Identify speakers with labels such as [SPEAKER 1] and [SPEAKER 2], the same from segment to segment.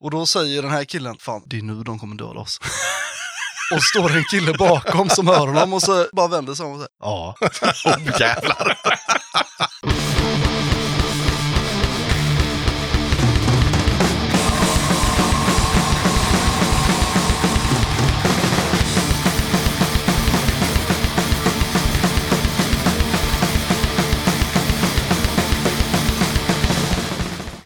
[SPEAKER 1] Och då säger den här killen, fan det är nu de kommer döda oss. och står en kille bakom som hör honom och så bara vänder sig om och säger, ja.
[SPEAKER 2] Oh, jävlar.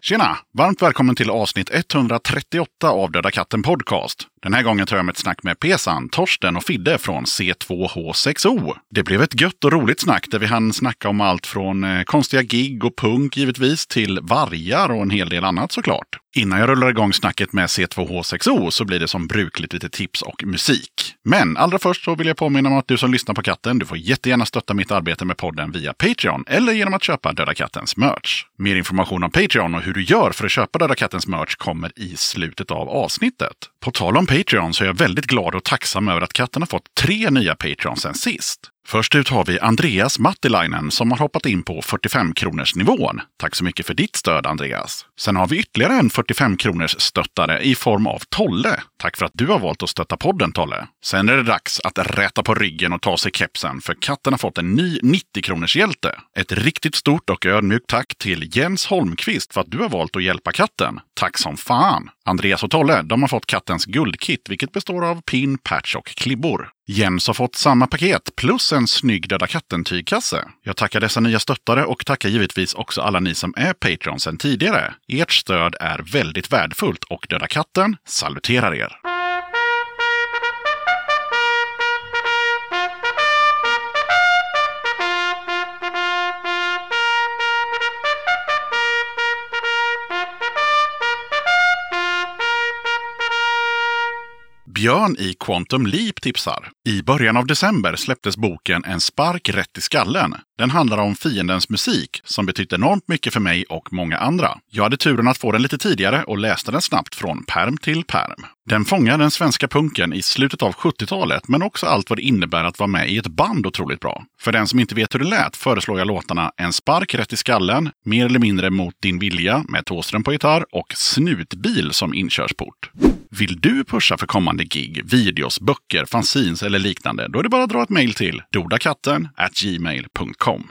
[SPEAKER 3] Tjena! Varmt välkommen till avsnitt 138 av Döda katten Podcast. Den här gången tar jag med ett snack med Pesan, Torsten och Fidde från C2H6O. Det blev ett gött och roligt snack där vi hann snacka om allt från eh, konstiga gig och punk givetvis till vargar och en hel del annat såklart. Innan jag rullar igång snacket med C2H6O så blir det som brukligt lite tips och musik. Men allra först så vill jag påminna om att du som lyssnar på katten, du får jättegärna stötta mitt arbete med podden via Patreon eller genom att köpa Döda Kattens merch. Mer information om Patreon och hur du gör för att köpa Döda Kattens merch kommer i slutet av avsnittet. På tal om Patreon så är jag väldigt glad och tacksam över att katten har fått tre nya Patreons sen sist. Först ut har vi Andreas Mattilainen som har hoppat in på 45 kronors nivån. Tack så mycket för ditt stöd Andreas. Sen har vi ytterligare en 45 kronors stöttare i form av Tolle. Tack för att du har valt att stötta podden Tolle. Sen är det dags att räta på ryggen och ta sig kepsen för katten har fått en ny 90 kronors hjälte. Ett riktigt stort och ödmjukt tack till Jens Holmqvist för att du har valt att hjälpa katten. Tack som fan! Andreas och Tolle, de har fått kattens guldkit, vilket består av pin, patch och klibbor. Jens har fått samma paket plus en snygg Döda katten-tygkasse. Jag tackar dessa nya stöttare och tackar givetvis också alla ni som är Patreon sedan tidigare. Ert stöd är väldigt värdefullt och Döda katten saluterar er. Björn i Quantum Leap tipsar. I början av december släpptes boken En spark rätt i skallen. Den handlar om fiendens musik, som betytt enormt mycket för mig och många andra. Jag hade turen att få den lite tidigare och läste den snabbt från perm till perm. Den fångar den svenska punken i slutet av 70-talet, men också allt vad det innebär att vara med i ett band otroligt bra. För den som inte vet hur det lät föreslår jag låtarna En spark rätt i skallen, Mer eller mindre mot din vilja med Thåström på gitarr och Snutbil som inkörsport. Vill du pusha för kommande gig, videos, böcker, fanzines eller liknande? Då är det bara att dra ett mejl till dodakatten gmail.com.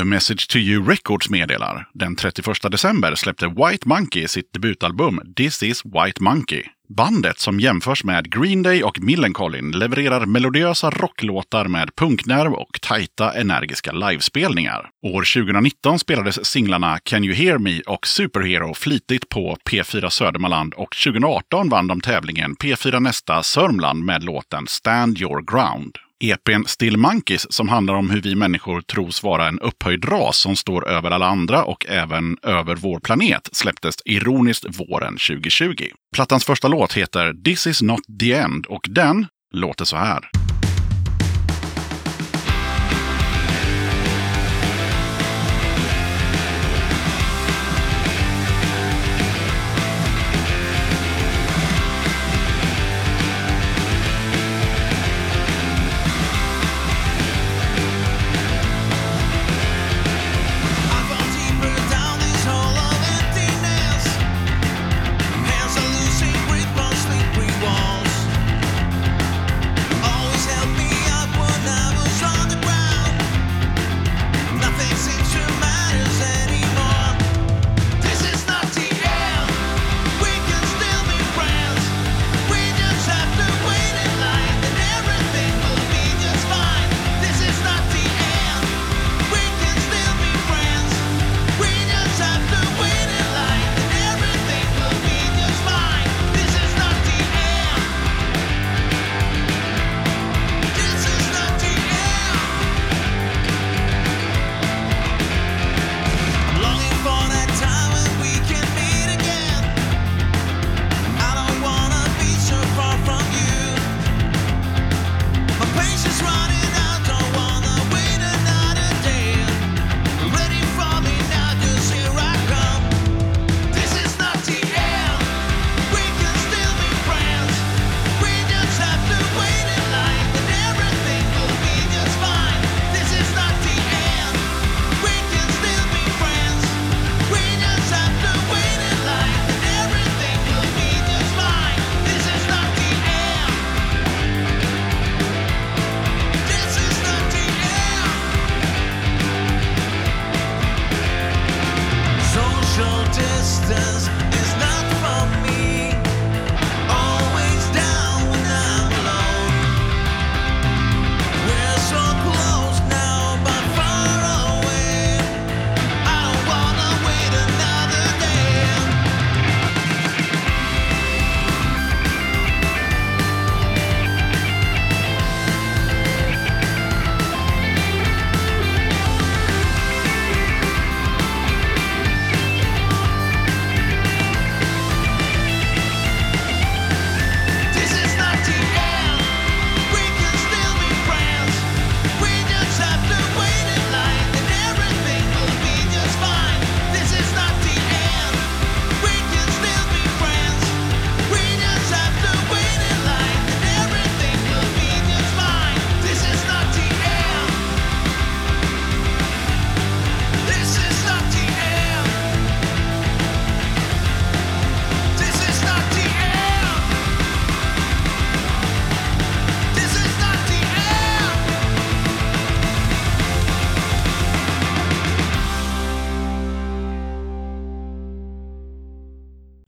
[SPEAKER 3] A Message to You Records meddelar. Den 31 december släppte White Monkey sitt debutalbum This is White Monkey. Bandet som jämförs med Green Day och Millencolin levererar melodiösa rocklåtar med punknerv och tajta energiska livespelningar. År 2019 spelades singlarna Can You Hear Me och Superhero flitigt på P4 Södermanland och 2018 vann de tävlingen P4 Nästa Sörmland med låten Stand Your Ground. EPn E Still Monkeys som handlar om hur vi människor tros vara en upphöjd ras som står över alla andra och även över vår planet släpptes ironiskt våren 2020. Plattans första låt heter This is not the end och den låter så här.
[SPEAKER 4] Always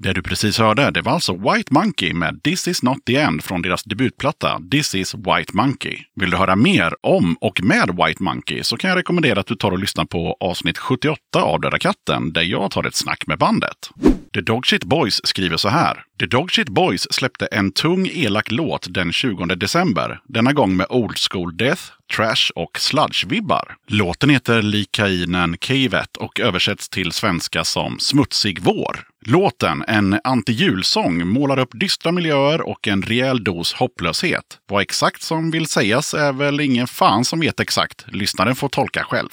[SPEAKER 5] Det du precis hörde, det var alltså White Monkey med This is not the end från deras debutplatta This is White Monkey. Vill du höra mer om och med White Monkey så kan jag rekommendera att du tar och lyssnar på avsnitt 78 av Döda katten där jag tar ett snack med bandet. The Dogshit Boys skriver så här. The Dogshit Boys släppte en tung, elak låt den 20 december. Denna gång med Old School Death, Trash och Sludge-vibbar. Låten heter Likainen Kivet och översätts till svenska som Smutsig vår. Låten, en antijulsång, målar upp dystra miljöer och en rejäl dos hopplöshet. Vad exakt som vill sägas är väl ingen fan som vet exakt. Lyssnaren får tolka själv.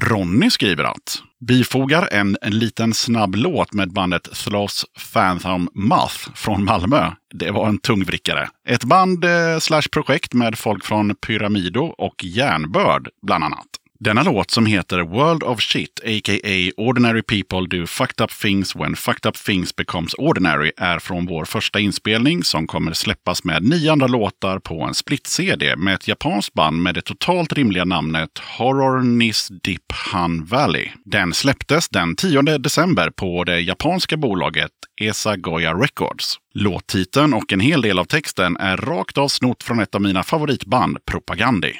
[SPEAKER 5] Ronny skriver att bifogar en, en liten snabb låt med bandet Thlos Phantom Mouth från Malmö. Det var en tungvrickare. Ett band eh, slash projekt med folk från Pyramido och Järnbörd bland annat.
[SPEAKER 3] Denna låt som heter World of Shit, a.k.a. Ordinary People Do Fucked Up Things When Fucked Up Things Becomes Ordinary är från vår första inspelning som kommer släppas med nio andra låtar på en split-CD med ett japanskt band med det totalt rimliga namnet Horror Nis Dip Han Valley. Den släpptes den 10 december på det japanska bolaget Esagoya Records. Låttiteln och en hel del av texten är rakt av snott från ett av mina favoritband, Propagandi.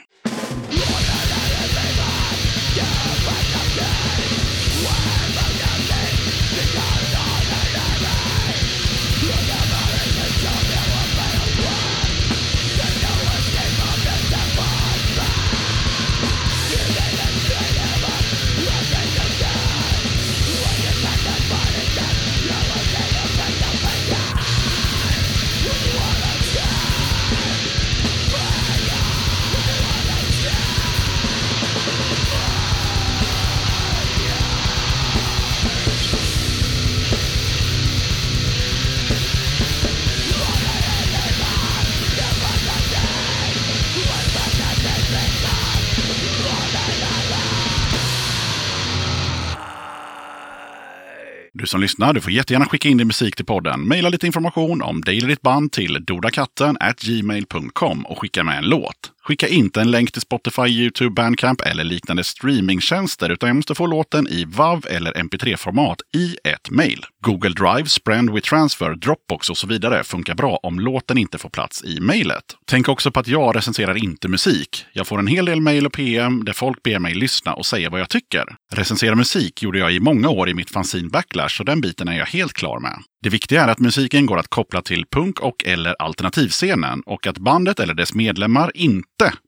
[SPEAKER 3] Du som lyssnar, du får jättegärna skicka in din musik till podden. Maila lite information om dig eller ditt band till dodakatten gmail.com och skicka med en låt. Skicka inte en länk till Spotify, YouTube, Bandcamp eller liknande streamingtjänster utan jag måste få låten i WAV eller MP3-format i ett mail. Google Drive, Sprend with Transfer, Dropbox och så vidare funkar bra om låten inte får plats i mejlet. Tänk också på att jag recenserar inte musik. Jag får en hel del mejl och PM där folk ber mig lyssna och säga vad jag tycker. Recensera musik gjorde jag i många år i mitt fanzine Backlash så den biten är jag helt klar med. Det viktiga är att musiken går att koppla till punk och eller alternativscenen och att bandet eller dess medlemmar inte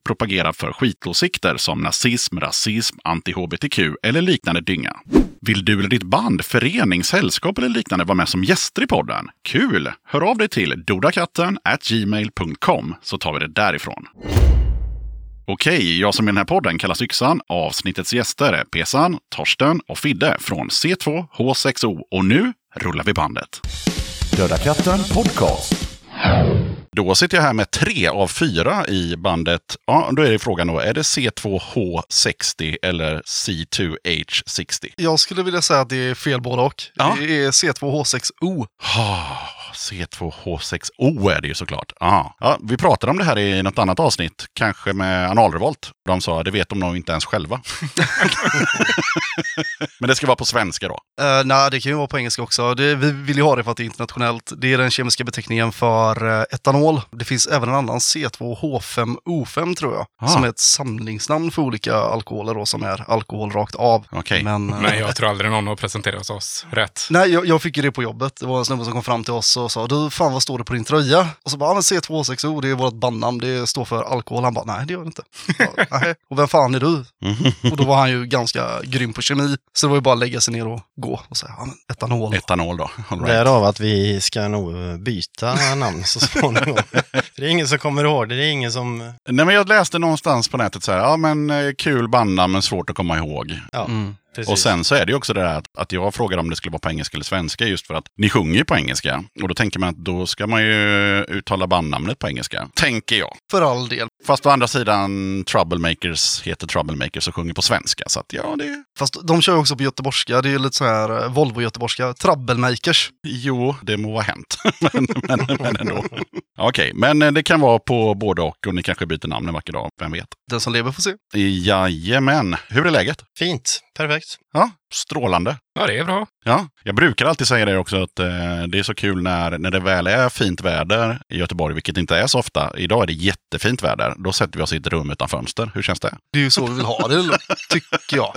[SPEAKER 3] propagerar för skitåsikter som nazism, rasism, anti-hbtq eller liknande dynga. Vill du eller ditt band, förening, sällskap eller liknande vara med som gäster i podden? Kul! Hör av dig till dodakatten gmail.com så tar vi det därifrån. Okej, jag som i den här podden kallas Yxan. Avsnittets gäster är Pesan, Torsten och Fidde från C2, H6O och nu rullar vi bandet.
[SPEAKER 2] Döda katten podcast.
[SPEAKER 3] Då sitter jag här med tre av fyra i bandet. Ja, då är det frågan då, är det C2H60 eller C2H60?
[SPEAKER 1] Jag skulle vilja säga att det är fel både och.
[SPEAKER 3] Ja.
[SPEAKER 1] Det är C2H6O.
[SPEAKER 3] Ah, C2H6O är det ju såklart. Ah. Ja, vi pratade om det här i något annat avsnitt, kanske med analrevolt. De sa, det vet de nog inte ens själva. Men det ska vara på svenska då.
[SPEAKER 1] Eh, Nej, det kan ju vara på engelska också. Det, vi vill ju ha det för att det är internationellt. Det är den kemiska beteckningen för eh, etanol. Det finns även en annan C2H5O5 tror jag,
[SPEAKER 3] Ah.
[SPEAKER 1] som är ett samlingsnamn för olika alkoholer då, som är alkohol rakt av.
[SPEAKER 3] Okej.
[SPEAKER 1] Men, eh,
[SPEAKER 4] Nej, jag tror aldrig någon har presenterat oss rätt.
[SPEAKER 1] Nej, jag, jag fick ju det på jobbet. Det var en snubbe som kom fram till oss och sa du, fan vad står det på din tröja? Och så bara, "Ja, men C2H6O, det är vårt bandnamn, det står för alkohol. Han bara, nej det gör det inte. Jag bara, "Nej, och vem fan är du? Och då var han ju ganska grym på kemi. Så det var ju bara att lägga sig ner och gå och säga, ja men etanol.
[SPEAKER 3] Etanol då. All right.
[SPEAKER 6] Därav att vi ska nog byta namn så småningom. För det är ingen som kommer ihåg det, det är ingen som...
[SPEAKER 3] Nej, men jag läste någonstans på nätet så här, ja men eh, kul bandnamn men svårt att komma ihåg.
[SPEAKER 6] Ja,
[SPEAKER 1] Mm.
[SPEAKER 6] precis.
[SPEAKER 3] Och sen så är det ju också det där att, att jag frågade om det skulle vara på engelska eller svenska just för att ni sjunger ju på engelska. Och då tänker man att då ska man ju uttala bandnamnet på engelska. Tänker jag.
[SPEAKER 1] För all del.
[SPEAKER 3] Fast å andra sidan, Troublemakers heter Troublemakers och sjunger på svenska. Så att ja, det...
[SPEAKER 1] Fast de kör ju också på göteborgska, det är ju lite så här eh, Volvo-göteborgska, Troublemakers.
[SPEAKER 3] Jo, det må vara hänt. men, men, men ändå. Okej, men eh, det kan vara på både och och ni kanske byter namn en vacker dag. Vem vet?
[SPEAKER 1] Den som lever får se.
[SPEAKER 3] Jajamän. Hur är läget?
[SPEAKER 6] Fint, perfekt.
[SPEAKER 3] Ja, strålande.
[SPEAKER 4] Ja, det är bra.
[SPEAKER 3] Ja, jag brukar alltid säga det också att eh, det är så kul när, när det väl är fint väder i Göteborg, vilket inte är så ofta. Idag är det jättefint väder. Då sätter vi oss i ett rum utan fönster. Hur känns det?
[SPEAKER 1] Det är ju så vi vill ha det, tycker jag.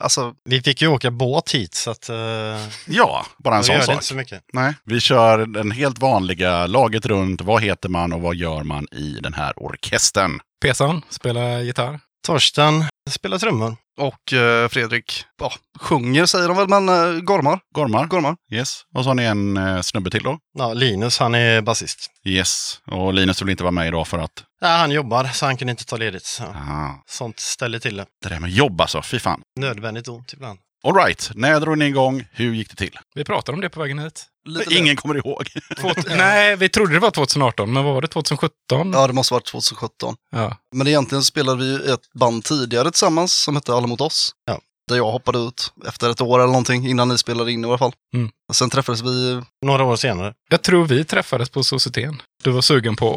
[SPEAKER 1] Alltså,
[SPEAKER 6] Vi fick ju åka båt hit så att... Uh, en
[SPEAKER 3] Ja, bara en
[SPEAKER 6] det
[SPEAKER 3] sån
[SPEAKER 6] gör det
[SPEAKER 3] sak.
[SPEAKER 6] inte så mycket.
[SPEAKER 3] Nej, vi kör den helt vanliga laget runt. Vad heter man och vad gör man i den här orkestern?
[SPEAKER 4] Pesan, spela gitarr.
[SPEAKER 6] Torsten spelar trummor.
[SPEAKER 1] och eh, Fredrik, ja, sjunger säger de väl, men eh, gormar.
[SPEAKER 3] Gormar.
[SPEAKER 1] gormar.
[SPEAKER 3] Yes. Och så har ni en eh, snubbe till då.
[SPEAKER 6] Ja, Linus han är basist.
[SPEAKER 3] Yes. Och Linus vill inte vara med idag för att...
[SPEAKER 6] Ja, han jobbar så han kunde inte ta ledigt. Så.
[SPEAKER 3] Ah,
[SPEAKER 6] Sånt ställer till det.
[SPEAKER 3] det där med jobb alltså, fy fan.
[SPEAKER 6] Nödvändigt ont ibland.
[SPEAKER 3] Alright, när drog ni igång? Hur gick det till?
[SPEAKER 4] Vi pratade om det på vägen hit.
[SPEAKER 1] Lite
[SPEAKER 3] Ingen kommer ihåg.
[SPEAKER 4] Två, nej, vi trodde det var 2018, men vad var det? 2017?
[SPEAKER 1] Ja, det måste ha varit 2017.
[SPEAKER 4] Ja.
[SPEAKER 1] Men egentligen spelade vi ju ett band tidigare tillsammans som hette Alla mot oss.
[SPEAKER 6] Ja.
[SPEAKER 1] Där jag hoppade ut efter ett år eller någonting, innan ni spelade in i alla fall.
[SPEAKER 4] Mm.
[SPEAKER 1] Sen träffades vi,
[SPEAKER 6] Några år senare.
[SPEAKER 4] Jag tror vi träffades på Societen. Du var sugen på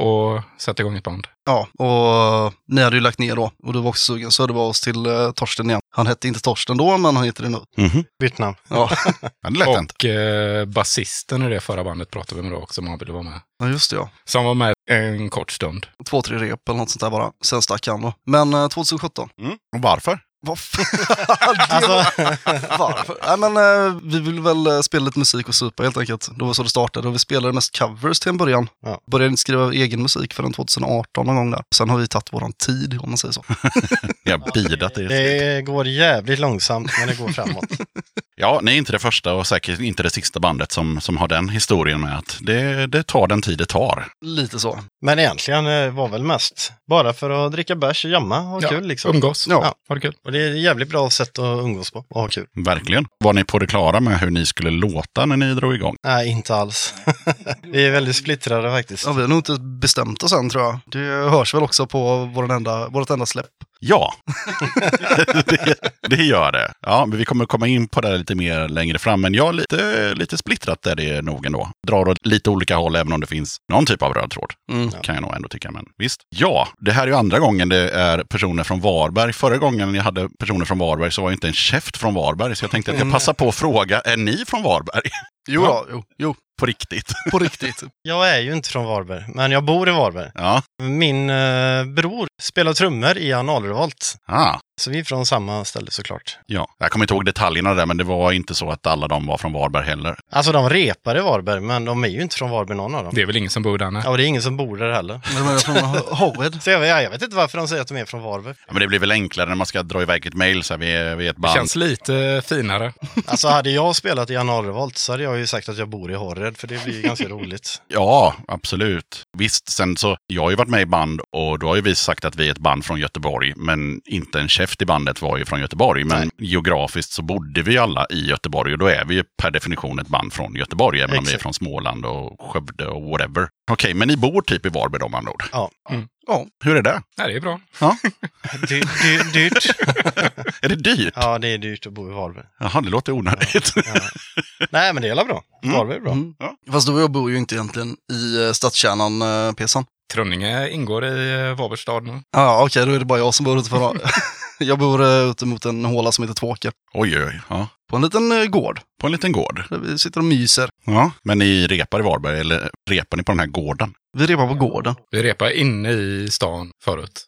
[SPEAKER 4] att sätta igång ett band.
[SPEAKER 1] ja, och ni hade ju lagt ner då. Och du var också sugen, så det var oss till eh, Torsten igen. Han hette inte Torsten då, men han heter det nu.
[SPEAKER 3] Mm-hmm.
[SPEAKER 6] Bytt namn.
[SPEAKER 1] Ja,
[SPEAKER 3] Ja, det lät inte.
[SPEAKER 4] Och eh, basisten i det förra bandet pratade vi med då också, om han ville vara med.
[SPEAKER 1] ja just det ja.
[SPEAKER 4] Som var med en kort stund.
[SPEAKER 1] Två, tre rep eller något sånt där bara. Sen stack han då. Men eh, 2017.
[SPEAKER 3] Mm. Och varför?
[SPEAKER 1] Vad fan? Det var-
[SPEAKER 6] Alltså,
[SPEAKER 1] Varför? Nej, men, eh, vi ville väl eh, spela lite musik och supa helt enkelt. Det var så det startade och vi spelade mest covers till en början.
[SPEAKER 6] Ja.
[SPEAKER 1] Började inte skriva egen musik förrän 2018 någon gång där. Sen har vi tagit våran tid om man säger så.
[SPEAKER 3] Ni har bidat i det.
[SPEAKER 6] det går jävligt långsamt men det går framåt.
[SPEAKER 3] Ja, ni är inte det första och säkert inte det sista bandet som, som har den historien med att det, det tar den tid det tar.
[SPEAKER 1] Lite så.
[SPEAKER 6] Men egentligen eh, var väl mest bara för att dricka bärs, jamma, ha
[SPEAKER 4] Ja,
[SPEAKER 6] kul liksom.
[SPEAKER 4] Umgås.
[SPEAKER 1] Ja.
[SPEAKER 4] Var det kul?
[SPEAKER 6] Och det är ett jävligt bra sätt att umgås på och ha kul.
[SPEAKER 3] Verkligen. Var ni på det klara med hur ni skulle låta när ni drog igång?
[SPEAKER 6] Nej, inte alls. vi är väldigt splittrade faktiskt.
[SPEAKER 1] Ja, vi har nog inte bestämt oss än tror jag. Det hörs väl också på vår enda, vårt enda släpp.
[SPEAKER 3] Ja, det, det gör det. Ja, men vi kommer komma in på det lite mer längre fram, men ja, lite, lite splittrat är det nog ändå. Drar åt lite olika håll, även om det finns någon typ av röd tråd.
[SPEAKER 1] Mm.
[SPEAKER 3] Kan jag nog ändå tycka, men visst. Ja, det här är ju andra gången det är personer från Varberg. Förra gången jag hade personer från Varberg så var jag inte en käft från Varberg, så jag tänkte att jag passar på att fråga, är ni från Varberg?
[SPEAKER 1] Jo, ja. jo, jo,
[SPEAKER 3] På riktigt?
[SPEAKER 1] på riktigt.
[SPEAKER 6] Jag är ju inte från Varberg, men jag bor i Varberg.
[SPEAKER 3] Ja.
[SPEAKER 6] Min eh, bror spelar trummor i analrevolt.
[SPEAKER 3] Ah.
[SPEAKER 6] Så vi är från samma ställe såklart.
[SPEAKER 3] Ja, jag kommer inte ihåg detaljerna där, men det var inte så att alla de var från Varberg heller.
[SPEAKER 6] Alltså de repar i Varberg, men de är ju inte från Varberg någon av dem.
[SPEAKER 4] Det är väl ingen som bor där? nej?
[SPEAKER 6] Ja, och det är ingen som bor där heller.
[SPEAKER 1] Men de är från Howard.
[SPEAKER 6] Så jag, jag jag vet inte varför de säger att de är från Varberg.
[SPEAKER 3] Ja, men det blir väl enklare när man ska dra iväg ett mejl, så här, vi, är, vi är ett
[SPEAKER 4] Det
[SPEAKER 3] band.
[SPEAKER 4] känns lite finare.
[SPEAKER 6] Alltså hade jag spelat i analrevolt så hade jag ju sagt att jag bor i Horred, för det blir ju ganska roligt.
[SPEAKER 3] Ja, absolut. Visst, sen så, jag har ju varit med i band och då har ju vi sagt att vi är ett band från Göteborg, men inte en käft i bandet var ju från Göteborg. Men geografiskt så bodde vi ju alla i Göteborg och då är vi ju per definition ett band från Göteborg, även om vi är
[SPEAKER 6] Exakt.
[SPEAKER 3] från Småland och Skövde och whatever. Okej, men ni bor typ i Varberg då med andra ord?
[SPEAKER 6] Ja.
[SPEAKER 4] Mm.
[SPEAKER 1] Ja.
[SPEAKER 3] Hur är det?
[SPEAKER 4] Nej, det är bra.
[SPEAKER 6] Dy, dy, dyrt.
[SPEAKER 3] Är det dyrt?
[SPEAKER 6] Ja, det är dyrt att bo i Varberg.
[SPEAKER 3] Jaha, det låter onödigt.
[SPEAKER 6] Ja. Nej, men det är alla bra.
[SPEAKER 3] Mm.
[SPEAKER 6] Varberg är bra.
[SPEAKER 1] Mm.
[SPEAKER 3] Ja.
[SPEAKER 1] Fast du och jag bor ju inte egentligen i eh, stadskärnan, eh, Pesan.
[SPEAKER 4] Trönninge ingår i eh, Varbergs stad nu.
[SPEAKER 1] Ja, ah, okej, då är det bara jag som bor utanför. jag bor eh, ute mot en håla som heter Tvååker.
[SPEAKER 3] Oj, oj, ja.
[SPEAKER 1] På en liten eh, gård.
[SPEAKER 3] På en liten gård.
[SPEAKER 1] Där vi sitter och myser.
[SPEAKER 3] Ja. Men ni repar i Varberg, eller repar ni på den här gården?
[SPEAKER 1] Vi repar på gården.
[SPEAKER 4] Vi repade inne i stan förut.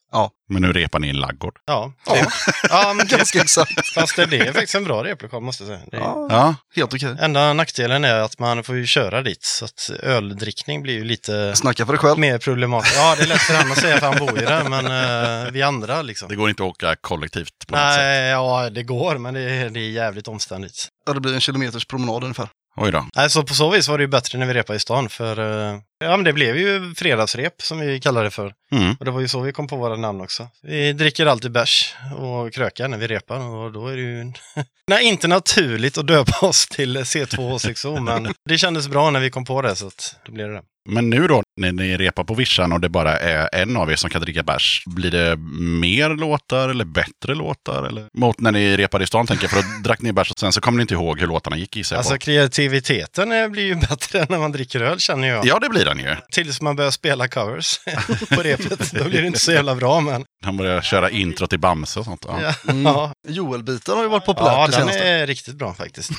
[SPEAKER 3] Men nu repar ni i en laggård.
[SPEAKER 6] Ja. Ja. ja, men det,
[SPEAKER 1] Ganska exakt.
[SPEAKER 6] fast det, det är faktiskt en bra replokal måste jag säga. Det är,
[SPEAKER 1] Ja,
[SPEAKER 3] Ja,
[SPEAKER 1] helt okej.
[SPEAKER 6] Enda nackdelen är att man får ju köra dit, så att öldrickning blir ju lite
[SPEAKER 1] Snacka för dig själv.
[SPEAKER 6] mer problematiskt. Ja, det är lätt för honom att säga för han bor ju där, men eh, vi andra
[SPEAKER 3] det
[SPEAKER 6] liksom.
[SPEAKER 3] går inte att åka kollektivt på något sätt.
[SPEAKER 6] Nej, ja, det går, men det är, det är jävligt omständigt.
[SPEAKER 1] Ja, det blir en kilometers promenad ungefär.
[SPEAKER 3] Oj då.
[SPEAKER 6] Nej, så på så vis var det ju bättre när vi repade i stan, för eh, ja, men det blev ju fredagsrep som vi kallade det för.
[SPEAKER 3] Mm.
[SPEAKER 6] Och det var ju så vi kom på våra namn också. Vi dricker alltid bärs och krökar när vi repar och då är det ju en... Nej, inte naturligt att döpa oss till C2H6O, men det kändes bra när vi kom på det, så att då blir det det.
[SPEAKER 3] Men nu då, när ni repar på vischan och det bara är en av er som kan dricka bärs, blir det mer låtar eller bättre låtar? Eller? Mot när ni repade i stan tänker jag, för då drack ni bärs och sen så kommer ni inte ihåg hur låtarna gick i sig
[SPEAKER 6] Alltså
[SPEAKER 3] på.
[SPEAKER 6] kreativiteten eh, blir ju bättre när man dricker öl känner jag.
[SPEAKER 3] Ja, det blir den ju.
[SPEAKER 6] Tills man börjar spela covers på repet, då blir det inte så jävla bra men
[SPEAKER 3] Han börjar köra intro till Bamse och sånt. Ja.
[SPEAKER 6] ja,
[SPEAKER 1] Mm.
[SPEAKER 6] ja.
[SPEAKER 1] Joel-biten har ju varit populärt
[SPEAKER 6] ja
[SPEAKER 1] det
[SPEAKER 6] den
[SPEAKER 1] senaste.
[SPEAKER 6] är riktigt bra faktiskt.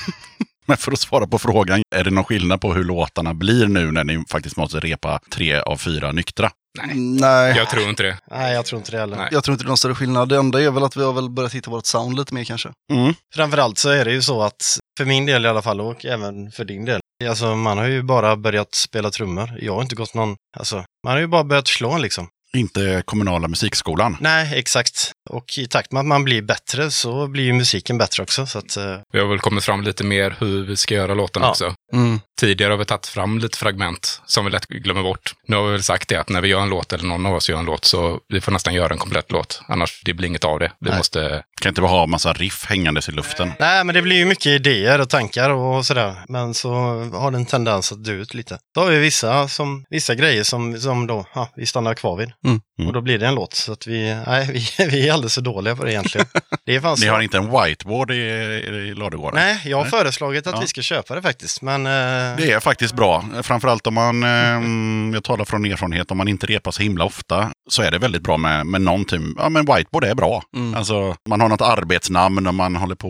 [SPEAKER 3] Men för att svara på frågan, är det någon skillnad på hur låtarna blir nu när ni faktiskt måste repa tre av fyra nyktra?
[SPEAKER 1] Nej. Mm, Nej. Jag...
[SPEAKER 4] Jag tror inte det.
[SPEAKER 6] Nej, jag tror inte det heller.
[SPEAKER 4] Nej.
[SPEAKER 1] tror inte det är någon större skillnad. Det enda är väl att vi har väl börjat hitta vårt sound lite mer kanske.
[SPEAKER 3] Mm.
[SPEAKER 6] Framförallt så är det ju så att, för min del i alla fall och även för din del, alltså man har ju bara börjat spela trummor. Jag har inte gått någon, alltså man har ju bara börjat slå liksom.
[SPEAKER 3] Inte kommunala musikskolan.
[SPEAKER 6] Nej, exakt. Och i takt med att man blir bättre så blir ju musiken bättre också. Så att, eh,
[SPEAKER 4] Vi har väl kommit fram lite mer hur vi ska göra låtarna
[SPEAKER 6] Ja. Mm.
[SPEAKER 4] också. Tidigare har vi tagit fram lite fragment som vi lätt glömmer bort. Nu har vi väl sagt det att när vi gör en låt eller någon av oss gör en låt så vi får nästan göra en komplett låt. Annars det blir inget av det. Vi
[SPEAKER 6] Nej.
[SPEAKER 4] måste
[SPEAKER 3] Kan inte bara ha massa riff hängandes i luften.
[SPEAKER 6] Nej, men det blir ju mycket idéer och tankar och sådär. Men så har den tendens att dö ut lite. Då har vi vissa, som, vissa grejer som, som då, ja, vi stannar kvar vid.
[SPEAKER 1] Mm.
[SPEAKER 3] Mm.
[SPEAKER 6] Och då blir det en låt. Så att vi, nej, vi, vi är alldeles för dåliga på det egentligen. Det är fan
[SPEAKER 3] Ni
[SPEAKER 6] svårt.
[SPEAKER 3] har inte en whiteboard i, i ladugården?
[SPEAKER 6] Nej, jag har
[SPEAKER 3] Alltså- Nej.
[SPEAKER 6] föreslagit att
[SPEAKER 3] Ja.
[SPEAKER 6] vi ska köpa det faktiskt. Men eh,
[SPEAKER 3] Det är faktiskt bra. Framförallt om man, eh, mm, jag talar från erfarenhet, om man inte repar så himla ofta så är det väldigt bra med, med någon typ, ja men whiteboard är bra.
[SPEAKER 1] Mm.
[SPEAKER 3] Alltså man har något arbetsnamn och man håller på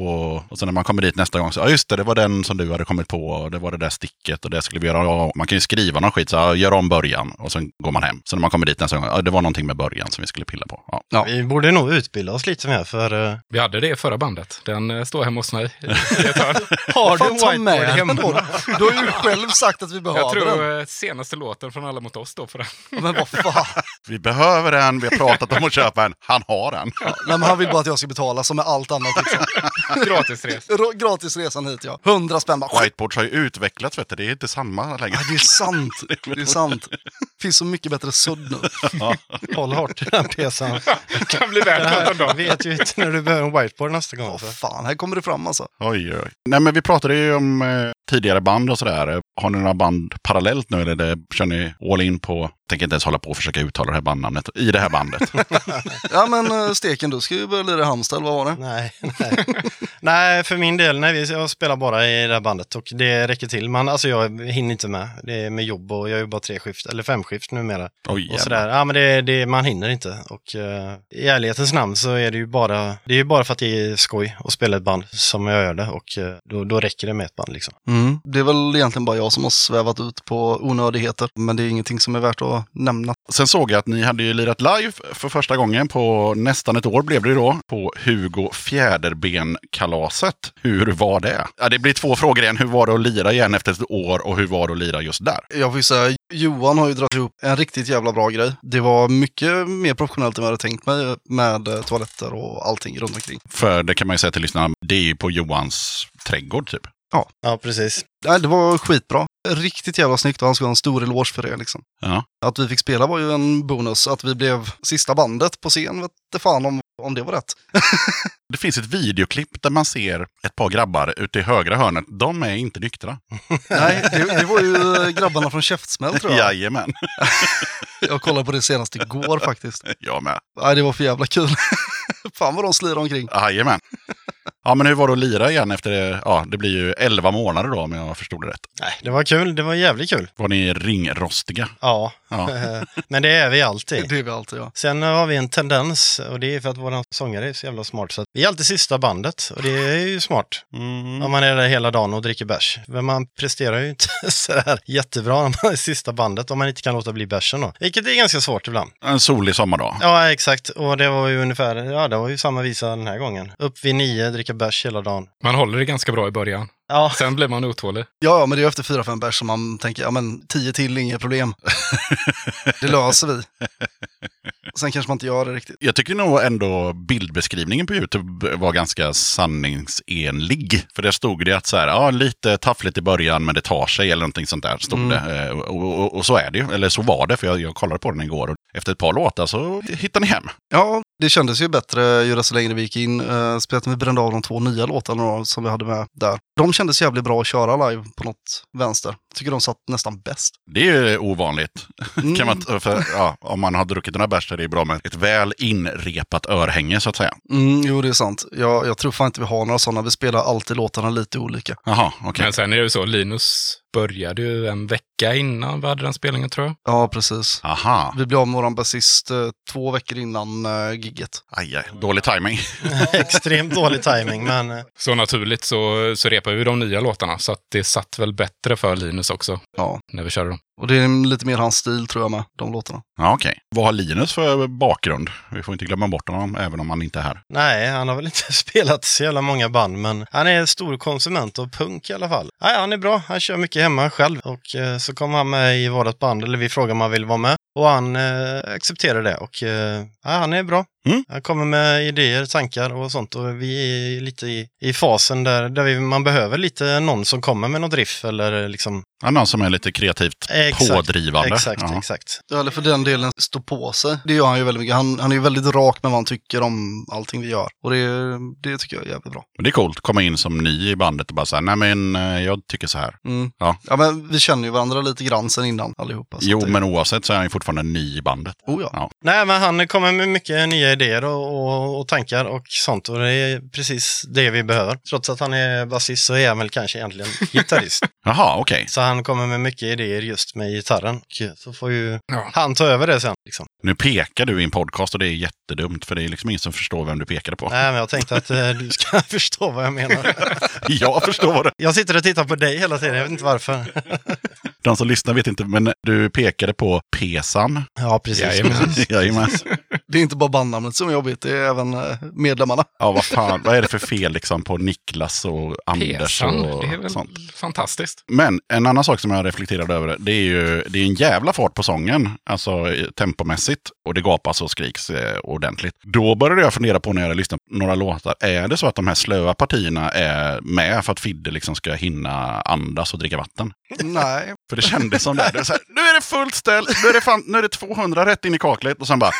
[SPEAKER 3] och sen när man kommer dit nästa gång så, ja just det, det var den som du hade kommit på och det var det där sticket och det skulle vi göra. Ja, man kan ju skriva någon skit, så ja, gör om början och sen går man hem. Så när man kommer dit nästa gång, ja det var någonting med början som vi skulle pilla på. Ja.
[SPEAKER 1] Ja.
[SPEAKER 6] vi borde nog utbilda oss lite mer för... eh,
[SPEAKER 4] Vi hade det i förra bandet. Den eh, står hemma hos mig.
[SPEAKER 6] har
[SPEAKER 1] Fan,
[SPEAKER 6] du
[SPEAKER 1] ta
[SPEAKER 6] en whiteboard
[SPEAKER 1] med den
[SPEAKER 6] hemma?
[SPEAKER 1] då. Du har ju själv sagt att vi behöver
[SPEAKER 4] Jag
[SPEAKER 1] den.
[SPEAKER 4] tror eh, senaste låten från Alla mot oss står på den.
[SPEAKER 1] Men vad fan.
[SPEAKER 3] Vi behöver en, vi har pratat om att köpa en, han har en.
[SPEAKER 1] Nej, men han vill bara att jag ska betala som med allt annat. Liksom.
[SPEAKER 4] Gratisresa.
[SPEAKER 1] Ro- Gratisresan hit ja. 100 spänn bara. skit.
[SPEAKER 3] Whiteboards har ju utvecklats vet du, det är inte samma längre.
[SPEAKER 1] Ja, det är sant. Det är sant. finns så mycket bättre sudd nu.
[SPEAKER 6] Håll hårt i den pesan.
[SPEAKER 4] kan bli värt något en
[SPEAKER 6] Jag
[SPEAKER 4] dag.
[SPEAKER 6] vet ju inte när du behöver en whiteboard nästa gång.
[SPEAKER 1] Åh
[SPEAKER 6] för.
[SPEAKER 1] fan, här kommer det fram alltså.
[SPEAKER 3] Oj, oj. Nej, men vi pratade ju om eh, tidigare band och sådär. Har ni några band parallellt nu eller det, kör ni all in på, tänker inte ens hålla på och försöka uttala det här bandnamnet, i det här bandet.
[SPEAKER 1] Ja men eh, Steken, du ska ju börja lira i Halmstad, eller vad var det?
[SPEAKER 6] Nej, nej. nej, för min del, nej, vi- jag spelar bara i det här bandet och det räcker till. Man, alltså jag hinner inte med. Det är med jobb och jag jobbar tre skift, eller fem skift numera.
[SPEAKER 3] Oj,
[SPEAKER 6] Och
[SPEAKER 3] jävlar.
[SPEAKER 6] sådär. Ja, men det, det, man hinner inte. Och eh, i ärlighetens namn så är det ju bara, det är ju bara för att det är skoj att spela ett band som jag gör det och eh, då, då räcker det med ett band liksom.
[SPEAKER 1] Mm. Det är väl egentligen bara jag som har svävat ut på onödigheter, men det är ingenting som är värt att nämna.
[SPEAKER 3] Sen såg jag att ni hade ju lirat live för första gången på nästan ett år blev det ju då, på Hugo Fjäderben-kalaset. Hur var det? Ja, det blir två frågor igen. Hur var det att lira igen efter ett år och hur var det att lira just där?
[SPEAKER 1] Jag får ju säga, Johan har ju dragit ihop en riktigt jävla bra grej. Det var mycket mer professionellt än jag hade tänkt mig med eh, toaletter och allting runt omkring.
[SPEAKER 3] För det kan man ju säga till lyssnarna, det är ju på Johans trädgård typ.
[SPEAKER 6] Ja, precis.
[SPEAKER 1] Nej, det var skitbra. Riktigt jävla snyggt och han ska ha en stor eloge för det liksom.
[SPEAKER 3] Ja.
[SPEAKER 1] Att vi fick spela var ju en bonus. Att vi blev sista bandet på scen vet inte fan om, om det var rätt.
[SPEAKER 3] Det finns ett videoklipp där man ser ett par grabbar ute i högra hörnet. De är inte nyktra.
[SPEAKER 1] Nej, det, det var ju eh, grabbarna från Käftsmäll tror jag.
[SPEAKER 3] Jajamän.
[SPEAKER 1] Jag kollade på det senast igår faktiskt.
[SPEAKER 3] Jag med.
[SPEAKER 1] Nej, det var för jävla kul. Fan vad de slirar omkring.
[SPEAKER 3] Jajamän. Ja, men hur var det att lira igen efter det? Ja, det blir ju 11 månader då om jag förstod det rätt.
[SPEAKER 6] Nej, det var kul. Det var jävligt kul.
[SPEAKER 3] Var ni ringrostiga?
[SPEAKER 6] Ja,
[SPEAKER 3] Ja.
[SPEAKER 6] men det är vi
[SPEAKER 1] Det
[SPEAKER 6] alltid.
[SPEAKER 1] är vi alltid ja.
[SPEAKER 6] Sen har vi en tendens, och det är för att våran sångare är så jävla smart, så att vi är alltid sista bandet. Och det är ju smart. Om man är där hela dagen och dricker bärs. Men man presterar ju inte sådär jättebra när man är sista bandet, om man inte kan låta bli bärsen då. Vilket är ganska svårt ibland.
[SPEAKER 3] En solig sommardag.
[SPEAKER 6] Ja, exakt. Och det var ju ungefär, ja, det var ju samma visa den här gången. Upp vid nio, dricka bärs hela dagen.
[SPEAKER 4] Man håller det ganska bra i början.
[SPEAKER 6] Ja,
[SPEAKER 4] Sen blir man otålig.
[SPEAKER 1] Ja, ja, men det är efter fyra, fem bärs som man tänker, ja men tio till, inga problem. Det löser vi. Sen kanske man inte gör det riktigt.
[SPEAKER 3] Jag tycker nog ändå bildbeskrivningen på YouTube var ganska sanningsenlig. För där stod det att så här, ja, lite taffligt i början men det tar sig eller någonting sånt där. Stod
[SPEAKER 1] Mm.
[SPEAKER 3] det. Eh, Och, och, och så är det ju. Eller så var det, för jag, jag kollade på den igår. Och efter ett par låtar så hittar ni hem.
[SPEAKER 1] Ja, det kändes ju bättre ju desto längre vi gick in. Uh, speciellt när vi brände av de två nya låtarna då, som vi hade med där. De kändes jävligt bra att köra live på något vänster. Tycker de satt nästan bäst.
[SPEAKER 3] Det är ju ovanligt.
[SPEAKER 1] Mm.
[SPEAKER 3] Kan man, för, ja, om man har druckit några bärs så är det bra med ett väl inrepat örhänge så att säga.
[SPEAKER 1] Mm, jo, det är sant. Jag, jag tror fan inte vi har några sådana. Vi spelar alltid låtarna lite olika.
[SPEAKER 3] Jaha, okej.
[SPEAKER 4] Men sen är det ju så, Linus började ju en vecka innan vi hade den spelningen tror jag.
[SPEAKER 1] Ja, precis.
[SPEAKER 3] Aha,
[SPEAKER 1] Vi blev av med våran basist eh, två veckor innan eh, gigget.
[SPEAKER 3] aj, aj. dålig timing.
[SPEAKER 6] extremt dålig timing, men eh,
[SPEAKER 4] Så naturligt så, så repar vi de nya låtarna, så att det satt väl bättre för Linus också
[SPEAKER 1] Ja.
[SPEAKER 4] när vi körde dem.
[SPEAKER 1] Och det är lite mer hans stil tror jag med, de låtarna.
[SPEAKER 3] Ja, okej. Vad har Linus för bakgrund? Vi får inte glömma bort honom, även om han inte är här.
[SPEAKER 6] nej, han har väl inte spelat så jävla många band, men han är en stor konsument av punk i alla fall. Nej, han är bra. Han kör mycket hemma själv och eh, så kom han med i vårt band, eller vi frågade om han ville vara med. Och han eh, accepterar det och eh, ja, han är bra.
[SPEAKER 3] Mm.
[SPEAKER 6] Han kommer med idéer, tankar och sånt och vi är lite i, i fasen där, där vi, man behöver lite någon som kommer med något riff eller liksom
[SPEAKER 3] Ja, Någon som är lite kreativt
[SPEAKER 6] Exakt,
[SPEAKER 3] pådrivande.
[SPEAKER 6] exakt,
[SPEAKER 3] ja.
[SPEAKER 6] exakt.
[SPEAKER 1] Eller för den delen stå på sig. Det gör han ju väldigt mycket. Han, han är ju väldigt rak med vad han tycker om allting vi gör. Och det, det tycker jag är jävligt bra.
[SPEAKER 3] Det är coolt, komma in som ny i bandet och bara säga, nej men eh, jag tycker så här.
[SPEAKER 1] Mm.
[SPEAKER 3] Ja.
[SPEAKER 1] ja, men vi känner ju varandra lite grann sen innan allihopa. så
[SPEAKER 3] jo,
[SPEAKER 1] att det,
[SPEAKER 3] men oavsett så är han ju fortfarande ny i bandet.
[SPEAKER 1] Oh ja.
[SPEAKER 6] Nej, men han kommer med mycket nya idéer och, och, och tankar och sånt och det är precis det vi behöver. Trots att han är basist så är han väl kanske egentligen gitarrist.
[SPEAKER 3] Jaha, okej.
[SPEAKER 6] så han kommer med mycket idéer just med gitarren. Och Så får ju
[SPEAKER 4] Ja.
[SPEAKER 6] han ta över det sen. Liksom.
[SPEAKER 3] Nu pekar du i en podcast och det är jättedumt för det är liksom ingen som förstår vem du pekade på.
[SPEAKER 6] Nej, men jag tänkte att eh, du ska förstå vad jag menar.
[SPEAKER 3] jag förstår.
[SPEAKER 6] Jag sitter och tittar på dig hela tiden, jag vet inte varför.
[SPEAKER 3] De som lyssnar vet inte, men du pekade på Pesan.
[SPEAKER 6] Ja, precis.
[SPEAKER 4] Jajamän.
[SPEAKER 3] Jajamän.
[SPEAKER 1] det är inte bara bandnamnet som är jobbigt, det är även eh, medlemmarna.
[SPEAKER 3] Ja, vad fan, vad är det för fel liksom på Niklas och Anders
[SPEAKER 4] Pesan,
[SPEAKER 3] och
[SPEAKER 4] det är väl
[SPEAKER 3] sånt?
[SPEAKER 4] fantastiskt.
[SPEAKER 3] Men en annan sak som jag reflekterade över, det är ju det är en jävla fart på sången, alltså eh, tempomässigt. Och det gapas och skriks eh, ordentligt. Då började jag fundera på när jag lyssnade på några låtar, är det så att de här slöa partierna är med för att Fidde liksom ska hinna andas och dricka vatten?
[SPEAKER 1] Nej,
[SPEAKER 3] För det kändes som det. det var så här, nu är det fullt ställ, nu är det, fan, nu är det 200 rätt in i kaklet och sen bara...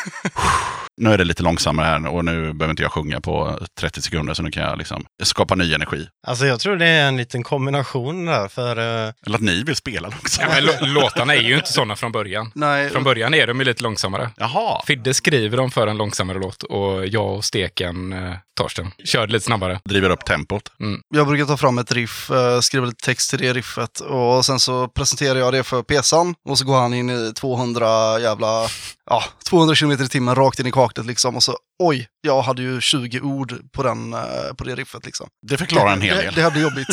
[SPEAKER 3] Nu är det lite långsammare här och nu behöver inte jag sjunga på 30 sekunder så nu kan jag liksom skapa ny energi.
[SPEAKER 6] Alltså jag tror det är en liten kombination där, för eh,
[SPEAKER 3] Eller att ni vill spela
[SPEAKER 4] Ja,
[SPEAKER 3] långsammare.
[SPEAKER 4] men lå- låtarna är ju inte sådana från början.
[SPEAKER 1] nej.
[SPEAKER 4] Från början är de ju lite långsammare.
[SPEAKER 3] Jaha.
[SPEAKER 4] Fidde skriver dem för en långsammare låt och jag och Steken, eh, Torsten, körde lite snabbare.
[SPEAKER 3] driver upp tempot.
[SPEAKER 1] Jag brukar ta fram ett riff, eh, skriva lite text till det riffet och sen så presenterar jag det för Pesan och så går han in i 200 jävla, ja, 200 km i timmen rakt in i kaklet liksom och så oj, jag hade ju 20 ord på, den, eh, på det riffet liksom.
[SPEAKER 3] Det förklarar en hel
[SPEAKER 1] det,
[SPEAKER 3] del.
[SPEAKER 1] Det här blir jobbigt.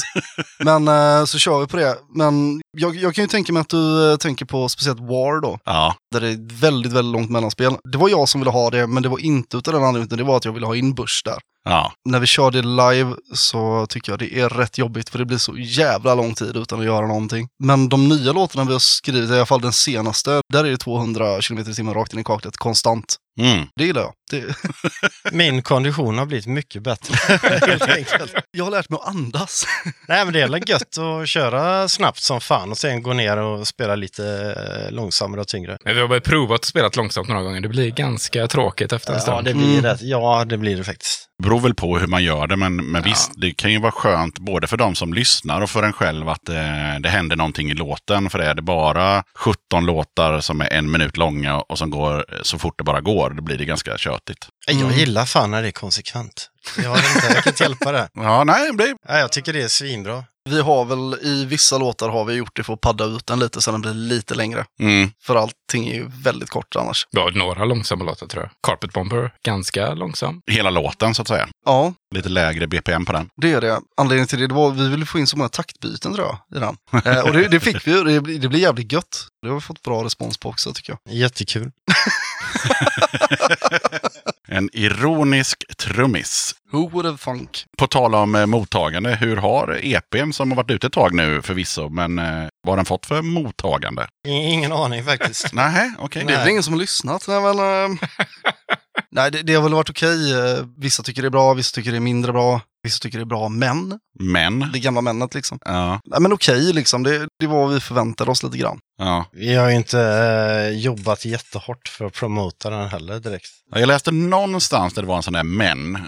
[SPEAKER 1] Men eh, så kör vi på det. Men jag, jag kan ju tänka mig att du eh, tänker på speciellt War då,
[SPEAKER 3] Ja,
[SPEAKER 1] där det är ett väldigt, väldigt långt mellanspel. Det var jag som ville ha det, men det var inte utav den anledningen, utan det var att jag ville ha in Bush där
[SPEAKER 3] ja.
[SPEAKER 1] när vi kör det live så tycker jag det är rätt jobbigt för det blir så jävla lång tid utan att göra någonting. Men de nya låtarna vi har skrivit, i alla fall den senaste, där är det 200 km i timmen rakt in i kaklet konstant.
[SPEAKER 3] Mm.
[SPEAKER 1] Det gillar jag. Det...
[SPEAKER 6] min kondition har blivit mycket bättre. Helt enkelt.
[SPEAKER 1] Jag har lärt mig att andas.
[SPEAKER 6] Nej, men det är väl gött att köra snabbt som fan och sen gå ner och spela lite eh, långsammare och tyngre.
[SPEAKER 4] Men vi har väl provat att spela långsamt några gånger. Det blir ganska tråkigt efter en
[SPEAKER 6] Ja,
[SPEAKER 4] stund.
[SPEAKER 6] det
[SPEAKER 1] Mm.
[SPEAKER 6] blir det. Ja, det blir det faktiskt.
[SPEAKER 3] Beror väl på hur man gör det, men, men visst, det kan ju vara skönt både för de som lyssnar och för en själv att eh, det händer någonting i låten. För är det bara 17 låtar som är en minut långa och som går eh, så fort det bara går, då blir det ganska tjötigt.
[SPEAKER 6] Jag
[SPEAKER 1] Mm.
[SPEAKER 6] gillar fan när det är konsekvent. Jag, vet inte, jag kan inte hjälpa det.
[SPEAKER 3] Ja, nej, det,
[SPEAKER 6] Ja, jag tycker det är svinbra.
[SPEAKER 1] Vi har väl i vissa låtar har vi gjort det för att padda ut den lite så den blir lite längre.
[SPEAKER 3] mm,
[SPEAKER 1] För allting är ju väldigt kort annars.
[SPEAKER 4] Vi har några långsamma låtar tror jag. Carpet Bomber, ganska långsam.
[SPEAKER 3] hela låten så att säga.
[SPEAKER 1] Ja,
[SPEAKER 3] Lite lägre BPM på den.
[SPEAKER 1] det är det. Anledningen till det, det var vi ville få in så många taktbyten tror jag i den. Eh, och det, det fick vi ju. Det, blir- det blir jävligt gött. Det har vi fått bra respons på också tycker jag.
[SPEAKER 6] Jättekul.
[SPEAKER 3] En ironisk trummis.
[SPEAKER 1] Who would have funk?
[SPEAKER 3] På tal om eh, mottagande, hur har EPn som har varit ute ett tag nu förvisso, men eh, vad har den fått för mottagande?
[SPEAKER 6] I- Ingen aning faktiskt.
[SPEAKER 3] Nej, okej.
[SPEAKER 1] Det är väl
[SPEAKER 6] Nej.
[SPEAKER 1] ingen som har lyssnat. Nej, men, eh, nej det, det har väl varit okej. Eh, Vissa tycker det är bra, vissa tycker det är mindre bra. Vissa tycker det är bra, men
[SPEAKER 3] Men.
[SPEAKER 1] det gamla männet liksom.
[SPEAKER 3] Ja,
[SPEAKER 1] Nej, men okej, liksom. det, det var vad vi förväntade oss lite grann.
[SPEAKER 3] ja.
[SPEAKER 6] Vi har ju inte eh, jobbat jättehårt för att promota den heller direkt.
[SPEAKER 3] Jag läste någonstans där det var en sån där men.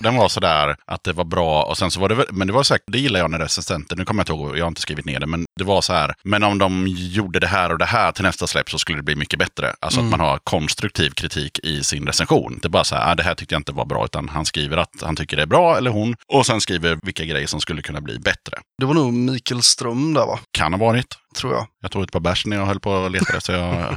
[SPEAKER 3] Den var sådär att det var bra och sen så var det väl, men det var säkert, det gillar jag när recensenter, nu kommer jag inte ihåg, jag har inte skrivit ner det, men det var så här, men om de gjorde det här och det här till nästa släpp så skulle det bli mycket bättre. Alltså att man har konstruktiv kritik i sin recension. Det är bara så här, ah, det här tyckte jag inte var bra, utan han skriver att han tycker det är bra, eller hon, och sen skriver vilka grejer som skulle kunna bli bättre.
[SPEAKER 1] Det var nog Mikael Ström där, va?
[SPEAKER 3] Kan ha varit.
[SPEAKER 1] Tror jag.
[SPEAKER 3] Jag tog ett par bärs när jag höll på och letade, så jag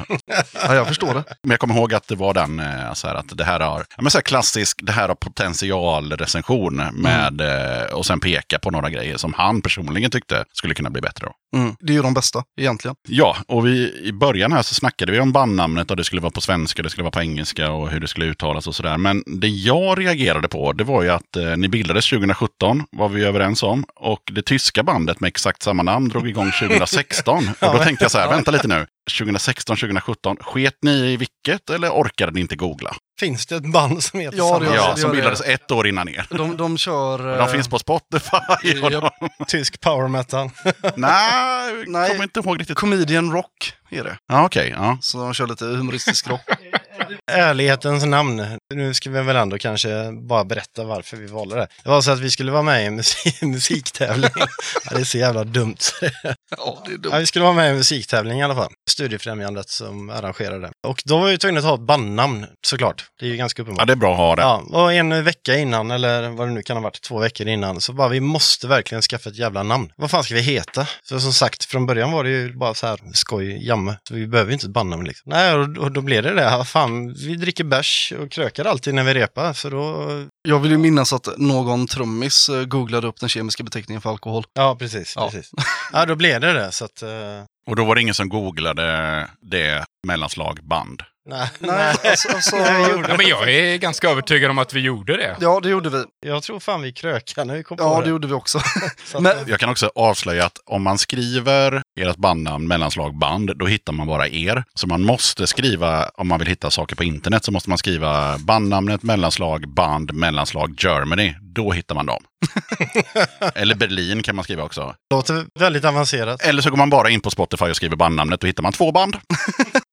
[SPEAKER 1] Ja, jag förstår det.
[SPEAKER 3] Men jag kommer ihåg att det var den, eh, så här, att det här har, ja, men så här klassisk, det här har potentialrecension med, eh, och sen peka på några grejer som han personligen tyckte skulle kunna bli bättre. Då.
[SPEAKER 1] Mm. Det är ju de bästa, egentligen.
[SPEAKER 3] Ja, och vi, i början här så snackade vi om bandnamnet och det skulle vara på svenska, det skulle vara på engelska och hur det skulle uttalas och sådär. Men det jag reagerade på, det var ju att eh, ni bildades 2017, var vi överens om. Och det tyska bandet med exakt samma namn drog igång 2016. Och då tänkte jag så här, vänta lite nu, 2016, 2017. Sket ni i vilket eller orkade ni inte googla?
[SPEAKER 6] Finns det ett band som heter
[SPEAKER 1] Ja,
[SPEAKER 6] samma?
[SPEAKER 1] det gör
[SPEAKER 3] Ja, som
[SPEAKER 1] det. Eh.
[SPEAKER 3] bildades ett år innan er.
[SPEAKER 1] De, de kör...
[SPEAKER 3] De finns på Spotify. och de-
[SPEAKER 6] Tysk power metal.
[SPEAKER 3] Nej,
[SPEAKER 1] Nej.
[SPEAKER 3] kommer inte ihåg riktigt.
[SPEAKER 1] eh, Comedian Rock är det.
[SPEAKER 3] Ja, okej. ja.
[SPEAKER 1] Så de kör lite humoristisk rock.
[SPEAKER 6] Ärlighetens namn. Nu ska vi väl ändå kanske bara berätta varför vi valde det. Det var så att vi skulle vara med i en musik- musiktävling. ja, det är så jävla dumt.
[SPEAKER 1] ja, det är
[SPEAKER 6] ja,
[SPEAKER 1] dumt.
[SPEAKER 6] vi skulle vara med i en musiktävling i alla fall. Studiefrämjandet som arrangerade. Och då var vi tvungna att ha ett bandnamn såklart. Det är ju ganska uppenbart.
[SPEAKER 3] ja, det är bra att ha det.
[SPEAKER 6] Ja, och en vecka innan, eller vad det nu kan ha varit, två veckor innan, så bara vi måste verkligen skaffa ett jävla namn. Vad fan ska vi heta? Så som sagt, från början var det ju bara så här skoj, jamme. Så vi behöver ju inte ett bandnamn liksom. Nej, och, och då blev det det. här. Fan, vi dricker bärs och krökar alltid när vi repar, så då...
[SPEAKER 1] Jag vill ju minnas att någon trummis eh, googlade upp den kemiska beteckningen för alkohol.
[SPEAKER 6] Ja, precis.
[SPEAKER 1] Ja.
[SPEAKER 6] precis. ja då blev det det, så att... eh,
[SPEAKER 3] Och då var det ingen som googlade det mellanslag band.
[SPEAKER 6] nej, nej.
[SPEAKER 1] Nej, alltså, alltså,
[SPEAKER 4] Ja, men jag är ganska övertygad om att vi gjorde det.
[SPEAKER 1] ja, det gjorde vi.
[SPEAKER 6] Jag tror fan vi krökar när vi kom på
[SPEAKER 1] Ja,
[SPEAKER 6] det.
[SPEAKER 1] det gjorde vi också.
[SPEAKER 6] Så att,
[SPEAKER 1] men-
[SPEAKER 6] eh,
[SPEAKER 3] Jag kan också avslöja att om man skriver ert bandnamn mellanslag band, då hittar man bara er. Så man måste skriva, om man vill hitta saker på internet, så måste man skriva bandnamnet mellanslag band mellanslag Germany. Då hittar man dem. Eller Berlin kan man skriva också.
[SPEAKER 6] det låter väldigt avancerat.
[SPEAKER 3] Eller så går man bara in på Spotify och skriver bandnamnet, då hittar man två band.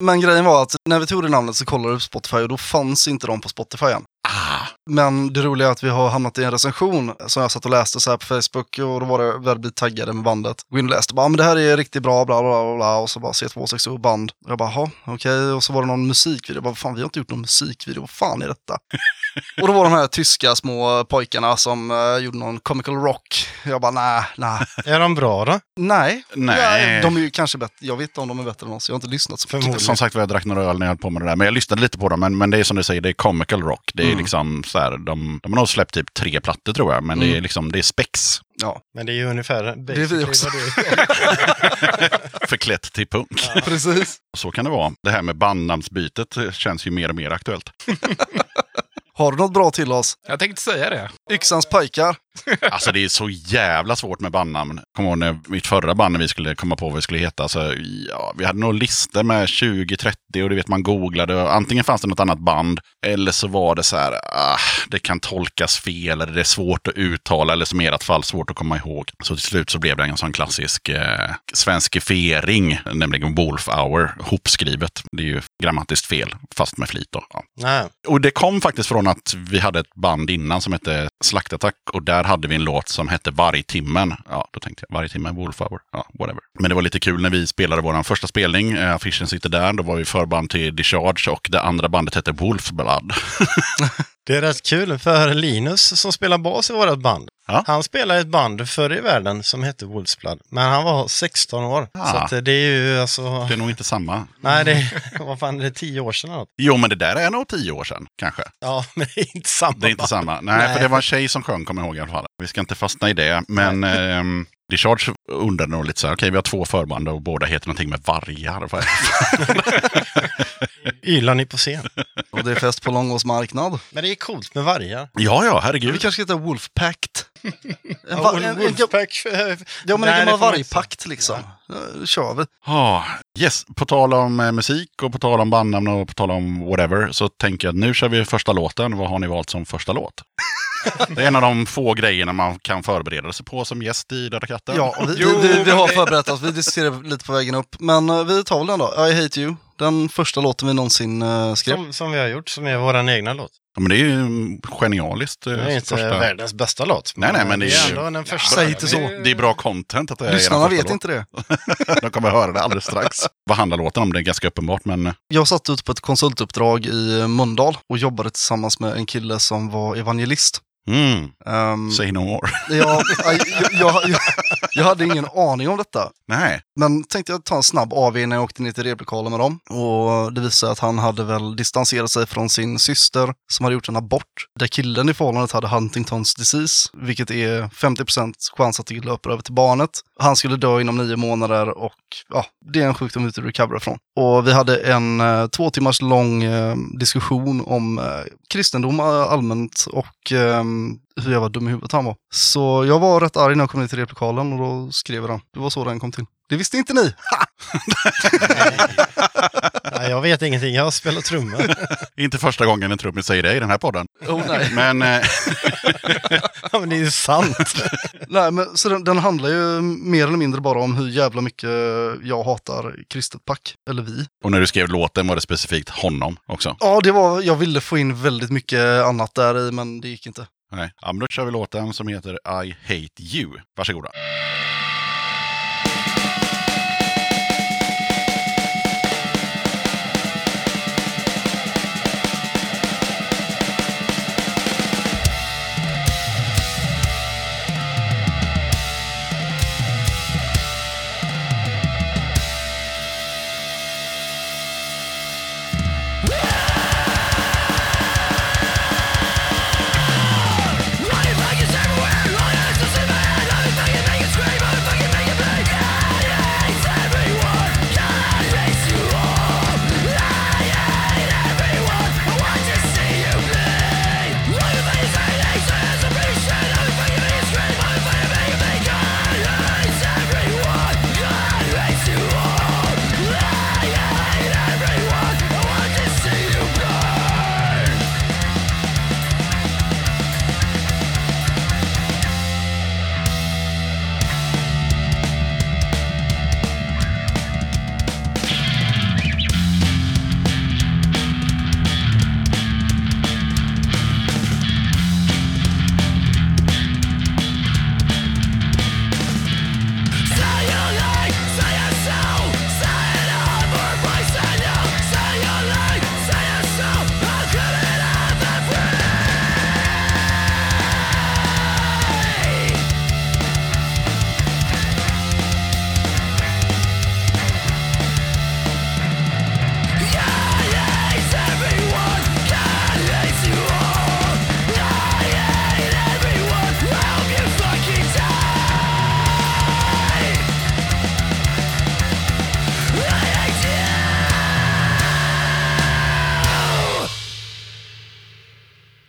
[SPEAKER 1] Men grejen var att när vi tog det namnet så kollade vi på Spotify och då fanns inte de på Spotify än.
[SPEAKER 3] Ah,
[SPEAKER 1] Men det roliga är att vi har hamnat i en recension som jag satt och läste så här på Facebook och då var det väl vi taggade med bandet. Gå in och läste bara, "Ah, men det här är riktigt bra, bla bla bla, bla. och så bara C267 band. Och jag bara, jaha, okej. Och så var det någon musikvideo, jag bara, fan vi har inte gjort någon musikvideo, vad fan är detta? och då var de här tyska små pojkarna som eh, gjorde någon comical rock. Jag bara, nej, nej,
[SPEAKER 6] eh, Är de bra då?
[SPEAKER 1] nej.
[SPEAKER 3] nej.
[SPEAKER 1] De är ju kanske bättre, jag vet inte om de är bättre än oss, jag har inte lyssnat så mycket.
[SPEAKER 6] Förmodligen.
[SPEAKER 3] Som sagt var, jag drack några öl när jag höll på med det där. Men jag lyssnade lite på dem. Men, men det är som du säger, det är comical rock. Det är
[SPEAKER 1] Mm.
[SPEAKER 3] liksom så här, de, de har nog släppt typ tre plattor tror jag. Men det är liksom, det är spex.
[SPEAKER 1] Ja,
[SPEAKER 6] Men det är ju ungefär...
[SPEAKER 1] är vi
[SPEAKER 6] basically
[SPEAKER 1] också.
[SPEAKER 6] vad det är.
[SPEAKER 3] Förklätt till punk.
[SPEAKER 1] precis.
[SPEAKER 3] Så kan det vara. Det här med bandnamnsbytet eh, känns ju mer och mer aktuellt.
[SPEAKER 1] Har du något bra till oss?
[SPEAKER 4] Jag tänkte säga det.
[SPEAKER 1] Yxans pojkar.
[SPEAKER 3] Alltså det är så jävla svårt med bandnamn. Kommer ihåg när mitt förra band, när vi skulle komma på vad vi skulle heta. Så, ja, vi hade nog listor med 20-30 och du vet man googlade. Och antingen fanns det något annat band eller så var det så här, ah, det kan tolkas fel eller det är svårt att uttala eller som i ert fall svårt att komma ihåg. Så till slut så blev det en sån klassisk eh, svenskifiering, nämligen Wolf Hour, hopskrivet. Det är ju grammatiskt fel, fast med flit då. Ja.
[SPEAKER 6] Nej.
[SPEAKER 3] Och det kom faktiskt från att vi hade ett band innan som hette Slaktattack och där hade vi en låt som hette Vargtimmen. Ja, då tänkte jag Vargtimmen, Wolf Hour, ja, whatever. Men det var lite kul när vi spelade vår första spelning, eh, affischen sitter där, då var vi förband till Discharge och det andra bandet hette Wolf Blood.
[SPEAKER 6] Det är rätt kul för Linus som spelar bas i vårt band.
[SPEAKER 3] Ja.
[SPEAKER 6] Han spelade i ett band förr i världen som hette Wolfsblood. Men han var 16 år. Så
[SPEAKER 3] Ah.
[SPEAKER 6] att det är ju alltså...
[SPEAKER 3] Det är nog inte samma.
[SPEAKER 6] Nej, det är... Vad fan, det är 10 år sedan eller något.
[SPEAKER 3] Jo, men det där är nog tio år sedan kanske.
[SPEAKER 6] Ja, men det är inte samma.
[SPEAKER 3] Det är inte samma. Nej,
[SPEAKER 6] Nej.
[SPEAKER 3] för det var en tjej som sjöng, kommer jag ihåg i alla fall. Vi ska inte fastna i det, men ehm, Discharge undrade nog lite så här, okej, vi har två förband och båda heter någonting med vargar. Vad är det?
[SPEAKER 6] Ylar ni på scen.
[SPEAKER 1] Och det är fest på långåsmarknad.
[SPEAKER 6] Men det är coolt med vargar.
[SPEAKER 3] Ja, ja,
[SPEAKER 1] Vi
[SPEAKER 3] herregud.
[SPEAKER 1] kanske heter Wolfpact. En,
[SPEAKER 6] Ja,
[SPEAKER 1] va-
[SPEAKER 6] Wolf-
[SPEAKER 1] en, en, ja,
[SPEAKER 6] Wolfpack.
[SPEAKER 1] ja, men en
[SPEAKER 6] Nej, det får
[SPEAKER 1] gammal
[SPEAKER 6] man
[SPEAKER 1] vargpakt liksom. Ja. kör vi.
[SPEAKER 3] Ja, yes. På tal om eh, musik och på tal om bandnamn och på tal om whatever så tänker jag att nu kör vi första låten. Vad har ni valt som första låt? Det är en av de få grejerna man kan förbereda sig på som gäst i Döda katten.
[SPEAKER 1] Ja, och vi,
[SPEAKER 4] Jo,
[SPEAKER 1] vi, vi, vi har
[SPEAKER 4] men-
[SPEAKER 1] förberett oss. Vi diskuterade lite på vägen upp. Men eh, vi tar väl den då. I hate you. Den första låten vi någonsin eh, skrev.
[SPEAKER 6] Som, som vi har gjort, som är våran egna låt.
[SPEAKER 3] Ja, men det är ju mm, genialiskt. eh,
[SPEAKER 6] Det är inte
[SPEAKER 3] första-
[SPEAKER 6] världens bästa låt.
[SPEAKER 3] Nej, nej, men det är ju-
[SPEAKER 6] ändå den första.
[SPEAKER 1] Säg inte så.
[SPEAKER 3] Det är bra content att det är
[SPEAKER 1] Lyssnarna
[SPEAKER 3] er första
[SPEAKER 1] vet
[SPEAKER 3] låt.
[SPEAKER 1] inte det.
[SPEAKER 3] De kommer höra det alldeles strax. Vad handlar låten om? Det är ganska uppenbart, men
[SPEAKER 1] Jag satt ute på ett konsultuppdrag i Mölndal och jobbade tillsammans med en kille som var evangelist.
[SPEAKER 3] mm,
[SPEAKER 1] Ehm,
[SPEAKER 3] say no more.
[SPEAKER 1] jag, jag, jag, jag, jag hade ingen aning om detta.
[SPEAKER 3] Nej,
[SPEAKER 1] Men tänkte jag ta en snabb AV när jag åkte ner till replokalen med dem. Och det visade sig att han hade väl distanserat sig från sin syster som hade gjort en abort. Där killen i förhållandet hade Huntingtons disease, vilket är 50% chans att det löper över till barnet. Han skulle dö inom nio månader och ja, det är en sjukdom vi inte recoverar från. Och vi hade en eh, två timmars lång eh, diskussion om eh, kristendom eh, allmänt och eh, hur jag var dum i huvudet han var. Så jag var rätt arg när jag kom ner till replokalen och då skrev jag den. Det var så den kom till. Det visste inte ni!
[SPEAKER 6] Nej, jag vet ingenting, jag spelar trummor.
[SPEAKER 3] Inte första gången en trummis säger det i den här podden.
[SPEAKER 1] Oh, nej.
[SPEAKER 3] Men eh,
[SPEAKER 6] Ja, men det är ju sant.
[SPEAKER 1] nej, men så den, den handlar ju mer eller mindre bara om hur jävla mycket jag hatar kristet pack. Eller vi.
[SPEAKER 3] Och när du skrev låten var det specifikt honom också?
[SPEAKER 1] Ja, det var, jag ville få in väldigt mycket annat där i, men det gick inte.
[SPEAKER 3] Nej. Ja, men då kör vi låten som heter I Hate You. Varsågoda.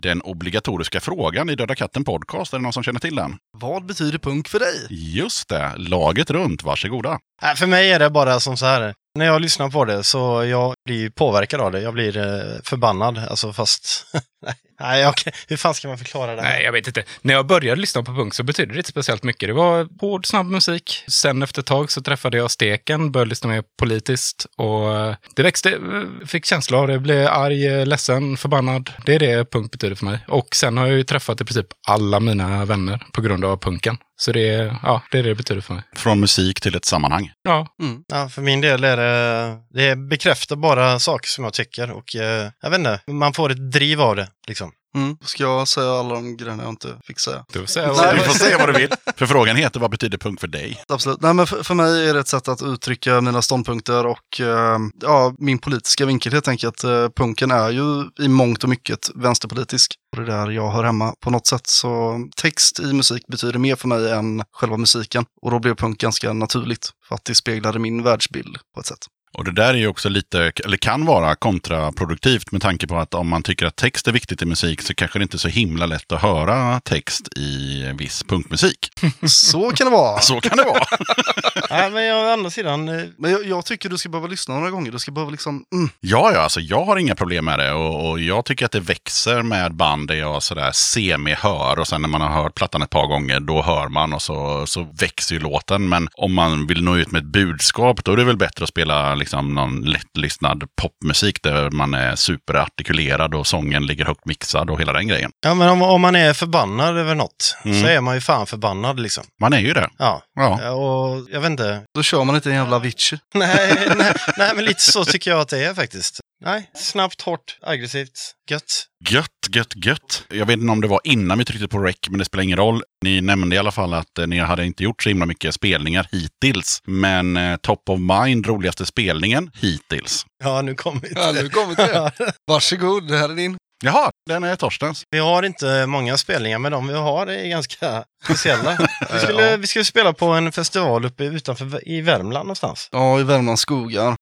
[SPEAKER 3] Den obligatoriska frågan i Döda katten podcast, är det någon som känner till den?
[SPEAKER 1] Vad betyder punk för dig?
[SPEAKER 3] Just det, laget runt, varsågoda.
[SPEAKER 6] Nej, för mig är det bara som så här. När jag lyssnar på det så jag blir ju påverkad av det. Jag blir eh, förbannad, alltså fast... Nej, Nej, okej. Hur fan ska man förklara det? här?
[SPEAKER 4] Nej, jag vet inte. När jag började lyssna på punk så betydde det inte speciellt mycket. Det var hård, snabb musik. Sen efter ett tag så träffade jag Steken, började lyssna mer politiskt och eh, det växte, eh, fick känslor av det, blev arg, eh, ledsen, förbannad. Det är det punk betyder för mig. Och sen har jag ju träffat i princip alla mina vänner på grund av punken. Så det, är- ja, det är det det betyder för mig.
[SPEAKER 3] Från musik till ett sammanhang.
[SPEAKER 4] Ja,
[SPEAKER 6] Ja, för min del är det... Det bekräftar bara saker som jag tycker och eh, jag vet inte, man får ett driv av det liksom.
[SPEAKER 1] Mm. Ska jag säga alla de grejerna jag inte fick säga?
[SPEAKER 4] du får säga
[SPEAKER 1] Nej,
[SPEAKER 4] vad
[SPEAKER 3] Du
[SPEAKER 4] du
[SPEAKER 1] men-
[SPEAKER 3] får se vad du vill. För frågan heter vad betyder punk för dig?
[SPEAKER 1] Absolut. Nej, men för, för mig är det ett sätt att uttrycka mina ståndpunkter och eh, ja, min politiska vinkel helt enkelt. Eh, punken är ju i mångt och mycket vänsterpolitisk. Och det är där jag hör hemma på något sätt. Så text i musik betyder mer för mig än själva musiken. Och då blev punk ganska naturligt för att det speglade min världsbild på ett sätt.
[SPEAKER 3] Och det där är ju också lite, eller kan vara kontraproduktivt med tanke på att om man tycker att text är viktigt i musik så kanske det inte är så himla lätt att höra text i viss punkmusik.
[SPEAKER 1] Så kan det vara.
[SPEAKER 3] Så kan det vara.
[SPEAKER 6] Nej, men jag, å andra sidan, eh,
[SPEAKER 1] Men jag, jag tycker du ska behöva lyssna några gånger. Du ska behöva liksom, mm,
[SPEAKER 3] Ja, ja, alltså jag har inga problem med det och, och jag tycker att det växer med band där jag sådär semi-hör och sen när man har hört plattan ett par gånger då hör man och så, så växer ju låten. Men om man vill nå ut med ett budskap då är det väl bättre att spela liksom någon lättlyssnad popmusik där man är superartikulerad och sången ligger högt mixad och hela den grejen.
[SPEAKER 6] ja men om, om man är förbannad över något
[SPEAKER 3] Mm.
[SPEAKER 6] så är man ju fan förbannad liksom.
[SPEAKER 3] Man är ju det.
[SPEAKER 6] Ja,
[SPEAKER 3] Ja.
[SPEAKER 6] Ja, och jag vet inte.
[SPEAKER 1] då kör man inte en jävla Avicii.
[SPEAKER 6] Nej, nej, nej, men lite så tycker jag att det är faktiskt. Nej, snabbt, hårt, aggressivt, gött.
[SPEAKER 3] Gött, gött, gött. Jag vet inte om det var innan vi tryckte på rec, men det spelar ingen roll. Ni nämnde i alla fall att eh, ni hade inte gjort så himla mycket spelningar hittills. Men eh, top of mind, roligaste spelningen hittills.
[SPEAKER 6] Ja, nu kommer vi till
[SPEAKER 1] nu kommer det. Varsågod, det här är din.
[SPEAKER 3] Jaha, den är Torstens.
[SPEAKER 6] Vi har inte många spelningar, men de vi har är ganska speciella. Vi skulle, vi skulle spela på en festival uppe utanför Vä- i Värmland någonstans.
[SPEAKER 1] Ja, i Värmlands skogar.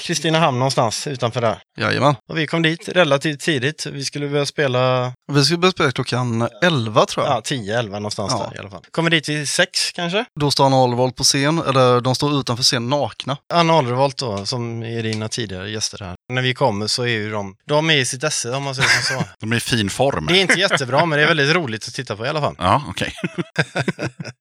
[SPEAKER 6] Kristinehamn någonstans utanför där.
[SPEAKER 1] Jajamän.
[SPEAKER 6] Och vi kom dit relativt tidigt. Vi skulle börja spela
[SPEAKER 1] Vi skulle börja spela klockan 11 tror jag.
[SPEAKER 6] ja, 10-11 någonstans
[SPEAKER 1] Ja.
[SPEAKER 6] där i alla fall. Kommer dit vid sex kanske.
[SPEAKER 1] Då står han Alvold på scen, eller de står utanför scen nakna.
[SPEAKER 6] Anna Alrevolt då, som är dina tidigare gäster här. När vi kommer så är ju de, de är i sitt esse om man säger som så.
[SPEAKER 3] De är i fin form.
[SPEAKER 6] Det är inte jättebra, men det är väldigt roligt att titta på i alla fall.
[SPEAKER 3] Ja, okej.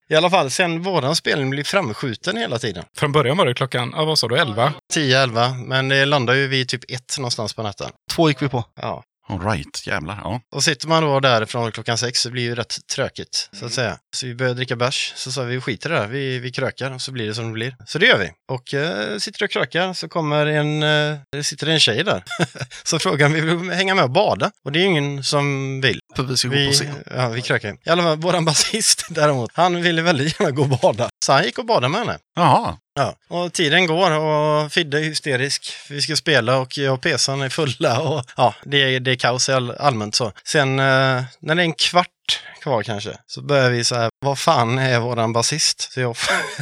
[SPEAKER 6] I alla fall, sen våran spelning blir framskjuten hela tiden.
[SPEAKER 4] Från början var det klockan, ja, vad sa du, 11?
[SPEAKER 6] 10-11, men det landar ju vid typ 1 någonstans på natten.
[SPEAKER 1] Två gick vi på.
[SPEAKER 6] Ja.
[SPEAKER 3] All right, jävlar. Ja.
[SPEAKER 6] Och sitter man då där från klockan sex så blir det ju rätt trökigt,
[SPEAKER 1] Mm.
[SPEAKER 6] så att säga. Så vi började dricka bärs, så sa vi vi skiter i det här, vi, vi krökar och så blir det som det blir. Så det gör vi. Och eh, sitter och krökar så kommer en, eh, det sitter en tjej där. så frågar om vi vill hänga med och bada. Och det är ju ingen som vill.
[SPEAKER 1] För vi skulle gå på
[SPEAKER 6] Vi,
[SPEAKER 1] scen.
[SPEAKER 6] ja, vi krökar. I alla fall, våran basist däremot, han ville väldigt gärna gå och bada. Så han gick och badade med henne.
[SPEAKER 3] Jaha,
[SPEAKER 6] Ja, och tiden går och Fidde är hysterisk. Vi ska spela och jag och Pesan är fulla och ja, det är, det är kaos all, allmänt så. Sen eh, när det är en kvart kvar kanske, så börjar vi så här, vad fan är våran basist? Så jag,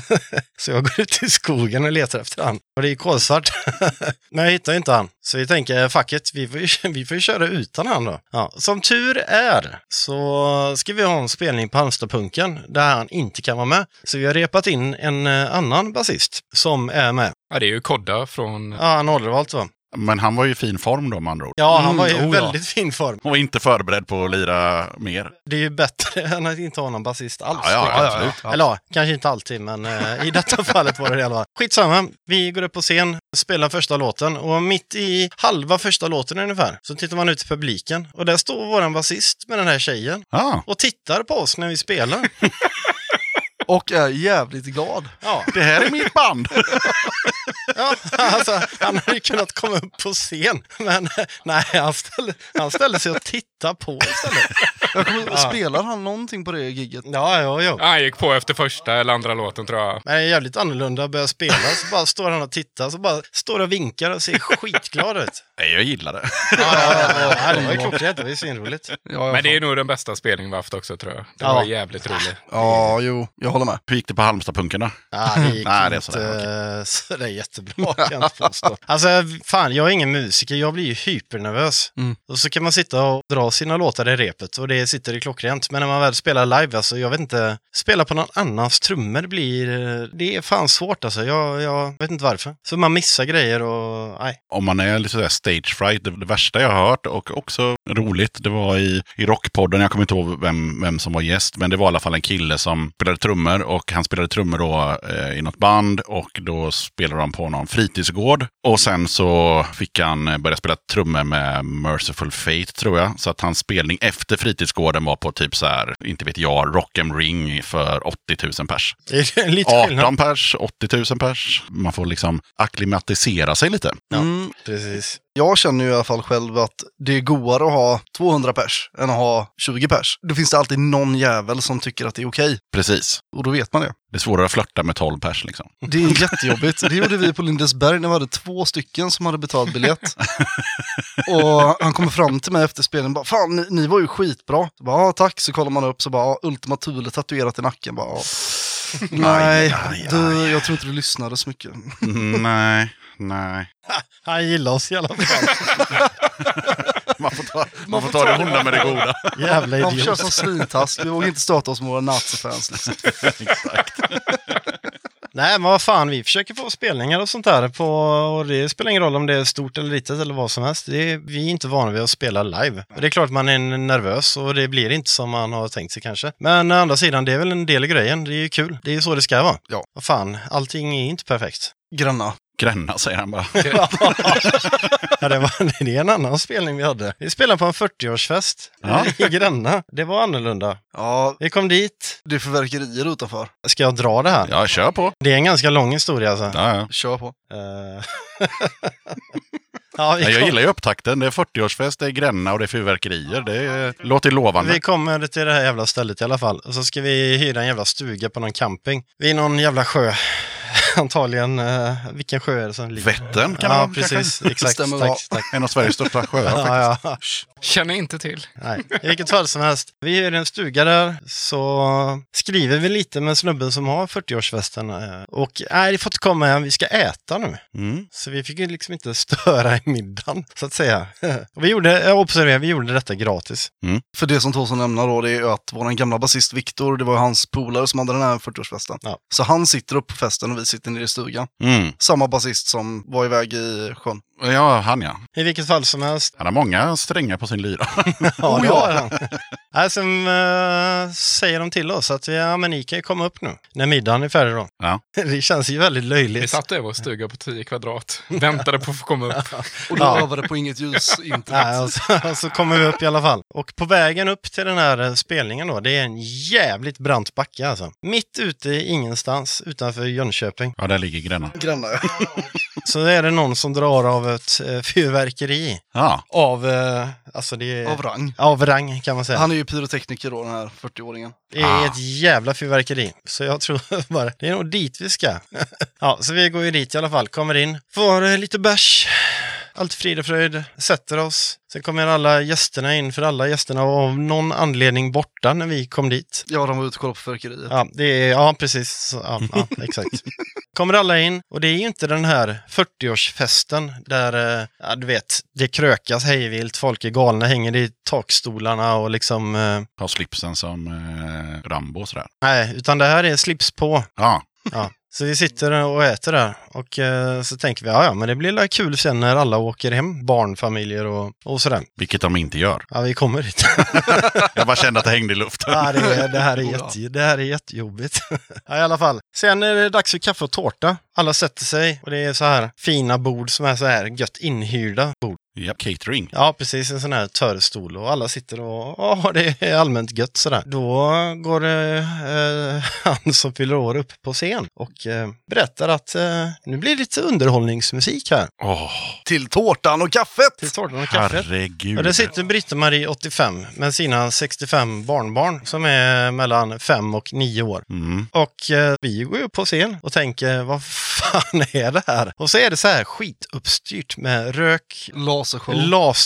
[SPEAKER 6] så jag går ut i skogen och letar efter han. Och det är kolsvart. Men jag hittar inte han. Så vi tänker, eh, fuck it, vi får ju, vi får ju köra utan han då. Ja, som tur är så ska vi ha en spelning på Halmstadpunken där han inte kan vara med. Så vi har repat in en eh, annan basist som är med.
[SPEAKER 4] Ja, det är ju Kodda från...
[SPEAKER 6] Ja, han åldervalt va?
[SPEAKER 3] men han var ju i fin form då med andra ord.
[SPEAKER 6] Ja, han var i
[SPEAKER 3] Mm, oh ja.
[SPEAKER 6] väldigt fin form.
[SPEAKER 3] Och inte förberedd på att lira mer.
[SPEAKER 6] Det är ju bättre än att inte ha någon basist alls.
[SPEAKER 3] Ja, ja,
[SPEAKER 6] tycker jag.
[SPEAKER 3] absolut.
[SPEAKER 6] Eller ja, kanske inte alltid, men eh, i detta fallet var det det i alla fall. Skitsamma, vi går upp på scen, spelar första låten och mitt i halva första låten ungefär så tittar man ut i publiken och där står våran basist med den här tjejen
[SPEAKER 3] Ja,
[SPEAKER 6] och tittar på oss när vi spelar.
[SPEAKER 1] Och är jävligt glad.
[SPEAKER 6] Ja,
[SPEAKER 3] det här är mitt band.
[SPEAKER 6] ja alltså, han hade ju kunnat komma upp på scen, men eh, nej, han ställde, han ställde sig och tittade på istället.
[SPEAKER 1] Jag kommer,
[SPEAKER 6] Ja.
[SPEAKER 1] Spelar han någonting på det gigget?
[SPEAKER 6] Ja, ja, ja.
[SPEAKER 4] Ja, han gick på efter första eller andra låten tror jag.
[SPEAKER 6] Men det är jävligt annorlunda, börjar spela, så bara står han och tittar, så bara står och vinkar och ser skitglad ut.
[SPEAKER 3] Nej, jag gillar det.
[SPEAKER 6] Ja, ja, ja, ja. Det var ju klockrent, det var ju svinroligt.
[SPEAKER 1] Ja, jag
[SPEAKER 4] Men det
[SPEAKER 1] fan.
[SPEAKER 4] är nog den bästa spelningen vi haft också tror jag. Det
[SPEAKER 6] Ja.
[SPEAKER 4] var jävligt roligt.
[SPEAKER 1] Ja, jo, jag håller med.
[SPEAKER 3] Hur gick det på Halmstadpunken då?
[SPEAKER 6] Ja, det gick
[SPEAKER 3] Nej, det är
[SPEAKER 6] inte
[SPEAKER 3] sådär,
[SPEAKER 6] sådär jättebra kan jag inte påstå. Alltså, fan, jag är ingen musiker, jag blir ju hypernervös.
[SPEAKER 1] Mm.
[SPEAKER 6] Och så kan man sitta och dra sina låtar i repet och det sitter i klockrent. Men när man väl spelar live, alltså, jag vet inte, spela på någon annans trummor blir, eh, det är fan svårt alltså. Jag, jag vet inte varför. Så man missar grejer och, nej.
[SPEAKER 3] Om man är lite sådär stage fright, det, det värsta jag har hört och också roligt, det var i, i Rockpodden, jag kommer inte ihåg vem, vem som var gäst, men det var i alla fall en kille som spelade trummor och han spelade trummor då eh, i något band och då spelade de på någon fritidsgård och sen så fick han eh, börja spela trummor med Merciful Fate tror jag, så att hans spelning efter fritidsgården var på typ så här, inte vet jag, Rock'em Ring för 80 000 pers.
[SPEAKER 6] Det är lite skillnad.
[SPEAKER 3] 18 pers, 80 000 pers. Man får liksom akklimatisera sig lite.
[SPEAKER 6] Ja.
[SPEAKER 1] Mm,
[SPEAKER 6] Precis.
[SPEAKER 1] jag känner ju i alla fall själv att det är godare att ha 200 pers än att ha 20 pers. Då finns det alltid någon jävel som tycker att det är okej.
[SPEAKER 3] Precis.
[SPEAKER 1] Och då vet man det.
[SPEAKER 3] Det är svårare att flörta med 12 pers liksom.
[SPEAKER 1] Det är jättejobbigt. Det gjorde vi på Lindesberg när vi hade två stycken som hade betalt biljett. Och han kommer fram till mig efter spelningen och bara Fan, ni, ni var ju skitbra. Så bara, ja, tack. Så kollar man upp så bara "Ja, Ultima Thule tatuerat i nacken. Bara, "Ja." Nej,
[SPEAKER 3] aj,
[SPEAKER 1] du, jag tror inte du lyssnade så mycket.
[SPEAKER 3] Mm, nej, nej.
[SPEAKER 6] Han gillar oss i alla fall.
[SPEAKER 3] Man får ta, man får ta det onda med det goda.
[SPEAKER 6] Jävla
[SPEAKER 1] Han kör
[SPEAKER 6] idiot.
[SPEAKER 1] som svintask. Vi vågar inte stöta oss med våra nazifans. Liksom.
[SPEAKER 3] Exakt.
[SPEAKER 6] Nej, men vad fan, vi försöker få spelningar och sånt där. På, och det spelar ingen roll om det är stort eller litet eller vad som helst. Det är, vi är inte vana vid att spela live. Och det är klart man är nervös och det blir inte som man har tänkt sig kanske. Men å andra sidan, det är väl en del av grejen. Det är ju kul. Det är ju så det ska vara.
[SPEAKER 1] Ja.
[SPEAKER 6] Vad fan, allting är inte perfekt.
[SPEAKER 1] Granna.
[SPEAKER 3] Gränna säger han bara.
[SPEAKER 6] ja, det, var, det är en annan spelning vi hade. Vi spelade på en 40-årsfest
[SPEAKER 3] Ja.
[SPEAKER 6] i Gränna. Det var annorlunda.
[SPEAKER 1] Ja,
[SPEAKER 6] Vi kom dit.
[SPEAKER 1] det är fyrverkerier utanför.
[SPEAKER 6] Ska jag dra det här?
[SPEAKER 3] Ja, kör på.
[SPEAKER 6] Det är en ganska lång historia alltså.
[SPEAKER 3] Ja, ja.
[SPEAKER 1] Kör på.
[SPEAKER 6] Eh. ja, vi
[SPEAKER 3] Nej,
[SPEAKER 6] kom-
[SPEAKER 3] jag gillar ju upptakten. Det är 40-årsfest, det är Gränna och det är fyrverkerier. Det är, låter lovande.
[SPEAKER 6] Vi kommer till det här jävla stället i alla fall. Och så ska vi hyra en jävla stuga på någon camping. Vid någon jävla sjö. Antagligen, eh, vilken sjö är det som ligger?
[SPEAKER 3] Vättern kan
[SPEAKER 6] ja,
[SPEAKER 3] man
[SPEAKER 6] precis. Exakt.
[SPEAKER 1] Stämmer
[SPEAKER 6] Tack,
[SPEAKER 1] bra.
[SPEAKER 6] tack.
[SPEAKER 3] En av Sveriges största sjöar.
[SPEAKER 6] Ja, ja.
[SPEAKER 4] Känner inte till.
[SPEAKER 6] Nej, i vilket fall som helst. Vi är i en stuga där, så skriver vi lite med snubben som har 40-årsfesten. eh, Och nej, det får inte komma igen, vi ska äta nu.
[SPEAKER 7] Mm.
[SPEAKER 6] Så vi fick ju liksom inte störa i middagen, så att säga. Och vi gjorde, jag observerar, vi gjorde detta gratis.
[SPEAKER 1] För det som Thåström nämner då, det är ju att vår gamla basist Viktor, det var ju hans polare som hade den här 40-årsfesten.
[SPEAKER 6] Ja.
[SPEAKER 1] Så han sitter upp på festen och vi sitter nere i stugan.
[SPEAKER 7] Mm.
[SPEAKER 1] Samma basist som var iväg i sjön.
[SPEAKER 3] Ja, han ja.
[SPEAKER 6] I vilket fall som helst.
[SPEAKER 3] Han har många strängar på sin lyra.
[SPEAKER 6] Ja,
[SPEAKER 1] Oh,
[SPEAKER 6] det
[SPEAKER 1] ja.
[SPEAKER 6] har han. Nej, sen eh, säger de till oss att vi, ja, men ni kan ju komma upp nu, när middagen är färdig då.
[SPEAKER 3] Ja.
[SPEAKER 6] Det känns ju väldigt
[SPEAKER 4] Vi
[SPEAKER 6] löjligt.
[SPEAKER 4] satt i vår stuga på 10 kvadrat, väntade på att få komma upp.
[SPEAKER 1] Och då
[SPEAKER 6] Ja.
[SPEAKER 1] övade på inget ljus, inte
[SPEAKER 6] Nej, alltså.
[SPEAKER 1] ja,
[SPEAKER 6] och så, och så kommer vi upp i alla fall. Och på vägen upp till den här eh, spelningen då, det är en jävligt brant backe alltså. Mitt ute i ingenstans utanför Jönköping
[SPEAKER 3] Ja, där ligger Gränna.
[SPEAKER 1] grannar.
[SPEAKER 6] så är det någon som drar av ett eh, fyrverkeri
[SPEAKER 3] Ja,
[SPEAKER 6] av, eh, alltså det är...
[SPEAKER 1] Av rang.
[SPEAKER 6] Av rang kan man säga.
[SPEAKER 1] Han är ju pyrotekniker då, den här 40-åringen.
[SPEAKER 6] Det är ett jävla fyrverkeri. Så jag tror bara, det är nog dit vi ska. ja, så vi går ju dit i alla fall, kommer in, får eh, lite bärs, allt frid och fröjd, sätter oss. Sen kommer alla gästerna in, för alla gästerna var av någon anledning borta när vi kom dit.
[SPEAKER 1] Ja, de var ute och kollade på fyrverkeriet.
[SPEAKER 6] Ja, det är, ja precis. Så, Ja, ja, exakt. Kommer alla in och det är ju inte den här 40-årsfesten där, eh, ja, du vet, det krökas hejvilt, folk är galna, hänger i takstolarna och liksom, eh,
[SPEAKER 3] har slipsen som eh, Rambo sådär.
[SPEAKER 6] nej, utan det här är slips på.
[SPEAKER 3] Ja,
[SPEAKER 6] Ja, så vi sitter och äter där och eh, så tänker vi, ja, ja men det blir väl kul sen när alla åker hem, barnfamiljer och, och sådär.
[SPEAKER 3] vilket de inte gör.
[SPEAKER 6] Ja, vi kommer dit.
[SPEAKER 3] Jag bara kände att det hängde i luften.
[SPEAKER 6] ja, det, är, det, här är
[SPEAKER 1] Jodå.
[SPEAKER 6] jätte, det här är jättejobbigt. ja, i alla fall. Sen är det dags för kaffe och tårta. Alla sätter sig och det är så här fina bord som är så här gött inhyrda bord.
[SPEAKER 3] Ja, catering.
[SPEAKER 6] Ja, precis. En sån här törrstol och alla sitter och ja, det är allmänt gött sådär. Då går eh, eh, han som fyller år upp på scen och eh, berättar att eh, nu blir det lite underhållningsmusik här
[SPEAKER 3] Åh,
[SPEAKER 1] Till tårtan och kaffet!
[SPEAKER 6] till tårtan och kaffet.
[SPEAKER 3] herregud.
[SPEAKER 6] Och där sitter Britt-Marie 85 med sina 65 barnbarn som är mellan 5 och 9 år.
[SPEAKER 3] Mm.
[SPEAKER 6] Och eh, vi går ju upp på scen och tänker vad fan är det här? Och så är det så här skituppstyrt med rök,
[SPEAKER 1] Lasershow.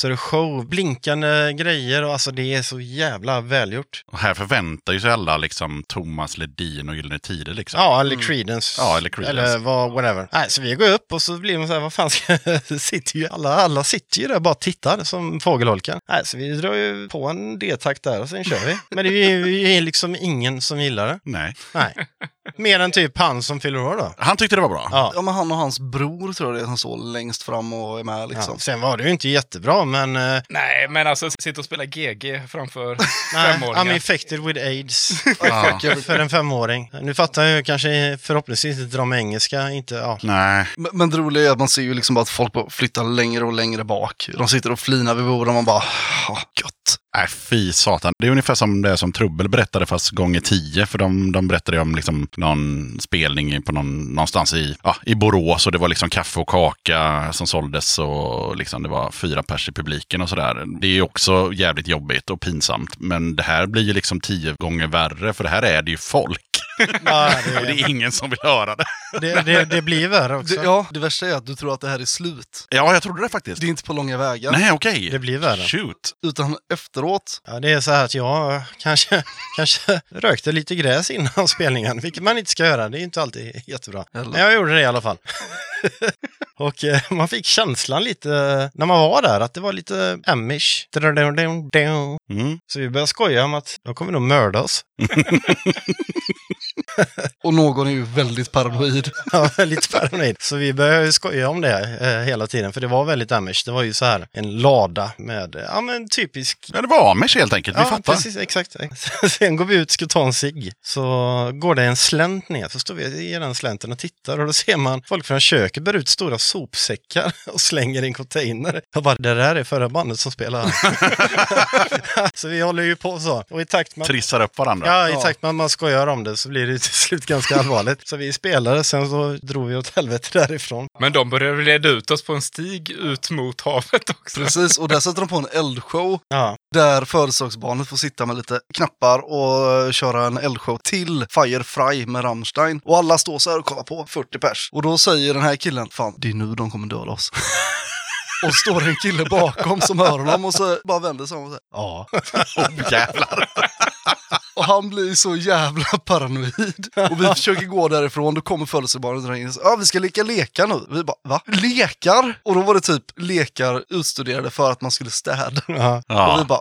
[SPEAKER 6] lasershow, blinkande grejer och alltså det är så jävla välgjort.
[SPEAKER 3] Och här förväntar ju sig alla liksom Thomas Ledin och Gyllene Tider liksom.
[SPEAKER 6] Ja, eller Creedence.
[SPEAKER 3] Ja, eller Creedence.
[SPEAKER 6] Eller vad, whatever. Nej, så vi går upp och så blir man så här, vad fan ska sitter ju alla, alla sitter ju där och bara tittar som fågelholkar. Nej, så vi drar ju på en D-takt där och sen kör vi. Men det är ju det är liksom ingen som gillar det.
[SPEAKER 3] Nej.
[SPEAKER 6] Nej. Mer än typ han som fyller år då.
[SPEAKER 3] Han tyckte det var bra.
[SPEAKER 6] Ja.
[SPEAKER 1] Ja, men han och hans bror tror jag det är som står längst fram och är med liksom.
[SPEAKER 6] Ja, sen var det ju inte jättebra, men... eh,
[SPEAKER 4] Nej, men alltså sitta och spela GG framför
[SPEAKER 6] nej,
[SPEAKER 4] femåringar.
[SPEAKER 6] I'm infected with aids.
[SPEAKER 3] Ja.
[SPEAKER 6] för en femåring. Nu fattar jag ju kanske förhoppningsvis inte de engelska, inte... Ja.
[SPEAKER 3] Nej.
[SPEAKER 1] Men, men det roliga är att man ser ju liksom bara att folk bara flyttar längre och längre bak. De sitter och flinar vid borden och man bara, ah, gött.
[SPEAKER 3] Nej, fy satan. Det är ungefär som det som Trubbel berättade, fast gånger tio. För de, de berättade ju om liksom någon spelning på någon, någonstans i, ja, i Borås. Och det var liksom kaffe och kaka som såldes. Och liksom det var fyra pers i publiken och sådär. Det är ju också jävligt jobbigt och pinsamt. Men det här blir ju liksom tio gånger värre. För det här är det ju folk.
[SPEAKER 6] Ja,
[SPEAKER 3] Och det
[SPEAKER 6] det,
[SPEAKER 3] är ingen som vill höra det.
[SPEAKER 6] det, det, det blir värre också.
[SPEAKER 1] Det, ja, det värsta är att du tror att det här är slut.
[SPEAKER 3] Ja, jag trodde det faktiskt.
[SPEAKER 1] Det är inte på långa vägar.
[SPEAKER 3] Nej, okej.
[SPEAKER 6] Det blir värre.
[SPEAKER 3] Shoot.
[SPEAKER 1] Utan efteråt,
[SPEAKER 6] Ja, det är så här att jag kanske, kanske rökte lite gräs innan spelningen, vilket man inte ska göra. Det är ju inte alltid jättebra.
[SPEAKER 1] Eller?
[SPEAKER 6] Men jag gjorde det i alla fall. Och eh, man fick känslan lite eh, när man var där att det var lite amish.
[SPEAKER 3] Mm.
[SPEAKER 6] Så vi började skoja om att de kommer nog mörda oss.
[SPEAKER 1] och någon är ju väldigt paranoid.
[SPEAKER 6] Ja, lite paranoid. Så vi började skoja om det eh, hela tiden, för det var väldigt amish. Det var ju så här en lada med, eh, ja men typisk
[SPEAKER 3] Ja, det var Amish helt enkelt. Vi
[SPEAKER 6] ja,
[SPEAKER 3] fattar.
[SPEAKER 6] precis, exakt. Sen går vi ut, ska ta en cigg. Så går det en slänt ner, så står vi i den slänten och tittar och då ser man folk från köket bär ut stora sopsäckar och slänger i en container. Jag bara, det där är förra bandet som spelar. så vi håller ju på så. Och i takt med
[SPEAKER 3] Trissar upp varandra.
[SPEAKER 6] Ja, i takt med att man skojar om det så blir det ju till slut ganska allvarligt. Så vi spelade, sen så drog vi åt helvete därifrån.
[SPEAKER 4] Men de började leda ut oss på en stig ut mot havet också.
[SPEAKER 1] Precis, och där sätter de på en eldshow
[SPEAKER 6] Ja,
[SPEAKER 1] där företagsbarnet får sitta med lite knappar och eh, köra en eldshow till Firefly med Rammstein. Och alla står så här och kollar på, 40 pers. Och då säger den här killen, fan det är nu de kommer döda oss. Och så står det en kille bakom som hör honom och så bara vänder sig om och säger ja.
[SPEAKER 3] Oh, jävlar.
[SPEAKER 1] Och han blir så jävla paranoid. Och vi försöker gå därifrån, då kommer födelsebarnet in och säger ja vi ska leka lekar nu. Vi bara va? Lekar? Och då var det typ lekar utstuderade för att man skulle städa.
[SPEAKER 6] Ja.
[SPEAKER 1] Och vi
[SPEAKER 3] Ja.
[SPEAKER 1] bara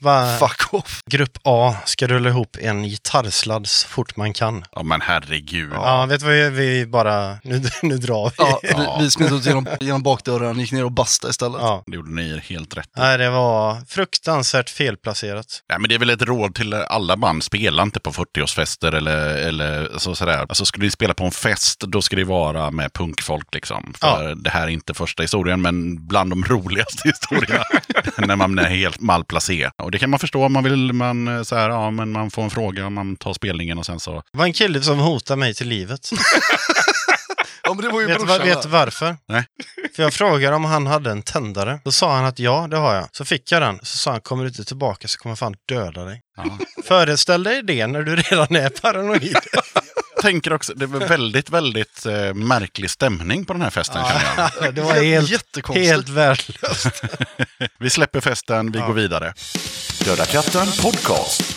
[SPEAKER 6] Sva-
[SPEAKER 1] fuck off.
[SPEAKER 6] Grupp A ska rulla ihop en gitarrsladd så fort man kan.
[SPEAKER 3] ja, men herregud.
[SPEAKER 6] Ja, vet du vad vi- vi bara... Nu, nu drar vi. Ja.
[SPEAKER 1] Ja, vi, vi smet ut genom, genom bakdörren, gick ner och bastade istället.
[SPEAKER 3] Det gjorde ni er helt rätt.
[SPEAKER 6] Nej, det var fruktansvärt felplacerat.
[SPEAKER 3] Nej, men det är väl ett råd till alla band. Spela inte på 40-årsfester eller, eller så, sådär. Alltså, skulle ni spela på en fest, då ska det vara med punkfolk. Liksom. För Det här är inte första historien, men bland de roligaste historierna. när man är helt malplacé. Och det kan man förstå om man vill. Man, eh, så här, ja, men man får en fråga, man tar spelningen och sen så...
[SPEAKER 6] Det var en kille som hotade mig till livet.
[SPEAKER 1] Ja men det var ju
[SPEAKER 6] vet du vad-
[SPEAKER 1] brorsan.
[SPEAKER 6] vet du
[SPEAKER 1] där.
[SPEAKER 6] varför?
[SPEAKER 3] Nej.
[SPEAKER 6] För jag frågade om han hade en tändare. Då sa han att ja, det har jag. Så fick jag den. Så sa han, kommer du inte tillbaka så kommer jag fan döda dig.
[SPEAKER 3] Ja.
[SPEAKER 6] Föreställ dig det när du redan är paranoid.
[SPEAKER 3] tänker också, det var väldigt, väldigt eh, märklig stämning på den här festen. känner jag.
[SPEAKER 6] Det var helt,
[SPEAKER 1] Jättekonstigt.
[SPEAKER 6] helt värdelöst.
[SPEAKER 3] Vi släpper festen, vi går vidare.
[SPEAKER 2] Döda katten podcast.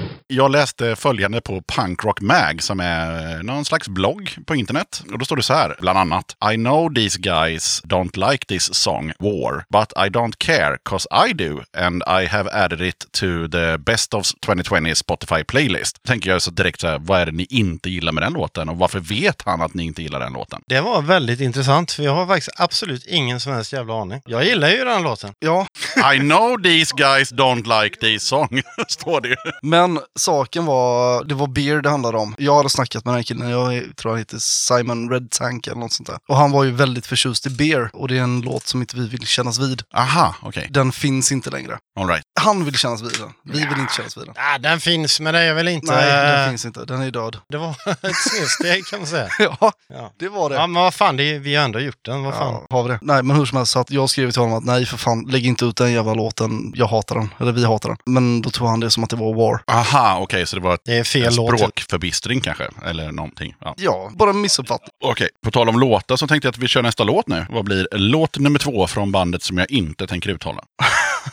[SPEAKER 3] Jag läste följande på Punk Rock Mag som är eh, någon slags blogg på internet. Och då står det så här, bland annat. I know these guys don't like this song, War, but I don't care, cause I do, and I have added it to the best of 2020 Spotify playlist. Tänker jag så direkt så här, vad är det ni inte gillar med den låten? Och varför vet han att ni inte gillar den låten?
[SPEAKER 6] Det var väldigt intressant, för jag har faktiskt absolut ingen som helst jävla aning. Jag gillar ju den låten.
[SPEAKER 1] Ja,
[SPEAKER 3] I know these guys don't like this song, står det ju.
[SPEAKER 1] men saken var, det var beer det handlade om. Jag hade snackat med den här killen, jag tror han heter Simon Red Tank eller något sånt där. Och han var ju väldigt förtjust i beer och det är en låt som inte vi vill kännas vid.
[SPEAKER 3] Aha, okej.
[SPEAKER 1] Den finns inte längre.
[SPEAKER 3] All right.
[SPEAKER 1] Han vill kännas vid den, vi vill inte kännas vid den.
[SPEAKER 6] Ah, den finns, men det är väl inte...
[SPEAKER 1] Nej, den finns inte, den är död.
[SPEAKER 6] Det var ett snedsteg kan man säga.
[SPEAKER 1] Ja,
[SPEAKER 6] Ja.
[SPEAKER 1] det var det.
[SPEAKER 6] Ja, men vad fan, det är, vi har ändå gjort den. Vad fan.
[SPEAKER 1] Ja, har vi det? Nej, men hur som helst, så att jag skrev till honom att nej för fan, lägg inte ut den jävla låten, jag hatar den, eller vi hatar den. Men då tog han det som att det var War.
[SPEAKER 3] Aha, okej, så det var
[SPEAKER 6] Det är fel
[SPEAKER 3] en
[SPEAKER 6] låt.
[SPEAKER 3] språkförbistring kanske, eller någonting. Ja.
[SPEAKER 1] Ja, bara en missuppfattning.
[SPEAKER 3] Okej, på tal om låtar så tänkte jag att vi kör nästa låt nu. Vad blir låt nummer två från bandet som jag inte tänker uttala?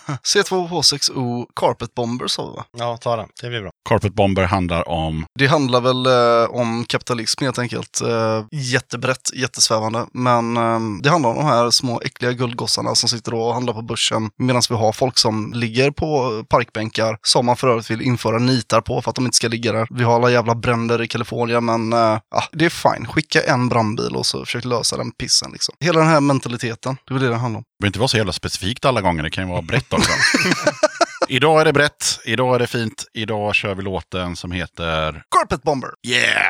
[SPEAKER 1] C2H6O Carpet Bomber sa vi va?
[SPEAKER 6] Ja, ta den. Det blir bra.
[SPEAKER 3] Carpet Bomber handlar om...
[SPEAKER 1] Det handlar väl eh, om kapitalism helt enkelt. Eh, jättebrett, jättesvävande. Men eh, det handlar om de här små äckliga guldgossarna som sitter och handlar på börsen. Medan vi har folk som ligger på parkbänkar som man för övrigt vill införa nitar på för att de inte ska ligga där. Vi har alla jävla bränder i Kalifornien men eh, ja, det är fine. Skicka en brandbil och så försök lösa den pissen liksom. Hela den här mentaliteten, det är väl det det handlar om.
[SPEAKER 3] Det behöver inte vara så jävla specifikt alla gånger, det kan ju vara brett också. idag är det brett, idag är det fint, idag kör vi låten som heter...
[SPEAKER 1] Carpet Bomber!
[SPEAKER 3] Yeah!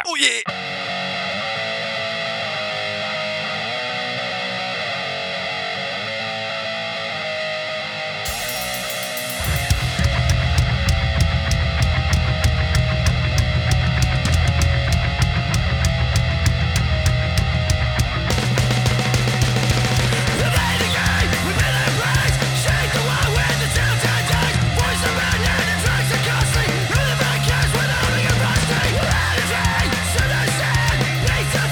[SPEAKER 7] Costly, who the fuck cares when I'm being rusty? Energy, should I say?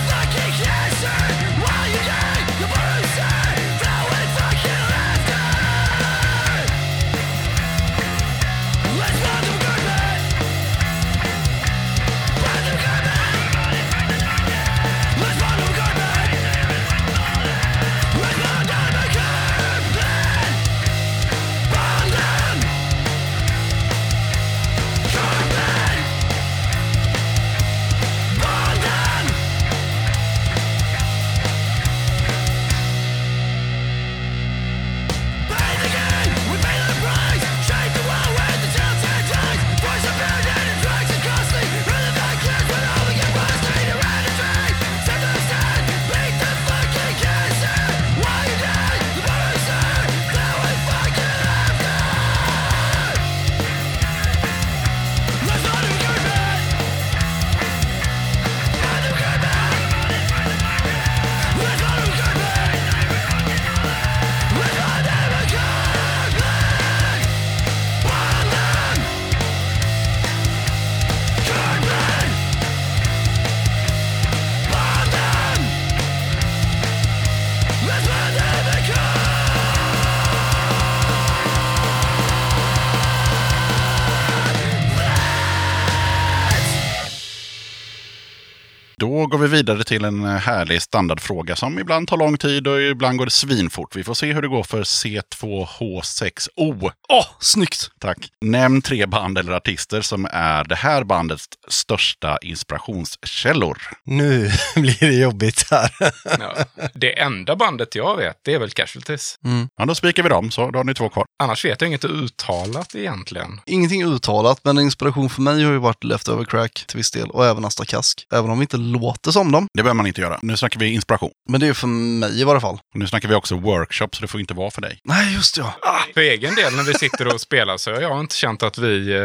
[SPEAKER 3] Då går vi vidare till en härlig standardfråga som ibland tar lång tid och ibland går det svinfort. Vi får se hur det går för C2H6O.
[SPEAKER 1] Åh, snyggt!
[SPEAKER 3] Tack. Nämn tre band eller artister som är det här bandets största inspirationskällor.
[SPEAKER 6] Nu blir det jobbigt här.
[SPEAKER 4] Ja. Det enda bandet jag vet, det är väl Casualties.
[SPEAKER 3] Ja, då spikar vi dem, så då har ni två kvar.
[SPEAKER 4] Annars vet jag inget uttalat egentligen.
[SPEAKER 1] Ingenting uttalat, men en inspiration för mig har ju varit Leftover Crack till viss del och även Asta Kask. Även om det inte låter som dem.
[SPEAKER 3] Det behöver man inte göra. Nu snackar vi inspiration.
[SPEAKER 1] Men det är för mig i varje fall.
[SPEAKER 3] Och nu snackar vi också workshop, så det får inte vara för dig.
[SPEAKER 1] Nej, just det, ja.
[SPEAKER 4] För egen del när vi sitter och spelar så har jag inte känt att vi... eh,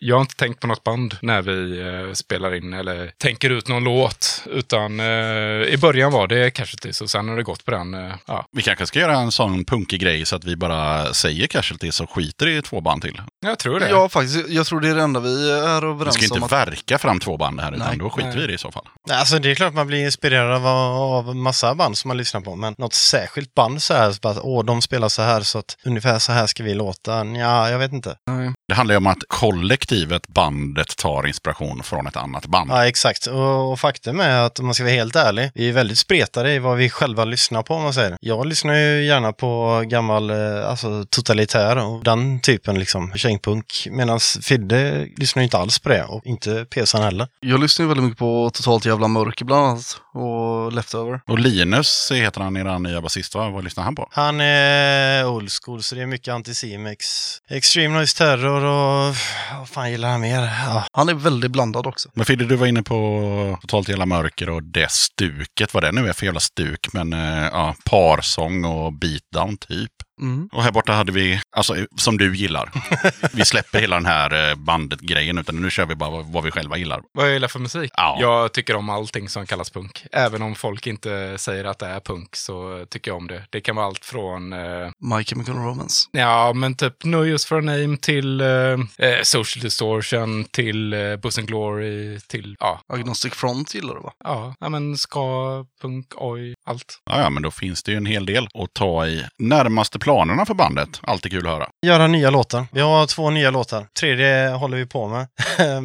[SPEAKER 4] Jag har inte tänkt på något band när vi eh, spelar in eller tänker ut någon låt. Utan eh, i början var det Casualties och sen har det gått på den... eh, Ja,
[SPEAKER 3] Vi kanske ska göra en sån punkig grej så att vi bara säger casualties och skiter i två band till.
[SPEAKER 4] jag tror det.
[SPEAKER 1] Ja, faktiskt. Jag tror det är det enda vi är
[SPEAKER 3] Vi ska
[SPEAKER 1] överens om.
[SPEAKER 3] inte
[SPEAKER 1] Att...
[SPEAKER 3] verka fram två band här, utan
[SPEAKER 1] Nej.
[SPEAKER 3] då skiter
[SPEAKER 4] Nej.
[SPEAKER 3] vi i det i så fall.
[SPEAKER 6] Nej, Alltså det är klart man blir inspirerad av, av massa band som man lyssnar på, men något särskilt band så här, så bara, åh, de spelar så här så att ungefär så här ska vi låta. Ja, jag vet inte.
[SPEAKER 3] Det handlar ju om att kollektivet, bandet, tar inspiration från ett annat band.
[SPEAKER 6] Ja, exakt. Och, och faktum är att om man ska vara helt ärlig, vi är väldigt spretade i vad vi själva lyssnar på om man säger. Jag lyssnar ju gärna på gammal, eh, alltså totalitär och den typen liksom, kängpunk. Medan Fidde lyssnar ju inte alls på det och inte Pesan heller.
[SPEAKER 1] Jag lyssnar ju väldigt mycket på Totalt Jävla Mörker bland annat. Och Leftover.
[SPEAKER 3] Och Linus heter han, er nya basist, va? Vad lyssnar han på?
[SPEAKER 6] Han är old school så det är mycket antisimex. Extreme Noise Terror och vad fan gillar han mer? Ja.
[SPEAKER 1] Han är väldigt blandad också.
[SPEAKER 3] Men Fidde, du var inne på Totalt Jävla Mörker och det stuket, vad det nu är för jävla stuk, men eh, ja, parsång och beatdown typ.
[SPEAKER 1] Mm.
[SPEAKER 3] Och här borta hade vi, alltså eh, som du gillar. Vi släpper hela den här eh, bandet-grejen, utan nu kör vi bara vad- vad vi själva gillar.
[SPEAKER 4] Vad jag gillar för musik?
[SPEAKER 3] Ja.
[SPEAKER 4] Jag tycker om allting som kallas punk. Även om folk inte säger att det är punk så tycker jag om det. Det kan vara allt från, eh,
[SPEAKER 1] My Chemical Romance.
[SPEAKER 4] ja men typ No Use For A Name till eh, eh, Social Distortion, till eh, Buss and Glory, till, ja,
[SPEAKER 1] Agnostic Front gillar du va?
[SPEAKER 4] ja, ja men ska, punk, oj, allt.
[SPEAKER 3] Ja, ja, men då finns det ju en hel del att ta i. Närmaste planerna för bandet, alltid kul att höra.
[SPEAKER 6] Göra nya låtar. Vi har två nya låtar. Tredje håller vi på med.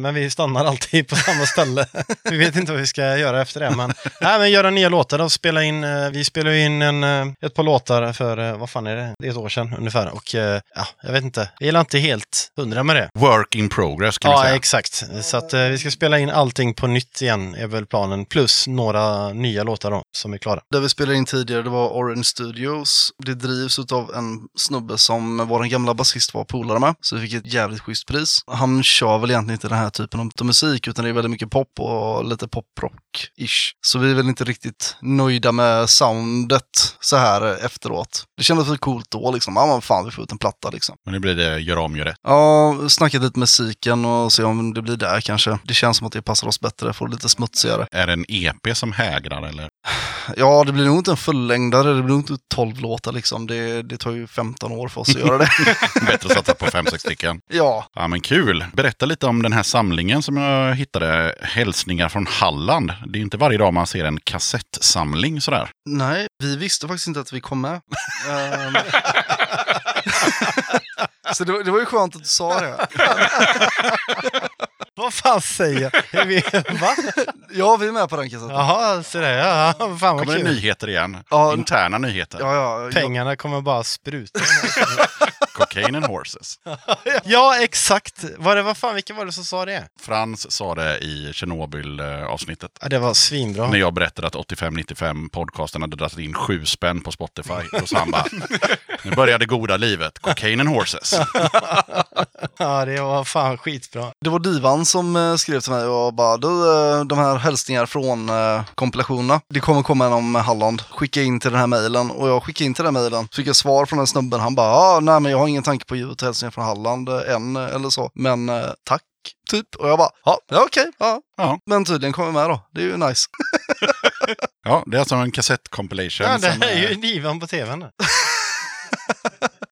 [SPEAKER 6] men vi stannar alltid på samma ställe. vi vet inte vad vi ska göra efter det. Men, nej, men göra nya låtar och spela in. eh, Vi spelade in en, eh, ett par låtar för, eh, vad fan är det? Det är ett år sedan ungefär. Och eh, ja, jag vet inte. Vi gillar inte helt hundra med det.
[SPEAKER 3] Work in progress kan vi
[SPEAKER 6] Ja,
[SPEAKER 3] säga.
[SPEAKER 6] exakt. Så att eh, vi ska spela in allting på nytt igen, är väl planen. Plus några nya låtar då, som är klara.
[SPEAKER 1] Där vi spelade in tidigare, det var Orange Studios. Det drivs av en snubbe som vår gamla basist var polare med, så vi fick ett jävligt schysst pris. Han kör väl egentligen inte den här typen av musik, utan det är väldigt mycket pop och lite poprock-ish. Så vi är väl inte riktigt nöjda med soundet så här efteråt. Det kändes väl coolt då liksom, ja men fan vi får ut en platta liksom.
[SPEAKER 3] Men nu blir det gör om, gör rätt.
[SPEAKER 1] Ja, snacka lite med Siken och se om det blir där kanske. Det känns som att det passar oss bättre, får det lite smutsigare.
[SPEAKER 3] Är det en EP som hägrar eller?
[SPEAKER 1] Ja, det blir nog inte en fullängdare, det blir nog inte 12 låtar liksom. Det, det tar ju 15 år för oss att göra det.
[SPEAKER 3] Bättre att satsa på fem, sex stycken.
[SPEAKER 1] ja,
[SPEAKER 3] Ja, men kul. Berätta lite om den här samlingen som jag hittade. Hälsningar från Halland. Det är ju inte varje dag man ser en kassettsamling sådär.
[SPEAKER 1] nej, vi visste faktiskt inte att vi kom med. Ehm. Så det, var- det var ju skönt att du sa det.
[SPEAKER 6] Vad fan säger jag? Va?
[SPEAKER 1] Ja, vi är med på den kassetten.
[SPEAKER 6] Jaha, så det. Ja, fan vad
[SPEAKER 3] Kommer det
[SPEAKER 6] kul.
[SPEAKER 3] nyheter igen?
[SPEAKER 1] Ja.
[SPEAKER 3] Interna nyheter.
[SPEAKER 1] Ja, ja, ja.
[SPEAKER 6] Pengarna kommer bara spruta.
[SPEAKER 3] Cocaine and horses.
[SPEAKER 6] ja, exakt. Var det, vad fan, vilka var det som sa det?
[SPEAKER 3] Frans sa det i Tjernobyl-avsnittet.
[SPEAKER 6] Ja, det var svinbra.
[SPEAKER 3] När jag berättade att 85-95 podcasten hade dragit in sju spänn på Spotify. Och så han bara, nu börjar det goda livet. Cocaine and horses.
[SPEAKER 6] Ja, det var fan skitbra.
[SPEAKER 1] Det var Divan som eh, skrev till mig och bara du, eh, de här hälsningar från eh, kompilationerna, det kommer komma en om Halland. Skicka in till den här mejlen och jag skickade in till den här mejlen. Fick jag svar från den snubben, han bara ah, nej men jag har ingen tanke på att ge ut hälsningar från Halland eh, än eh, eller så, men eh, tack. Typ. Och jag bara, ja, ja okej, ja.
[SPEAKER 3] Ja.
[SPEAKER 1] Men tydligen kommer med då. Det är ju nice.
[SPEAKER 3] Ja, det är alltså en kassettcompilation.
[SPEAKER 6] Ja, det
[SPEAKER 3] som eh,
[SPEAKER 6] här är ju
[SPEAKER 3] är-
[SPEAKER 6] divan på tvn.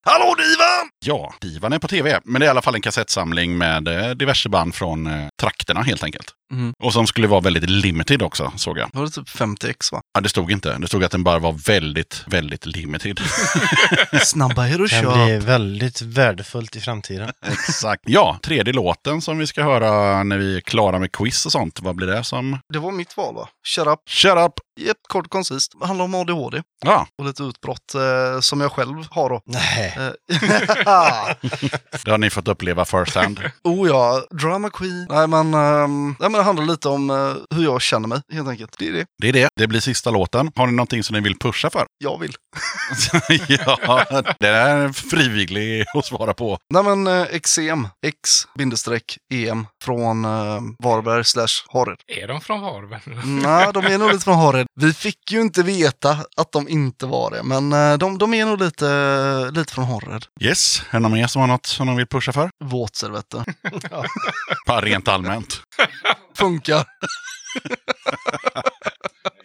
[SPEAKER 1] Hallå Divan!
[SPEAKER 3] Ja, Divan är på tv. Men det är i alla fall en kassettsamling med eh, diverse band från eh, trakterna helt enkelt.
[SPEAKER 1] Mm.
[SPEAKER 3] Och som skulle vara väldigt limited också, såg jag.
[SPEAKER 1] Var det typ 50 x va?
[SPEAKER 3] Ja, det stod inte. Det stod att den bara var väldigt, väldigt limited.
[SPEAKER 1] Snabba er och
[SPEAKER 6] Det
[SPEAKER 1] kör.
[SPEAKER 6] kan bli väldigt värdefullt i framtiden.
[SPEAKER 3] Exakt. Ja, tredje låten som vi ska höra när vi är klara med quiz och sånt. Vad blir det som?
[SPEAKER 1] Det var mitt val va? Shut up.
[SPEAKER 3] Shut up!
[SPEAKER 1] Yep, kort och koncist. Det handlar om ADHD
[SPEAKER 3] Ja,
[SPEAKER 1] och lite utbrott eh, som jag själv har då.
[SPEAKER 6] Nej.
[SPEAKER 1] Eh,
[SPEAKER 3] det har ni fått uppleva first hand.
[SPEAKER 1] oh ja, drama queen. Nej men, ehm, nej men det handlar lite om eh, hur jag känner mig helt enkelt. Det är det
[SPEAKER 3] Det är det. Det blir sista låten. Har ni någonting som ni vill pusha för?
[SPEAKER 1] jag vill.
[SPEAKER 3] ja, det är frivillig att svara på.
[SPEAKER 1] Nej men eh, XEM, X bindestreck EM från eh, Varberg slash Harred. Mm,
[SPEAKER 4] Är de från Varberg?
[SPEAKER 1] Nej, de är nog lite från Harred. Vi fick ju inte veta att de inte var det, men eh, de, de är nog lite, lite från Harred.
[SPEAKER 3] Yes, är det någon mer som har något som de vill pusha för?
[SPEAKER 1] Våtservetter.
[SPEAKER 3] Bara rent allmänt.
[SPEAKER 1] Funkar.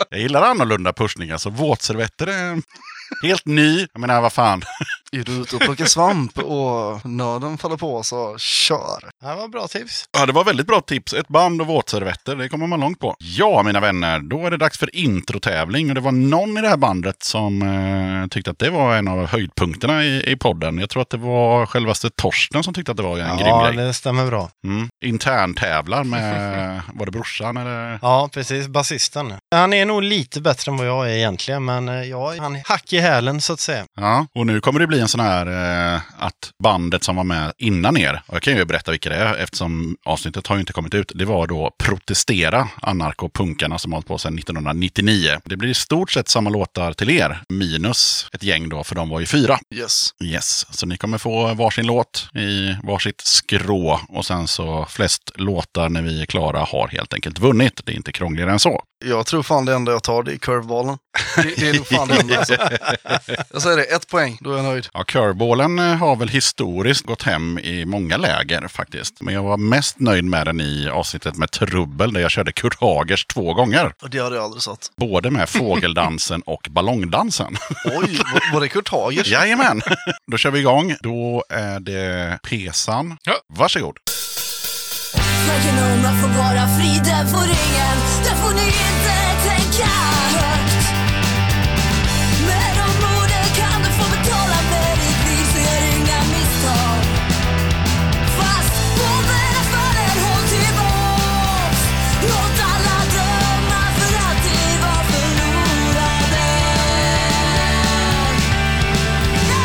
[SPEAKER 3] Jag gillar annorlunda pushningar, så våtservetter är en helt ny. Jag menar, vad fan.
[SPEAKER 1] Är du ute och plockar svamp och nöden faller på så kör.
[SPEAKER 6] Det här var bra tips.
[SPEAKER 3] Ja, det var väldigt bra tips. Ett band och våtservetter, det kommer man långt på. Ja, mina vänner, då är det dags för introtävling. Och det var någon i det här bandet som eh, tyckte att det var en av höjdpunkterna i, i podden. Jag tror att det var självaste Torsten som tyckte att det var en
[SPEAKER 6] Ja,
[SPEAKER 3] grym grej.
[SPEAKER 6] det stämmer bra.
[SPEAKER 3] Mm. Interntävlar med, var det brorsan eller?
[SPEAKER 6] Ja, precis. Basisten. Han är nog lite bättre än vad jag är egentligen, men eh, jag är han är hack i hälen så att säga.
[SPEAKER 3] Ja, och nu kommer det bli en sån här eh, att bandet som var med innan er, och jag kan ju berätta vilka det är eftersom avsnittet har ju inte kommit ut, det var då Protestera, anarkopunkarna som har hållit på sedan 1999. Det blir i stort sett samma låtar till er, minus ett gäng då, för de var ju fyra.
[SPEAKER 1] Yes.
[SPEAKER 3] Yes, så ni kommer få varsin låt i varsitt skrå och sen så flest låtar när vi är klara har helt enkelt vunnit. Det är inte krångligare än så.
[SPEAKER 1] Jag tror fan det enda jag tar det är curveballen. Det, det är nog fan det enda. Alltså. Jag säger det, ett poäng, då är jag nöjd.
[SPEAKER 3] Ja, curveballen eh, har väl historiskt gått hem i många läger faktiskt. Men jag var mest nöjd med den i avsnittet med trubbel där jag körde Kurt Hagers två gånger.
[SPEAKER 1] Och det hade jag aldrig satt.
[SPEAKER 3] Både med fågeldansen och ballongdansen.
[SPEAKER 1] Oj, var, var det Kurt Hagers?
[SPEAKER 3] Jajamän! Då kör vi igång. Då är det Pesan.
[SPEAKER 4] Ja.
[SPEAKER 3] Varsågod.
[SPEAKER 7] Tanken om att få vara fri, den får ingen, den får ni inte tänka högt. Med de orden kan du få betala med ditt liv, så gör inga misstag. Fast bomberna faller, håll tillbaks. Låt alla drömmar för alltid vara förlorade. Ja!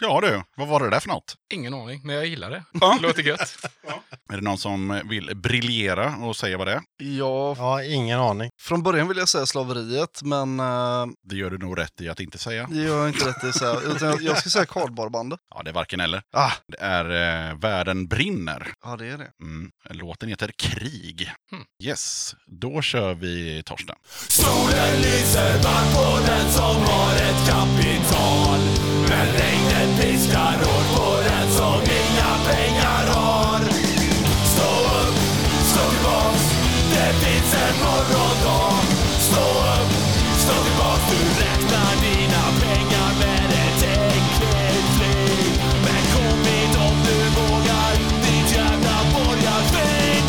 [SPEAKER 3] Ja du, vad var det där för något?
[SPEAKER 4] Ingen aning, men jag gillar det. Låter gött.
[SPEAKER 3] Är det någon som vill briljera och säga vad det är?
[SPEAKER 1] Ja,
[SPEAKER 6] Ja, ingen aning.
[SPEAKER 1] från början ville jag säga slaveriet, men eh,
[SPEAKER 3] Det gör du nog rätt i att inte säga.
[SPEAKER 1] det gör jag inte rätt i. Så här, utan jag, jag skulle säga kardborrbandet.
[SPEAKER 3] Ja, det är varken eller.
[SPEAKER 1] Ah,
[SPEAKER 3] Det är eh, Världen brinner.
[SPEAKER 1] ja, det är det.
[SPEAKER 3] Mm. Låten heter Krig.
[SPEAKER 4] Hmm.
[SPEAKER 3] Yes, då kör vi Torsten.
[SPEAKER 5] Solen lyser blankt på den som har ett kapital Men regnet piskar hårt på den som inga pengar har Stå upp, stå tillbaks, det finns en morgondag Stå upp, stå tillbaks, du räknar dina pengar med ett äckligt flit Men kom hit om du vågar, ditt jävla borgarsvin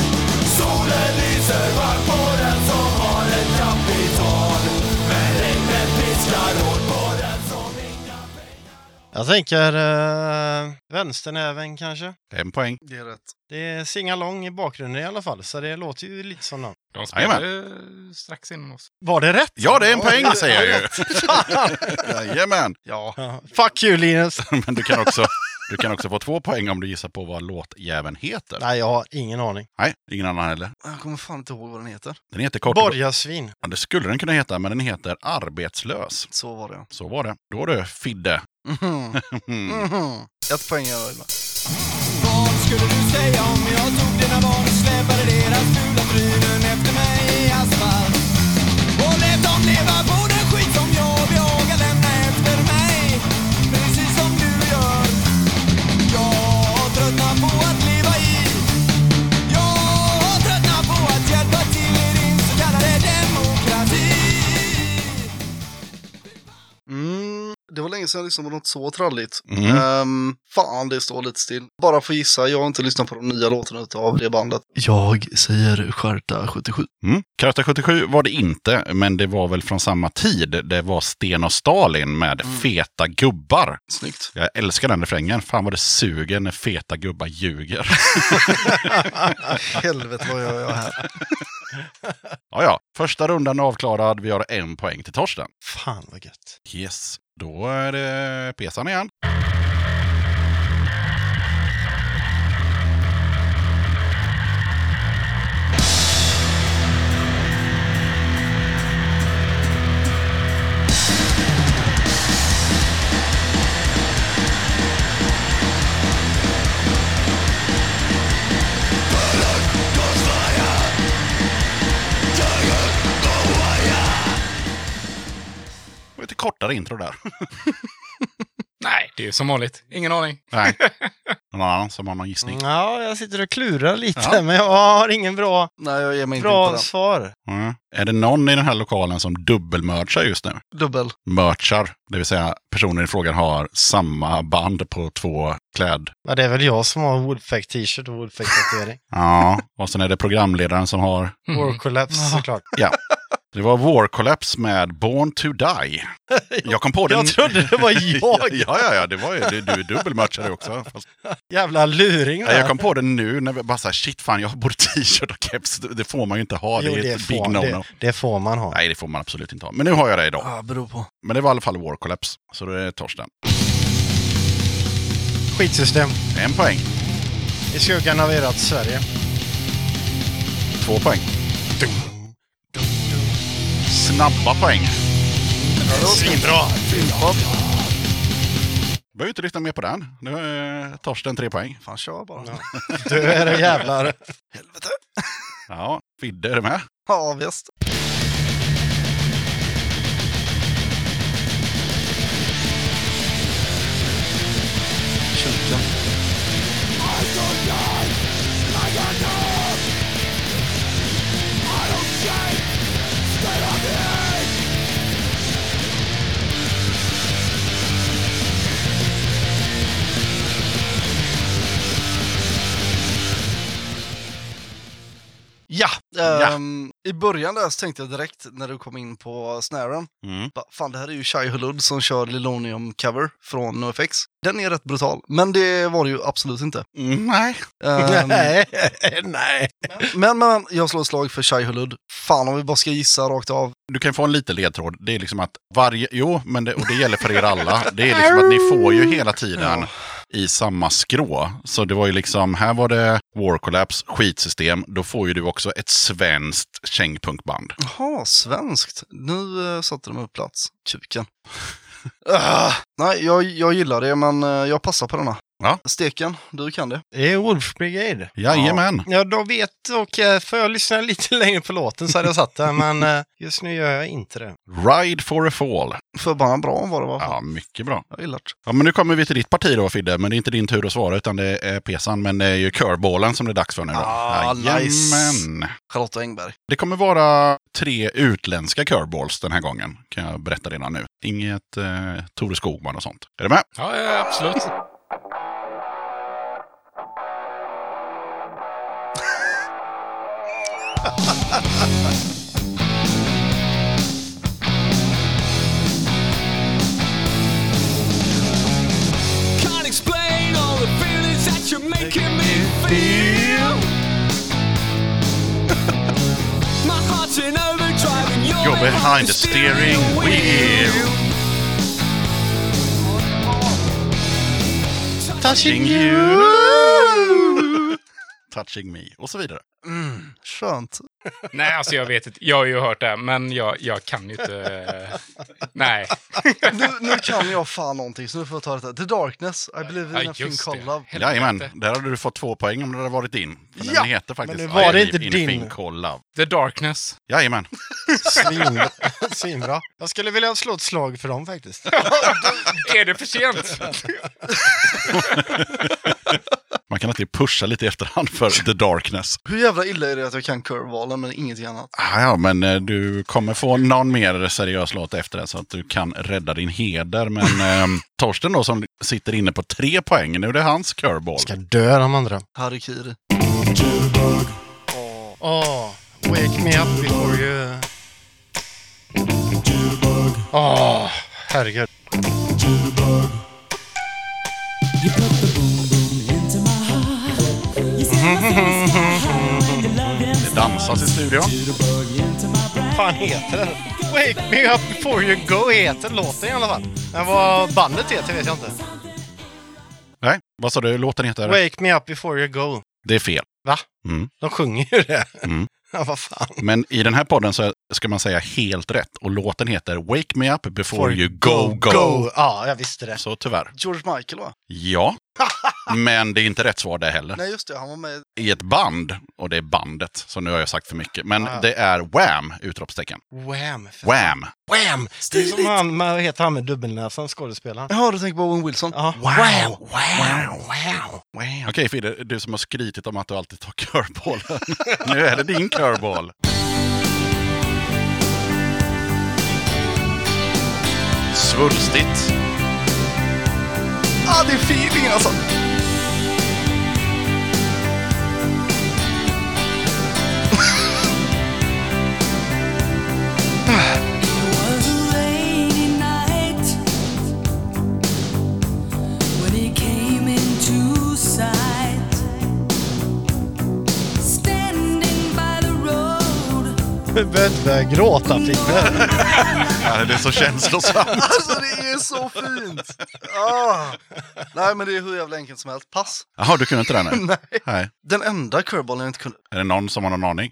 [SPEAKER 5] Solen lyser varmt på den som har ett kapital Men regnet piskar hårt på den som inga pengar
[SPEAKER 6] Jag tänker eh, vänsternäven kanske.
[SPEAKER 3] En poäng.
[SPEAKER 1] Det är rätt.
[SPEAKER 6] Det är singalong i bakgrunden i alla fall, så det låter ju lite som någon.
[SPEAKER 4] De spelade eh, strax innan oss.
[SPEAKER 6] Var det rätt?
[SPEAKER 3] Ja, det är en poäng säger jag ju. Jajamän. Ja.
[SPEAKER 6] Ja. Fuck you Linus!
[SPEAKER 3] Men du kan, också, du kan också få två poäng om du gissar på vad låtjäveln heter.
[SPEAKER 6] Nej, jag har ingen aning.
[SPEAKER 3] Nej, ingen annan heller.
[SPEAKER 1] Jag kommer fan inte ihåg vad den heter.
[SPEAKER 3] Den heter kort och gott-
[SPEAKER 6] Borgarsvin.
[SPEAKER 3] Ja, Det skulle den kunna heta, men den heter Arbetslös.
[SPEAKER 1] Så var det.
[SPEAKER 3] Så var det. Då du, Fidde.
[SPEAKER 1] Mhm.
[SPEAKER 3] Mm.
[SPEAKER 1] Mhm. Ett poäng är jag nöjd med.
[SPEAKER 5] Vad skulle du säga om jag tog dina barn och släpade deras fula trynen efter mig i asfalt? Och lät dem leva på den skit som jag vågar lämna efter mig, precis som du gör. Jag tröttnar på att leva i, jag tröttnar på att hjälpa till i din så kallade demokrati.
[SPEAKER 1] Mm, det var länge sedan jag lyssnade på något så tralligt.
[SPEAKER 3] Mm.
[SPEAKER 1] Ehm, fan, det står lite still. Bara för att gissa, jag har inte lyssnat på de nya låtarna av det bandet. Jag säger Skärta 77.
[SPEAKER 3] Mm. Karta 77 var det inte, men det var väl från samma tid. Det var Sten och Stalin med Feta gubbar.
[SPEAKER 1] Snyggt.
[SPEAKER 3] Jag älskar den refrängen. Fan vad det suger när feta gubbar ljuger.
[SPEAKER 1] Helvete vad gör jag här?
[SPEAKER 3] ja, ja. Första rundan är avklarad. Vi har en poäng till Torsten.
[SPEAKER 6] Fan vad gött.
[SPEAKER 3] Yes. Då är det Pesan igen. Det var Lite kortare intro där.
[SPEAKER 4] Nej, det är ju som vanligt. Ingen aning.
[SPEAKER 3] Nej. Någon annan som har någon gissning?
[SPEAKER 6] Ja, jag sitter och klurar lite,
[SPEAKER 3] Ja.
[SPEAKER 6] men jag har ingen bra,
[SPEAKER 1] Nej, jag ger mig inte in
[SPEAKER 6] bra
[SPEAKER 1] på
[SPEAKER 6] svar.
[SPEAKER 3] Mm. Är det någon i den här lokalen som dubbelmörchar just nu?
[SPEAKER 1] den. Dubbel.
[SPEAKER 3] Merchar, det vill säga personen i frågan har samma band på två kläd...
[SPEAKER 6] Ja, det är väl jag som har Woodfack t-shirt och Woodfack tatuering.
[SPEAKER 3] Ja, och sen är det programledaren som har...
[SPEAKER 4] Mm.
[SPEAKER 6] War Collapse såklart.
[SPEAKER 3] Det var War Collapse med Born to Die. Jag kom på det...
[SPEAKER 6] Jag trodde det var jag.
[SPEAKER 3] ja, ja, ja, det var ju, du, du är dubbelmerchare också. Fast,
[SPEAKER 6] Jävla luring
[SPEAKER 3] nej,
[SPEAKER 6] där.
[SPEAKER 3] jag kom på det nu när vi bara såhär, shit fan, jag har både t-shirt och keps. Det det får man ju inte ha,
[SPEAKER 6] Jo,
[SPEAKER 3] det är ett big no-no.
[SPEAKER 6] det, det får man ha.
[SPEAKER 3] Nej, det får man absolut inte ha. Men nu har jag det idag.
[SPEAKER 1] Ah, beror på.
[SPEAKER 3] Men det var i alla fall War Collapse, så det är Torsten.
[SPEAKER 6] Skitsystem.
[SPEAKER 3] En poäng,
[SPEAKER 6] I skuggan av ert Sverige.
[SPEAKER 3] två poäng. Snabba poäng.
[SPEAKER 6] Svinbra!
[SPEAKER 3] Behöver inte lyssna mer på den. Nu är Torsten tre poäng.
[SPEAKER 1] Fan, kör bara. Ja,
[SPEAKER 6] Du är det jävlar.
[SPEAKER 3] Ja, Fidde är du med?
[SPEAKER 1] visst. Kyrkan. Ja, ehm, i början där så tänkte jag direkt när du kom in på snaren.
[SPEAKER 3] Mm.
[SPEAKER 1] Ba, Fan, det här är ju Shai Hulud som kör Lilonium cover från NoFX. Den är rätt brutal, men det var det ju absolut inte.
[SPEAKER 3] Mm, nej.
[SPEAKER 1] Ehm,
[SPEAKER 6] Nej, nej.
[SPEAKER 1] men, men jag slår ett slag för Shai Hulud. Fan, om vi bara ska gissa rakt av.
[SPEAKER 3] Du kan få en liten ledtråd. Det är liksom att varje... Jo, men det, och det gäller för er alla. Det är liksom att ni får ju hela tiden i samma skrå. Så det var ju liksom, här var det War Collapse, skitsystem. Då får ju du också ett svenskt kängpunkband.
[SPEAKER 1] Jaha, svenskt. Nu eh, satte de upp plats. Kuken. Ah, nej, jag, jag gillar det, men eh, jag passar på denna.
[SPEAKER 3] Ja.
[SPEAKER 1] Steken, du kan det.
[SPEAKER 6] Det är Wolf Brigade.
[SPEAKER 3] Jajamän.
[SPEAKER 6] Ja, då vet och eh, för jag lyssna lite längre på låten så hade jag satt den, men eh, just nu gör jag inte det.
[SPEAKER 3] Ride for a fall.
[SPEAKER 1] Förbannat bra var det va?
[SPEAKER 3] Ja, mycket bra.
[SPEAKER 1] Jag gillar det.
[SPEAKER 3] Ja, men nu kommer vi till ditt parti då Fidde, men det är inte din tur att svara utan det är Pesan, men det är ju curveballen som det är dags för nu då.
[SPEAKER 1] Ah, nice.
[SPEAKER 3] Jajamän.
[SPEAKER 1] Charlotta Engberg.
[SPEAKER 3] Det kommer vara tre utländska curveballs den här gången, kan jag berätta redan nu. Inget eh, Tore Skogman och sånt. Är du med?
[SPEAKER 4] Ja, ja, absolut.
[SPEAKER 5] Can't explain all the feelings that you're making me feel. My heart's in overdrive and you're,
[SPEAKER 3] You're behind the steering wheel.
[SPEAKER 6] Touching
[SPEAKER 3] Touching me och så vidare.
[SPEAKER 1] Mm, skönt.
[SPEAKER 4] Nej, alltså jag vet inte. Jag har ju hört det, men jag, jag kan ju inte... eh, Nej.
[SPEAKER 1] Nu, nu kan jag fan någonting, så nu får jag ta det här. The Darkness, I believe
[SPEAKER 4] Ja,
[SPEAKER 1] in a thing
[SPEAKER 4] just
[SPEAKER 1] called
[SPEAKER 4] det.
[SPEAKER 1] love.
[SPEAKER 3] Jajamän, där hade du fått två poäng om det hade varit din. För
[SPEAKER 1] Ja,
[SPEAKER 3] den heter faktiskt
[SPEAKER 6] men nu var
[SPEAKER 3] I
[SPEAKER 6] det inte
[SPEAKER 3] Believe in a
[SPEAKER 6] din.
[SPEAKER 3] Thing Called Love.
[SPEAKER 4] The Darkness.
[SPEAKER 3] Jajamän.
[SPEAKER 6] Svin, svinbra. Jag skulle vilja slå ett slag för dem faktiskt.
[SPEAKER 4] Är det för sent?
[SPEAKER 3] Man kan alltid pusha lite i efterhand för The Darkness.
[SPEAKER 1] Hur jävla illa är det att jag kan curvebalen men ingenting annat?
[SPEAKER 3] Ah, ja, men eh, du kommer få någon mer seriös låt efter det så att du kan rädda din heder. Men ehm, Torsten då som sitter inne på tre poäng, nu är det hans curveball.
[SPEAKER 6] Ska dö de andra.
[SPEAKER 1] Harikiri.
[SPEAKER 6] Åh, wake me up before you... Åh, herregud.
[SPEAKER 3] Det dansas i studion.
[SPEAKER 6] Vad fan heter den? Wake me up before you go heter låten i alla fall. Men vad bandet heter vet jag inte.
[SPEAKER 3] Nej, vad sa du låten heter?
[SPEAKER 6] Wake me up before you go.
[SPEAKER 3] Det är fel.
[SPEAKER 6] Va?
[SPEAKER 3] Mm.
[SPEAKER 6] De sjunger ju det.
[SPEAKER 3] Mm.
[SPEAKER 6] Ja, vad fan.
[SPEAKER 3] Men i den här podden så ska man säga helt rätt. Och låten heter Wake Me Up Before You Go Go.
[SPEAKER 6] Ja, jag visste det.
[SPEAKER 3] Så tyvärr.
[SPEAKER 1] George Michael va?
[SPEAKER 3] Ja. Men det är inte rätt svar det heller.
[SPEAKER 1] Nej just det, han var med.
[SPEAKER 3] I ett band, och det är bandet, så nu har jag sagt för mycket. Men
[SPEAKER 6] Ah.
[SPEAKER 3] det är Wham! Utropstecken.
[SPEAKER 6] Wham! för-
[SPEAKER 3] Wham!
[SPEAKER 6] Wham! Det är som han, vad heter han med dubbelnäsan, skådespelaren?
[SPEAKER 1] Jaha, du tänker på Owen Wilson?
[SPEAKER 6] Ja.
[SPEAKER 3] Wow,
[SPEAKER 6] Wow! Wow!
[SPEAKER 3] Okej Fidde, du som har skrytit om att du alltid tar curveballen. nu är det din curveball. Svulstigt.
[SPEAKER 1] Ah, det är feeling alltså!
[SPEAKER 7] Standing by the road
[SPEAKER 6] Du behöver inte börja gråta, typ. Fimpen.
[SPEAKER 3] Ja, det är så känslosamt.
[SPEAKER 1] Alltså det är så fint! Ah. Nej men det är hur jävla enkelt som helst. Pass!
[SPEAKER 3] Jaha, du kunde inte den? här?
[SPEAKER 1] Nej.
[SPEAKER 3] Nej.
[SPEAKER 1] Den enda curveballen jag inte kunde...
[SPEAKER 3] Är det någon som har någon aning?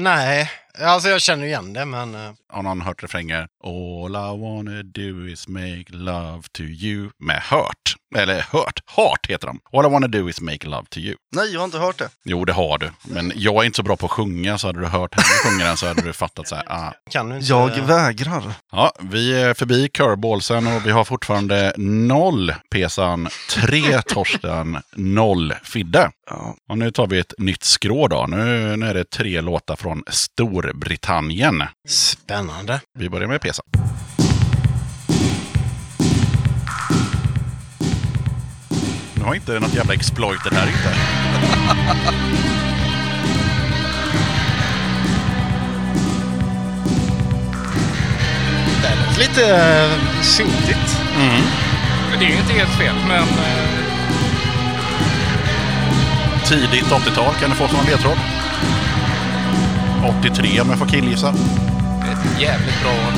[SPEAKER 6] Nej, alltså jag känner igen det, men... eh,
[SPEAKER 3] Har någon hört refrängen All I wanna do is make love to you med Hurt. Eller Hurt, Heart heter de. All I wanna do is make love to you.
[SPEAKER 1] Nej, jag har inte hört det.
[SPEAKER 3] Jo, det har du. Men jag är inte så bra på att sjunga, så hade du hört henne sjunga den så hade du fattat så här. Ah.
[SPEAKER 6] Kan du inte...
[SPEAKER 1] Jag vägrar.
[SPEAKER 3] Ja, vi är förbi curveballsen och vi har fortfarande noll Pesan, tre Torsten, noll Fidde.
[SPEAKER 1] Ja.
[SPEAKER 3] Och nu tar vi ett nytt skrå då. Nu, nu är det tre låtar från Storbritannien.
[SPEAKER 6] Spännande.
[SPEAKER 3] Vi börjar med Pesan. Nu har inte något jävla exploiter här inte.
[SPEAKER 6] Det lät lite eh, syntigt.
[SPEAKER 4] Men det är ju inte helt fel, men... eh,
[SPEAKER 3] Tidigt 80-tal kan du få som en ledtråd. 83 om jag får killgissa.
[SPEAKER 4] Ett jävligt bra år.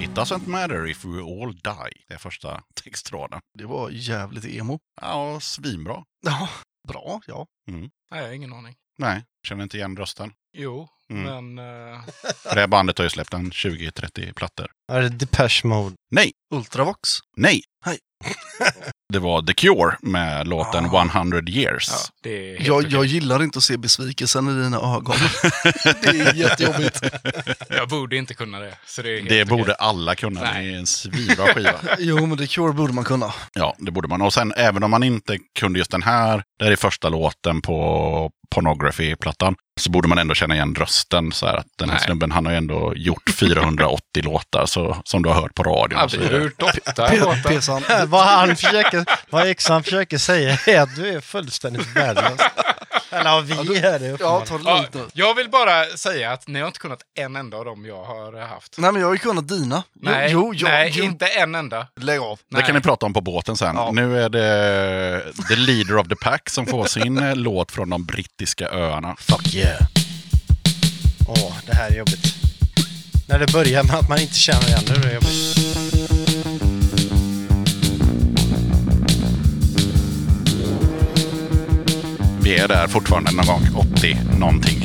[SPEAKER 3] It doesn't matter if we all die. Det är första textraden.
[SPEAKER 1] Det var jävligt emo.
[SPEAKER 3] Ja, svinbra.
[SPEAKER 1] Ja, bra. Ja.
[SPEAKER 4] Nej, jag har ingen aning.
[SPEAKER 3] Nej, känner inte igen rösten.
[SPEAKER 4] Jo,
[SPEAKER 3] Mm.
[SPEAKER 4] men... eh,
[SPEAKER 3] För det här bandet har ju släppt en 20-30 plattor.
[SPEAKER 6] Är det Depeche Mode?
[SPEAKER 1] Ultravox.
[SPEAKER 3] Nej!
[SPEAKER 1] Nej.
[SPEAKER 3] det var The Cure med låten 100 years.
[SPEAKER 4] Ah. ja, det är helt
[SPEAKER 1] Jag,
[SPEAKER 4] okej.
[SPEAKER 1] jag gillar inte att se besvikelsen i dina ögon. Det är jättejobbigt.
[SPEAKER 4] jag borde inte kunna det. Så det är helt
[SPEAKER 3] Det
[SPEAKER 4] okej.
[SPEAKER 3] borde alla kunna. Det
[SPEAKER 4] Nej.
[SPEAKER 3] är en svinbra skiva.
[SPEAKER 1] Jo, men The Cure borde man kunna.
[SPEAKER 3] Ja, det borde man. Och sen även om man inte kunde just den här, det här är första låten på Pornography-plattan, så borde man ändå känna igen rösten. Så här, att den här
[SPEAKER 4] Nej.
[SPEAKER 3] snubben, han har ju ändå gjort 480 låtar så, som du har hört på radion. och så vidare.
[SPEAKER 4] Absurt åtta låtar.
[SPEAKER 1] Pesan.
[SPEAKER 6] vad han försöker, vad yxan försöker säga är att du är fullständigt värdelös. Eller ja, vi är det
[SPEAKER 1] Ja,
[SPEAKER 6] uppenbarligen.
[SPEAKER 1] ta det
[SPEAKER 4] Ja,
[SPEAKER 1] lugnt nu.
[SPEAKER 4] jag vill bara säga att ni har inte kunnat en enda av dem jag har haft.
[SPEAKER 1] Nej, men jag har ju kunnat dina. Jo,
[SPEAKER 4] Nej,
[SPEAKER 1] jo, jo,
[SPEAKER 4] nej
[SPEAKER 1] jo.
[SPEAKER 4] inte en enda.
[SPEAKER 1] Lägg av.
[SPEAKER 3] Det kan ni
[SPEAKER 4] Nej.
[SPEAKER 3] prata om på båten sen. Nu är det The Leader of the Pack som får sin eh, låt från de brittiska öarna.
[SPEAKER 6] Fuck yeah. Åh, det här är jobbigt. När det börjar med att man inte känner igen det, det är jobbigt.
[SPEAKER 3] Vi är där fortfarande någon gång, 80 någonting.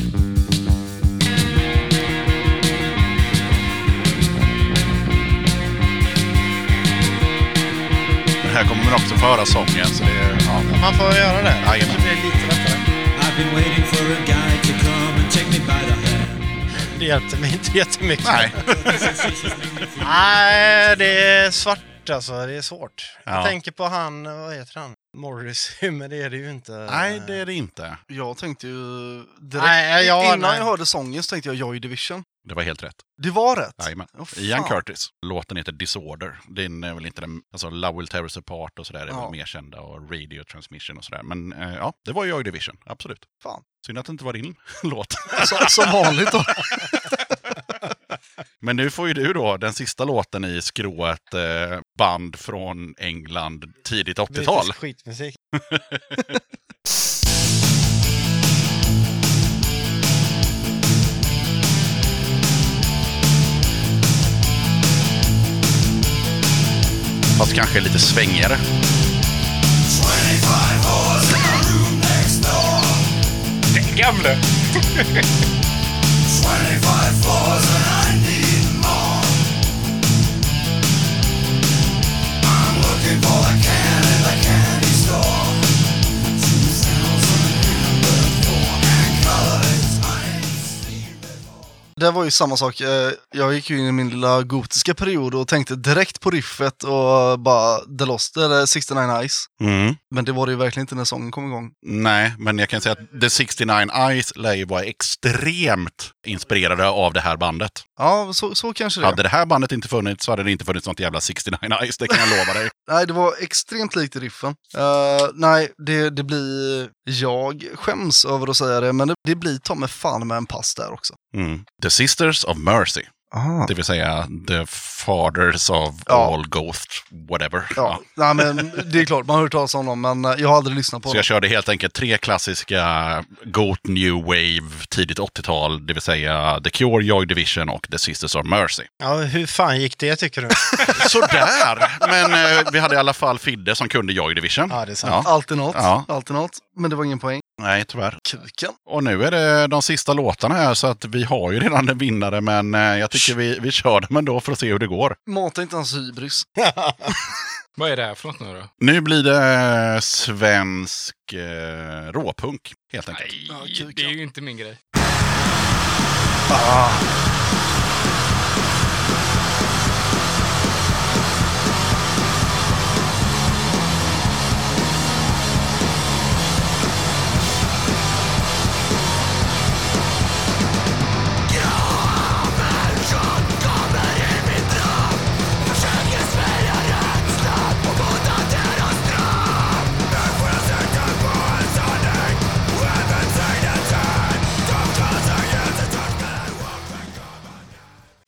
[SPEAKER 3] Det här kommer man också få höra sången, så det är... Ja.
[SPEAKER 6] Man får göra det.
[SPEAKER 3] Jajamän.
[SPEAKER 6] Det blir lite lättare.
[SPEAKER 8] I've been waiting for a guy to come and take me by the hand.
[SPEAKER 6] det hjälpte mig inte jättemycket.
[SPEAKER 3] Nej.
[SPEAKER 6] Nej, det är svart alltså. Det är svårt.
[SPEAKER 3] Ja.
[SPEAKER 6] Jag tänker på han, vad heter han? Morrissey, men det är det ju inte.
[SPEAKER 3] Nej, det är det inte.
[SPEAKER 1] Jag tänkte ju direkt,
[SPEAKER 6] Nej, ja,
[SPEAKER 1] innan
[SPEAKER 6] nej.
[SPEAKER 1] jag hörde sången så tänkte jag Joy Division.
[SPEAKER 3] Det var helt rätt.
[SPEAKER 1] Det var rätt.
[SPEAKER 3] Jajamän.
[SPEAKER 1] Åh, fan.
[SPEAKER 3] Ian Curtis. Låten heter Disorder. Den är väl inte den... Alltså Love Will Tear Us Apart och sådär är
[SPEAKER 1] Ja.
[SPEAKER 3] väl mer kända. Och Radio Transmission och sådär. Men eh, ja, det var Joy Division. Absolut.
[SPEAKER 1] Fan.
[SPEAKER 3] Synd att det inte var din låt.
[SPEAKER 1] Så, Alltså, som vanligt då.
[SPEAKER 3] Men nu får ju du då den sista låten i skrået eh, band från England tidigt 80-tal.
[SPEAKER 6] Brittisk skitmusik.
[SPEAKER 3] Fast kanske lite svängigare.
[SPEAKER 4] Den gamle!
[SPEAKER 1] Det var ju samma sak. eh, Jag gick ju in i min lilla gotiska period och tänkte direkt på riffet och bara The Lost, eller 69 Eyes.
[SPEAKER 3] Mm.
[SPEAKER 1] Men det var det ju verkligen inte när sången kom igång.
[SPEAKER 3] Nej, men jag kan säga att The 69 Eyes lär ju vara extremt inspirerade av det här bandet.
[SPEAKER 1] Ja, så, så kanske det.
[SPEAKER 3] Hade det här bandet inte funnits så hade det inte funnits något jävla 69 Eyes, det kan jag lova dig.
[SPEAKER 1] Nej, det var extremt likt i riffen. Eh, nej, det, det blir... Jag skäms över att säga det, men det, det blir ta mig fan med en pass där också.
[SPEAKER 3] Mm. The Sisters of Mercy,
[SPEAKER 1] Ah.
[SPEAKER 3] det vill säga The Fathers of
[SPEAKER 1] Ja.
[SPEAKER 3] All Ghosts, whatever.
[SPEAKER 1] Ja, nej, men det är klart, man har hört talas om dem, men eh, jag har aldrig lyssnat på
[SPEAKER 3] Så
[SPEAKER 1] dem.
[SPEAKER 3] jag körde helt enkelt tre klassiska Goat New Wave, tidigt 80-tal, det vill säga The Cure, Joy Division och The Sisters of Mercy.
[SPEAKER 6] Ja, hur fan gick det tycker du?
[SPEAKER 3] Sådär! Men eh, vi hade i alla fall Fidde som kunde Joy Division.
[SPEAKER 6] Ja, det är sant.
[SPEAKER 3] Ja.
[SPEAKER 1] Alltid något,
[SPEAKER 3] Ja.
[SPEAKER 1] alltid något. Men det var ingen poäng.
[SPEAKER 3] Nej, tyvärr.
[SPEAKER 1] Kuken.
[SPEAKER 3] Och nu är det de sista låtarna här så att vi har ju redan en vinnare men eh, jag tycker vi, vi kör dem ändå för att se hur det går.
[SPEAKER 1] Mata inte hans hybris.
[SPEAKER 4] Vad är det här för något nu då?
[SPEAKER 3] Nu blir det eh, svensk eh, råpunk helt enkelt.
[SPEAKER 1] Ja,
[SPEAKER 4] Nej,
[SPEAKER 1] kuken.
[SPEAKER 4] det är ju inte min grej.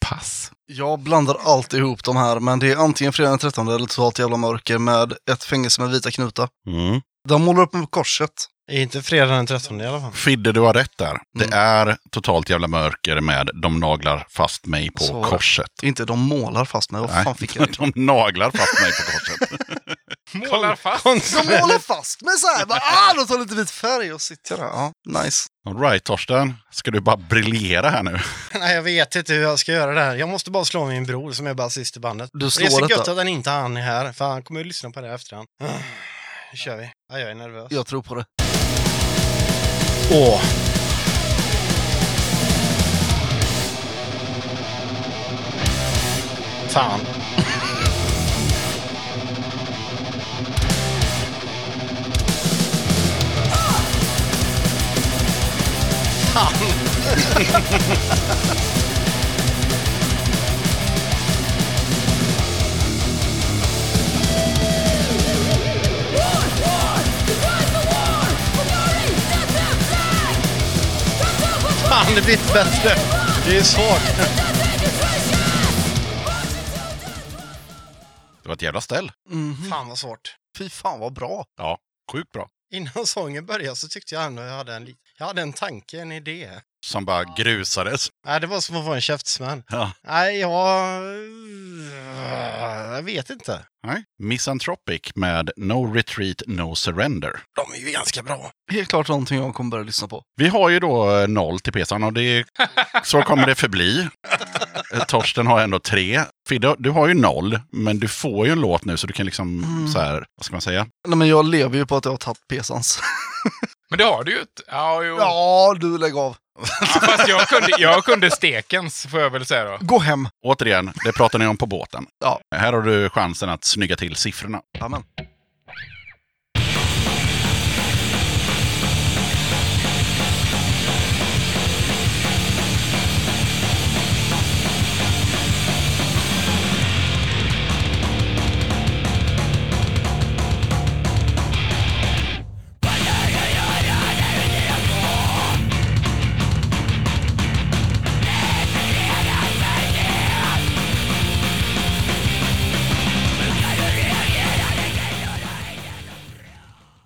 [SPEAKER 4] Pass.
[SPEAKER 1] Jag blandar alltid ihop de här, men det är antingen Fredag den 13 eller Totalt jävla mörker med ett fängelse med vita knutar.
[SPEAKER 3] Mm.
[SPEAKER 1] De målar upp med korset.
[SPEAKER 6] inte fredag den 13 i alla fall.
[SPEAKER 3] Fidde, du har rätt där. Det är totalt jävla mörker med De naglar fast mig på
[SPEAKER 1] Så.
[SPEAKER 3] korset.
[SPEAKER 1] Inte de målar fast mig. Vad
[SPEAKER 3] Nej.
[SPEAKER 1] fan fick jag det?
[SPEAKER 3] De naglar fast mig på korset.
[SPEAKER 4] Målar fast.
[SPEAKER 1] De målar fast mig så här. Bara, ah, de tar lite vit färg och sitter där. Ja, nice.
[SPEAKER 3] All right, Torsten. Ska du bara briljera här nu?
[SPEAKER 6] Nej, jag vet inte hur jag ska göra det här. Jag måste bara slå min bror som är basist i bandet.
[SPEAKER 1] Du
[SPEAKER 6] Det är
[SPEAKER 1] slår
[SPEAKER 6] så gött
[SPEAKER 1] detta.
[SPEAKER 6] att han inte han är här, för han kommer ju lyssna på det här efterhand. Ah, Nu kör vi. Ja, jag är nervös.
[SPEAKER 1] Jag tror på det.
[SPEAKER 6] Åh! Fan. Fan, det blir inte bättre. Det är svårt.
[SPEAKER 3] Det var ett jävla ställ.
[SPEAKER 6] Fan vad svårt.
[SPEAKER 1] Mhm. Fy fan vad bra.
[SPEAKER 3] Ja, sjukt bra.
[SPEAKER 6] Innan sången började så tyckte jag ändå jag hade en, li- jag hade en tanke, en idé.
[SPEAKER 3] Som bara grusades.
[SPEAKER 6] Nej, det var som att få en käftsmäll.
[SPEAKER 3] Ja.
[SPEAKER 6] Nej, jag... Jag vet inte.
[SPEAKER 3] Nej. Misanthropic med No Retreat, No Surrender.
[SPEAKER 6] De är ju ganska bra.
[SPEAKER 1] Helt klart någonting jag kommer börja lyssna på.
[SPEAKER 3] Vi har ju då eh, noll till pesan och det, så kommer det förbli. Eh, Torsten har ändå tre. Fidde, du har ju noll, men du får ju en låt nu så du kan liksom så här, vad ska man säga?
[SPEAKER 1] Nej, men jag lever ju på att jag har tagit pesans.
[SPEAKER 4] Men det har du ju inte. Ja, jo. Ja.
[SPEAKER 1] Ja, du lägg av.
[SPEAKER 4] fast jag kunde, jag kunde stekens, får jag väl säga då.
[SPEAKER 1] Gå hem.
[SPEAKER 3] Återigen, det pratar ni om på båten.
[SPEAKER 1] Ja.
[SPEAKER 3] Här har du chansen att snygga till siffrorna.
[SPEAKER 1] Amen.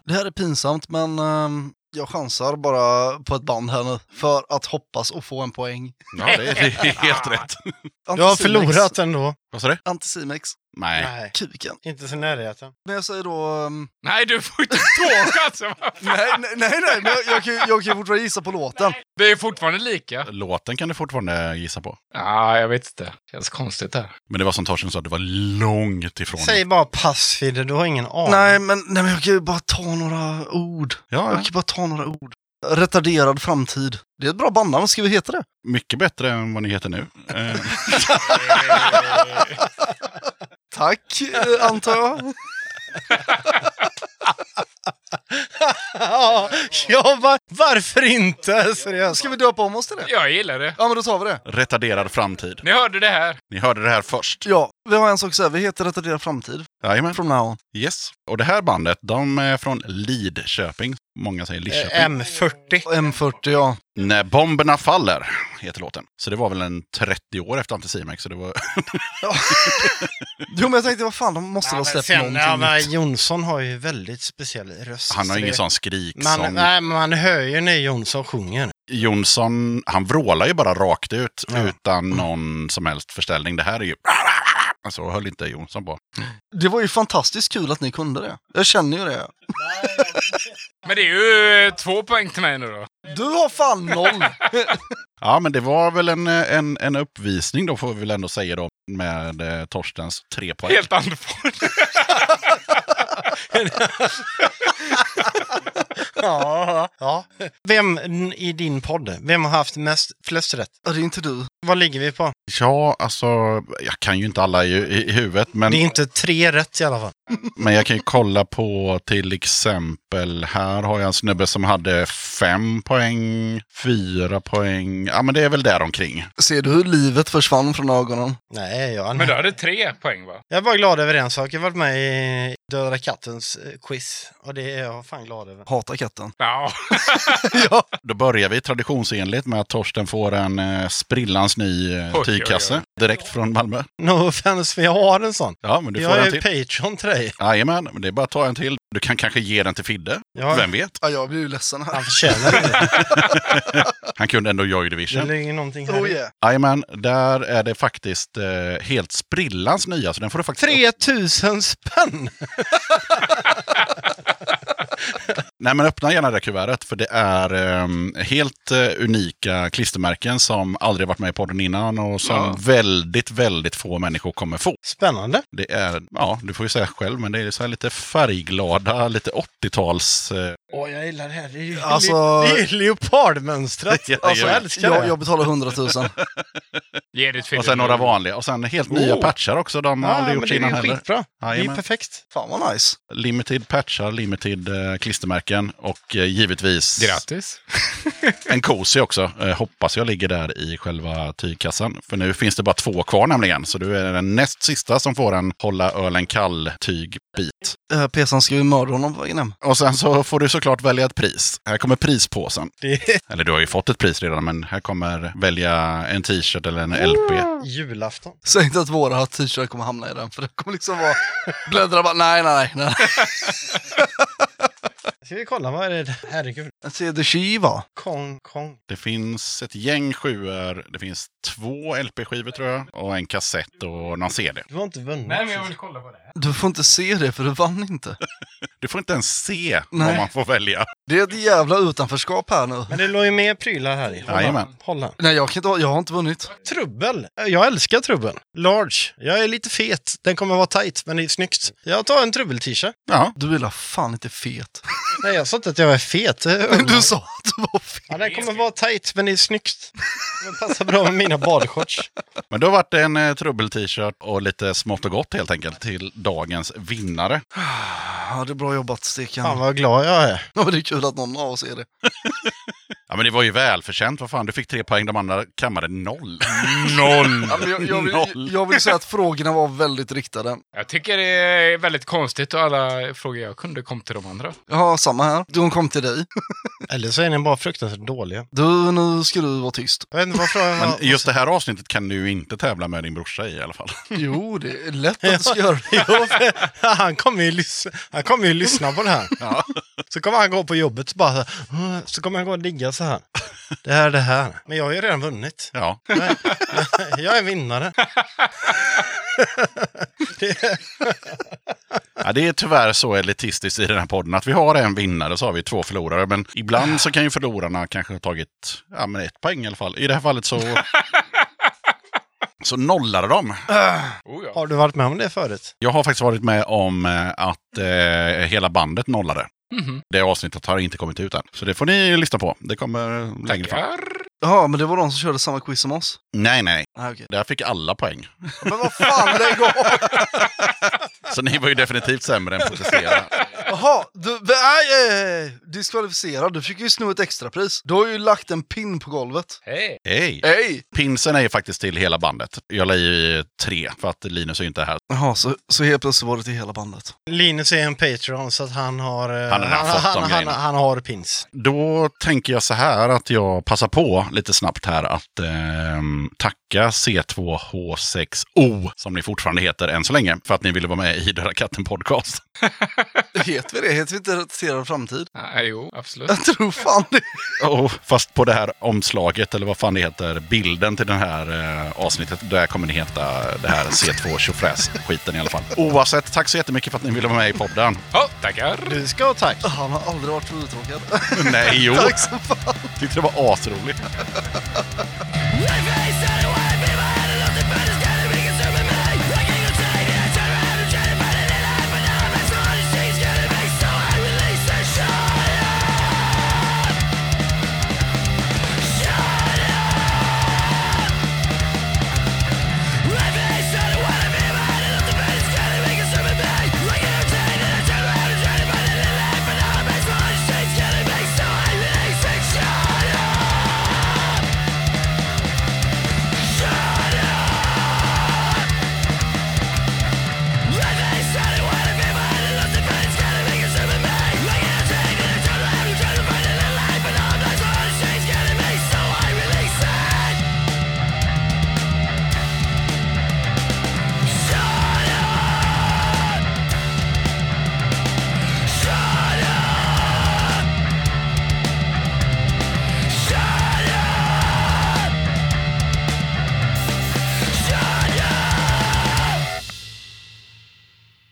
[SPEAKER 1] Det här är pinsamt, men ehm, jag chansar bara på ett band här nu. För att hoppas och få en poäng.
[SPEAKER 3] Ja, det är, det är helt rätt.
[SPEAKER 6] Du har
[SPEAKER 1] Anticimex.
[SPEAKER 6] förlorat ändå.
[SPEAKER 3] Vad sa du?
[SPEAKER 1] Anticimex.
[SPEAKER 3] Nej.
[SPEAKER 6] Nej,
[SPEAKER 1] Kuken.
[SPEAKER 6] inte så närheten.
[SPEAKER 1] Men jag säger då... ehm,
[SPEAKER 4] Nej, du får inte tåka alltså.
[SPEAKER 1] nej, nej, nej, nej, men jag, jag, kan ju- jag kan ju fortfarande gissa på låten.
[SPEAKER 4] Det är fortfarande lika.
[SPEAKER 3] Låten kan du fortfarande gissa på.
[SPEAKER 4] Ja, jag vet inte. Känns konstigt där.
[SPEAKER 3] Men det var som Torsten sa, det var långt ifrån.
[SPEAKER 6] Säg bara pass, Fidde. Du har ingen aning.
[SPEAKER 1] Nej, men, nej, men jag kan ju bara ta några ord.
[SPEAKER 3] Ja,
[SPEAKER 1] Jag
[SPEAKER 3] ja.
[SPEAKER 1] kan bara ta några ord. Retarderad framtid. Det är ett bra bandnamn, ska vi heta det?
[SPEAKER 3] mycket bättre än vad ni heter nu. Eh,
[SPEAKER 1] Tack, eh, antar jag.
[SPEAKER 6] ja, ja va- varför inte? Seriöst.
[SPEAKER 1] Ska vi döpa om oss till det?
[SPEAKER 4] Jag gillar det.
[SPEAKER 1] Ja, men då tar vi det.
[SPEAKER 3] retarderad framtid.
[SPEAKER 4] Ni hörde det här.
[SPEAKER 3] Ni hörde det här först.
[SPEAKER 1] Ja, vi har en sak att säga. Vi heter Retarderad framtid.
[SPEAKER 3] Jajamän.
[SPEAKER 1] From now on.
[SPEAKER 3] Yes. Och det här bandet, de är från Lidköping. Många
[SPEAKER 6] Eh,
[SPEAKER 3] säger Lidköping.
[SPEAKER 6] M40.
[SPEAKER 1] M40, ja.
[SPEAKER 3] När bomberna faller, heter låten. Så det var väl en 30 år efter Anticimex, så det var...
[SPEAKER 1] Jo, men jag tänkte, vad fan, de måste väl ha släppt
[SPEAKER 6] sen,
[SPEAKER 1] någonting.
[SPEAKER 6] ja, men Jonsson har ju väldigt speciell röst.
[SPEAKER 3] Han har
[SPEAKER 6] Så
[SPEAKER 3] ingen
[SPEAKER 6] det-
[SPEAKER 3] sån skriksång.
[SPEAKER 6] man, nej, men man hör ju när Jonsson sjunger.
[SPEAKER 3] Jonsson, han vrålar ju bara rakt ut
[SPEAKER 6] Ja.
[SPEAKER 3] utan någon som helst förställning. Det här är ju... Alltså, höll inte Jonsson på.
[SPEAKER 1] Det var ju fantastiskt kul att ni kunde det. Jag känner ju det.
[SPEAKER 4] Men det är ju eh, två poäng till mig nu då.
[SPEAKER 1] Du har fan noll!
[SPEAKER 3] Ja, men det var väl en, en, en uppvisning då, får vi väl ändå säga då, med eh, Torstens tre poäng.
[SPEAKER 4] Helt andfådd.
[SPEAKER 6] ja, ja. Vem n- i din podd, vem har haft mest, flest rätt?
[SPEAKER 1] Ja, det är inte du.
[SPEAKER 6] Vad ligger vi på?
[SPEAKER 3] Ja, alltså, jag kan ju inte alla i, i huvudet, men,
[SPEAKER 6] Det är inte tre rätt i alla fall.
[SPEAKER 3] men jag kan ju kolla på till exempel, här har jag en snubbe som hade fem poäng, fyra poäng, ja men det är väl där omkring.
[SPEAKER 1] Ser du hur livet försvann från ögonen?
[SPEAKER 6] Nej, jag,
[SPEAKER 4] Men du hade tre poäng va?
[SPEAKER 6] jag är bara glad över en sak. Jag har varit med i Döda kattens eh, quiz och det är jag fan glad över.
[SPEAKER 1] Hata katten.
[SPEAKER 4] Ja.
[SPEAKER 1] ja.
[SPEAKER 3] Då börjar vi traditionsenligt med att Torsten får en eh, sprillans ny eh,
[SPEAKER 4] oj, oj.
[SPEAKER 3] tygkasse direkt från Malmö.
[SPEAKER 6] No offense, för jag har en sån.
[SPEAKER 3] Ja, men du får en
[SPEAKER 6] jag är
[SPEAKER 3] till.
[SPEAKER 6] Patreon till dig.
[SPEAKER 3] Jajamän, men det är bara att ta en till. Du kan kanske ge den till Fidde.
[SPEAKER 6] Ja.
[SPEAKER 3] Vem vet?
[SPEAKER 1] ja, jag blir ju ledsen här.
[SPEAKER 6] Han förtjänar det.
[SPEAKER 3] Han kunde ändå Joy
[SPEAKER 6] Det
[SPEAKER 3] Division.
[SPEAKER 6] ligger någonting här.
[SPEAKER 1] Oh yeah.
[SPEAKER 3] Jajamän, där är det faktiskt eh, helt sprillans nya, så den får du faktiskt
[SPEAKER 6] 3000 spänn!
[SPEAKER 3] Nej, men öppna gärna det kuvertet, för det är ehm, helt eh, unika klistermärken som aldrig varit med i podden innan och som
[SPEAKER 4] Ja.
[SPEAKER 3] väldigt, väldigt få människor kommer få.
[SPEAKER 6] Spännande.
[SPEAKER 3] Det är, ja, du får ju säga själv, men det är så här lite färgglada, lite 80-tals... Eh,
[SPEAKER 6] Åh, jag gillar det här. Det är ju
[SPEAKER 1] Alltså-
[SPEAKER 6] le- det är ju leopardmönstrat.
[SPEAKER 3] Ja,
[SPEAKER 6] alltså, jag
[SPEAKER 3] ja.
[SPEAKER 6] älskar
[SPEAKER 1] Jag,
[SPEAKER 6] det.
[SPEAKER 1] jag betalar 100 000.
[SPEAKER 4] Ge ditt
[SPEAKER 3] och sen några vanliga. Och sen helt nya
[SPEAKER 4] Oh.
[SPEAKER 3] patchar också. De har
[SPEAKER 6] Ja,
[SPEAKER 3] aldrig
[SPEAKER 6] men
[SPEAKER 3] gjort
[SPEAKER 6] det
[SPEAKER 3] innan
[SPEAKER 6] är ju
[SPEAKER 3] heller.
[SPEAKER 6] skitbra. Det är ju
[SPEAKER 3] Jajamän.
[SPEAKER 6] perfekt.
[SPEAKER 1] Fan vad nice.
[SPEAKER 3] Limited patchar, limited eh, klistermärken och eh, givetvis
[SPEAKER 4] Grattis.
[SPEAKER 3] en cozy också. Eh, hoppas jag ligger där i själva tygkassan. För nu finns det bara två kvar nämligen. Så du är den näst sista som får en hålla ölen kall-tygbit.
[SPEAKER 1] Eh, Pesan ska ju mörda honom på vägen hem.
[SPEAKER 3] Och sen så får du såklart välja ett pris. Här kommer prispåsen.
[SPEAKER 6] Det är
[SPEAKER 3] Eller du har ju fått ett pris redan, men här kommer välja en t-shirt eller en LP.
[SPEAKER 6] julafton.
[SPEAKER 1] Säg inte att våra t-shirtar kommer hamna i den, för det kommer liksom vara... Bläddra bara, nej, nej, nej.
[SPEAKER 6] Ska vi kolla, vad är det? där? Herregud.
[SPEAKER 1] Jag ser The Shiva.
[SPEAKER 6] Kong, Kong.
[SPEAKER 3] Det finns ett gäng sjuor. Det finns två LP-skivor tror jag. Och en kassett och någon CD.
[SPEAKER 6] Du har inte vunnit.
[SPEAKER 4] kolla på det här.
[SPEAKER 1] Du får inte se det, för du vann inte.
[SPEAKER 3] Du får inte ens se vad
[SPEAKER 1] Nej.
[SPEAKER 3] man får välja.
[SPEAKER 1] Det är ett jävla utanförskap här nu.
[SPEAKER 6] Men det låg ju mer prylar här i.
[SPEAKER 3] Jajamän.
[SPEAKER 6] Hålla.
[SPEAKER 1] Nej, jag, kan inte, ha- jag har inte vunnit.
[SPEAKER 6] Trubbel. Jag älskar trubbel. Large. Jag är lite fet. Den kommer vara tight, men det är snyggt. Jag tar en trubbel-t-shirt.
[SPEAKER 3] Ja,
[SPEAKER 1] Du är la fan inte fet.
[SPEAKER 6] Nej, jag sa inte att jag är fet.
[SPEAKER 1] Du sa att du var fel.
[SPEAKER 6] Ja, den kommer vara tight, men det är snyggt. Den passar bra med mina badshorts.
[SPEAKER 3] Men då vart det en eh, trubbel-t-shirt och lite smått och gott helt enkelt till dagens vinnare.
[SPEAKER 1] Ja, det är bra jobbat, Stekan.
[SPEAKER 6] Fan vad glad jag är.
[SPEAKER 1] Ja, men det är kul att någon av oss är det.
[SPEAKER 3] Ja men det var ju välförtjänt, vad fan, du fick tre poäng, de andra kammade noll.
[SPEAKER 1] Ja, men jag, jag,
[SPEAKER 3] Noll.
[SPEAKER 1] vill, jag vill säga att frågorna var väldigt riktade.
[SPEAKER 4] Jag tycker det är väldigt konstigt och alla frågor jag kunde kom till de andra.
[SPEAKER 1] Ja, samma här. De kom till dig.
[SPEAKER 6] Eller så är ni bara fruktansvärt dåliga.
[SPEAKER 1] Du, nu ska du vara tyst.
[SPEAKER 6] Jag vet inte vad frågan var.
[SPEAKER 3] Men just det här avsnittet kan du inte tävla med din brorsa i i alla fall.
[SPEAKER 1] Jo, det är lätt att du ska göra det.
[SPEAKER 6] Jo, för han kommer ju lyssna, han kommer ju lyssna på det här.
[SPEAKER 3] Ja.
[SPEAKER 6] Så kommer han gå på jobbet så bara så, här, så kommer han gå och ligga så här. Det här är det här. Men jag har ju redan vunnit.
[SPEAKER 3] Ja.
[SPEAKER 6] Jag är vinnare.
[SPEAKER 3] ja, det är tyvärr så elitistiskt i den här podden att vi har en vinnare och så har vi två förlorare. Men ibland så kan ju förlorarna kanske ha tagit ja, men ett poäng i alla fall. I det här fallet så... Så nollade de.
[SPEAKER 4] Oh, ja.
[SPEAKER 6] Har du varit med om det förut?
[SPEAKER 3] Jag har faktiskt varit med om eh, att eh, hela bandet nollade.
[SPEAKER 4] Mhm.
[SPEAKER 3] Det avsnittet har inte kommit ut än. Så det får ni lyssna på. Det kommer längre fram.
[SPEAKER 4] Tackar.
[SPEAKER 1] Ja, men det var de som körde samma quiz som oss.
[SPEAKER 3] Nej, nej.
[SPEAKER 1] Nej, okej.
[SPEAKER 3] Där fick alla poäng.
[SPEAKER 1] Men vad fan, lägg av!
[SPEAKER 3] Så ni var ju definitivt sämre än protestera.
[SPEAKER 1] Jaha, du, nej, eh, diskvalificerad. Du fick ju sno ett extrapris. Du har ju lagt en pin på golvet.
[SPEAKER 4] Hej.
[SPEAKER 3] Hej!
[SPEAKER 1] Hej!
[SPEAKER 3] Pinsen är ju faktiskt till hela bandet. Jag la i tre, för att Linus är ju inte här.
[SPEAKER 1] Jaha, så, så helt plötsligt var det till hela bandet.
[SPEAKER 6] Linus är en Patreon så att han har... eh,
[SPEAKER 3] Han har redan fått de
[SPEAKER 6] han, han,
[SPEAKER 3] grejerna.
[SPEAKER 6] han har pins.
[SPEAKER 3] Då tänker jag så här att jag passar på lite snabbt här att ehm, tacka C2H6O, som ni fortfarande heter än så länge, för att ni ville vara med i Döda katten podcast.
[SPEAKER 1] Heter vi det? Heter vi inte Relaterad Framtid?
[SPEAKER 4] Nej, jo, absolut.
[SPEAKER 1] Jag tror fan det.
[SPEAKER 3] Och fast på det här omslaget, eller vad fan det heter, bilden till det här eh, avsnittet, där kommer ni heta det här C2 tjofräs-skiten i alla fall. Oavsett, tack så jättemycket för att ni ville vara med i podden.
[SPEAKER 4] Ja, tackar.
[SPEAKER 6] Du ska ha tack.
[SPEAKER 1] Han har aldrig varit så uttråkad.
[SPEAKER 3] Nej, jo,
[SPEAKER 1] Tack så fan.
[SPEAKER 3] tyckte det var asroligt.
[SPEAKER 7] Shut up! Shut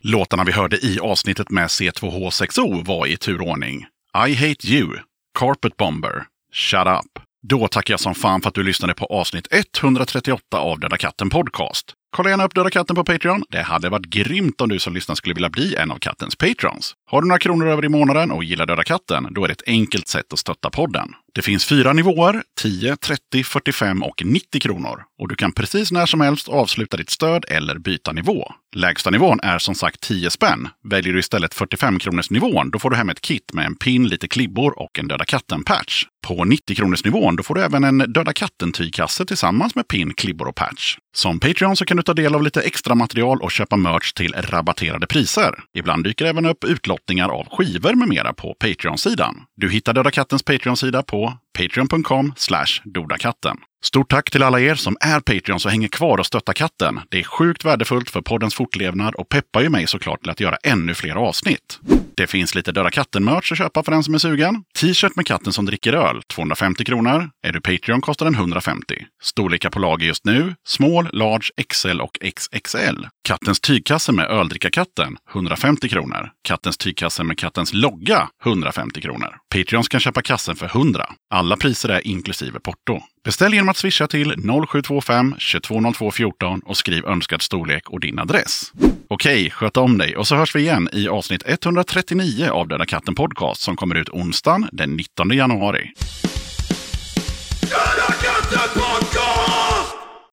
[SPEAKER 3] Låtarna vi hörde i avsnittet med C2H6O var i turordning I Hate You, Carpet Bomber, Shut Up. Då tackar jag som fan för att du lyssnade på avsnitt 138 av Döda katten Podcast. Kolla gärna upp Döda katten på Patreon. Det hade varit grymt om du som lyssnar skulle vilja bli en av kattens patrons. Har du några kronor över i månaden och gillar Döda katten, då är det ett enkelt sätt att stötta podden. Det finns fyra nivåer, 10, 30, 45 och 90 kronor. Och du kan precis när som helst avsluta ditt stöd eller byta nivå. Lägsta nivån är som sagt 10 spänn. Väljer du istället 45 kronors nivån, då får du hem ett kit med en pin, lite klibbor och en Döda katten-patch. På 90 kronors nivån, då får du även en Döda katten-tygkasse tillsammans med pin, klibbor och patch. Som Patreon så kan du ta del av lite extra material och köpa merch till rabatterade priser. Ibland dyker även upp utlottningar av skivor med mera på Patreon-sidan. Du hittar Döda Kattens Patreon-sida på patreon.com slash dodakatten. Stort tack till alla er som är Patreons och hänger kvar och stöttar katten. Det är sjukt värdefullt för poddens fortlevnad och peppar ju mig såklart till att göra ännu fler avsnitt. Det finns lite Döda katten-merch att köpa för den som är sugen. T-shirt med katten som dricker öl, 250 kronor. Är du Patreon kostar den 150. Storlekar på lager just nu, small, large, XL och XXL. Kattens tygkasse med öldrickakatten, 150 kronor. Kattens tygkasse med kattens logga, 150 kronor. Patreons kan köpa kassen för 100. Alla priser är inklusive porto. Beställ genom att swisha till 0725 220214 och skriv önskad storlek och din adress. Okej, sköt om dig och så hörs vi igen i avsnitt 139 av Döda katten podcast som kommer ut onsdagen den 19 januari.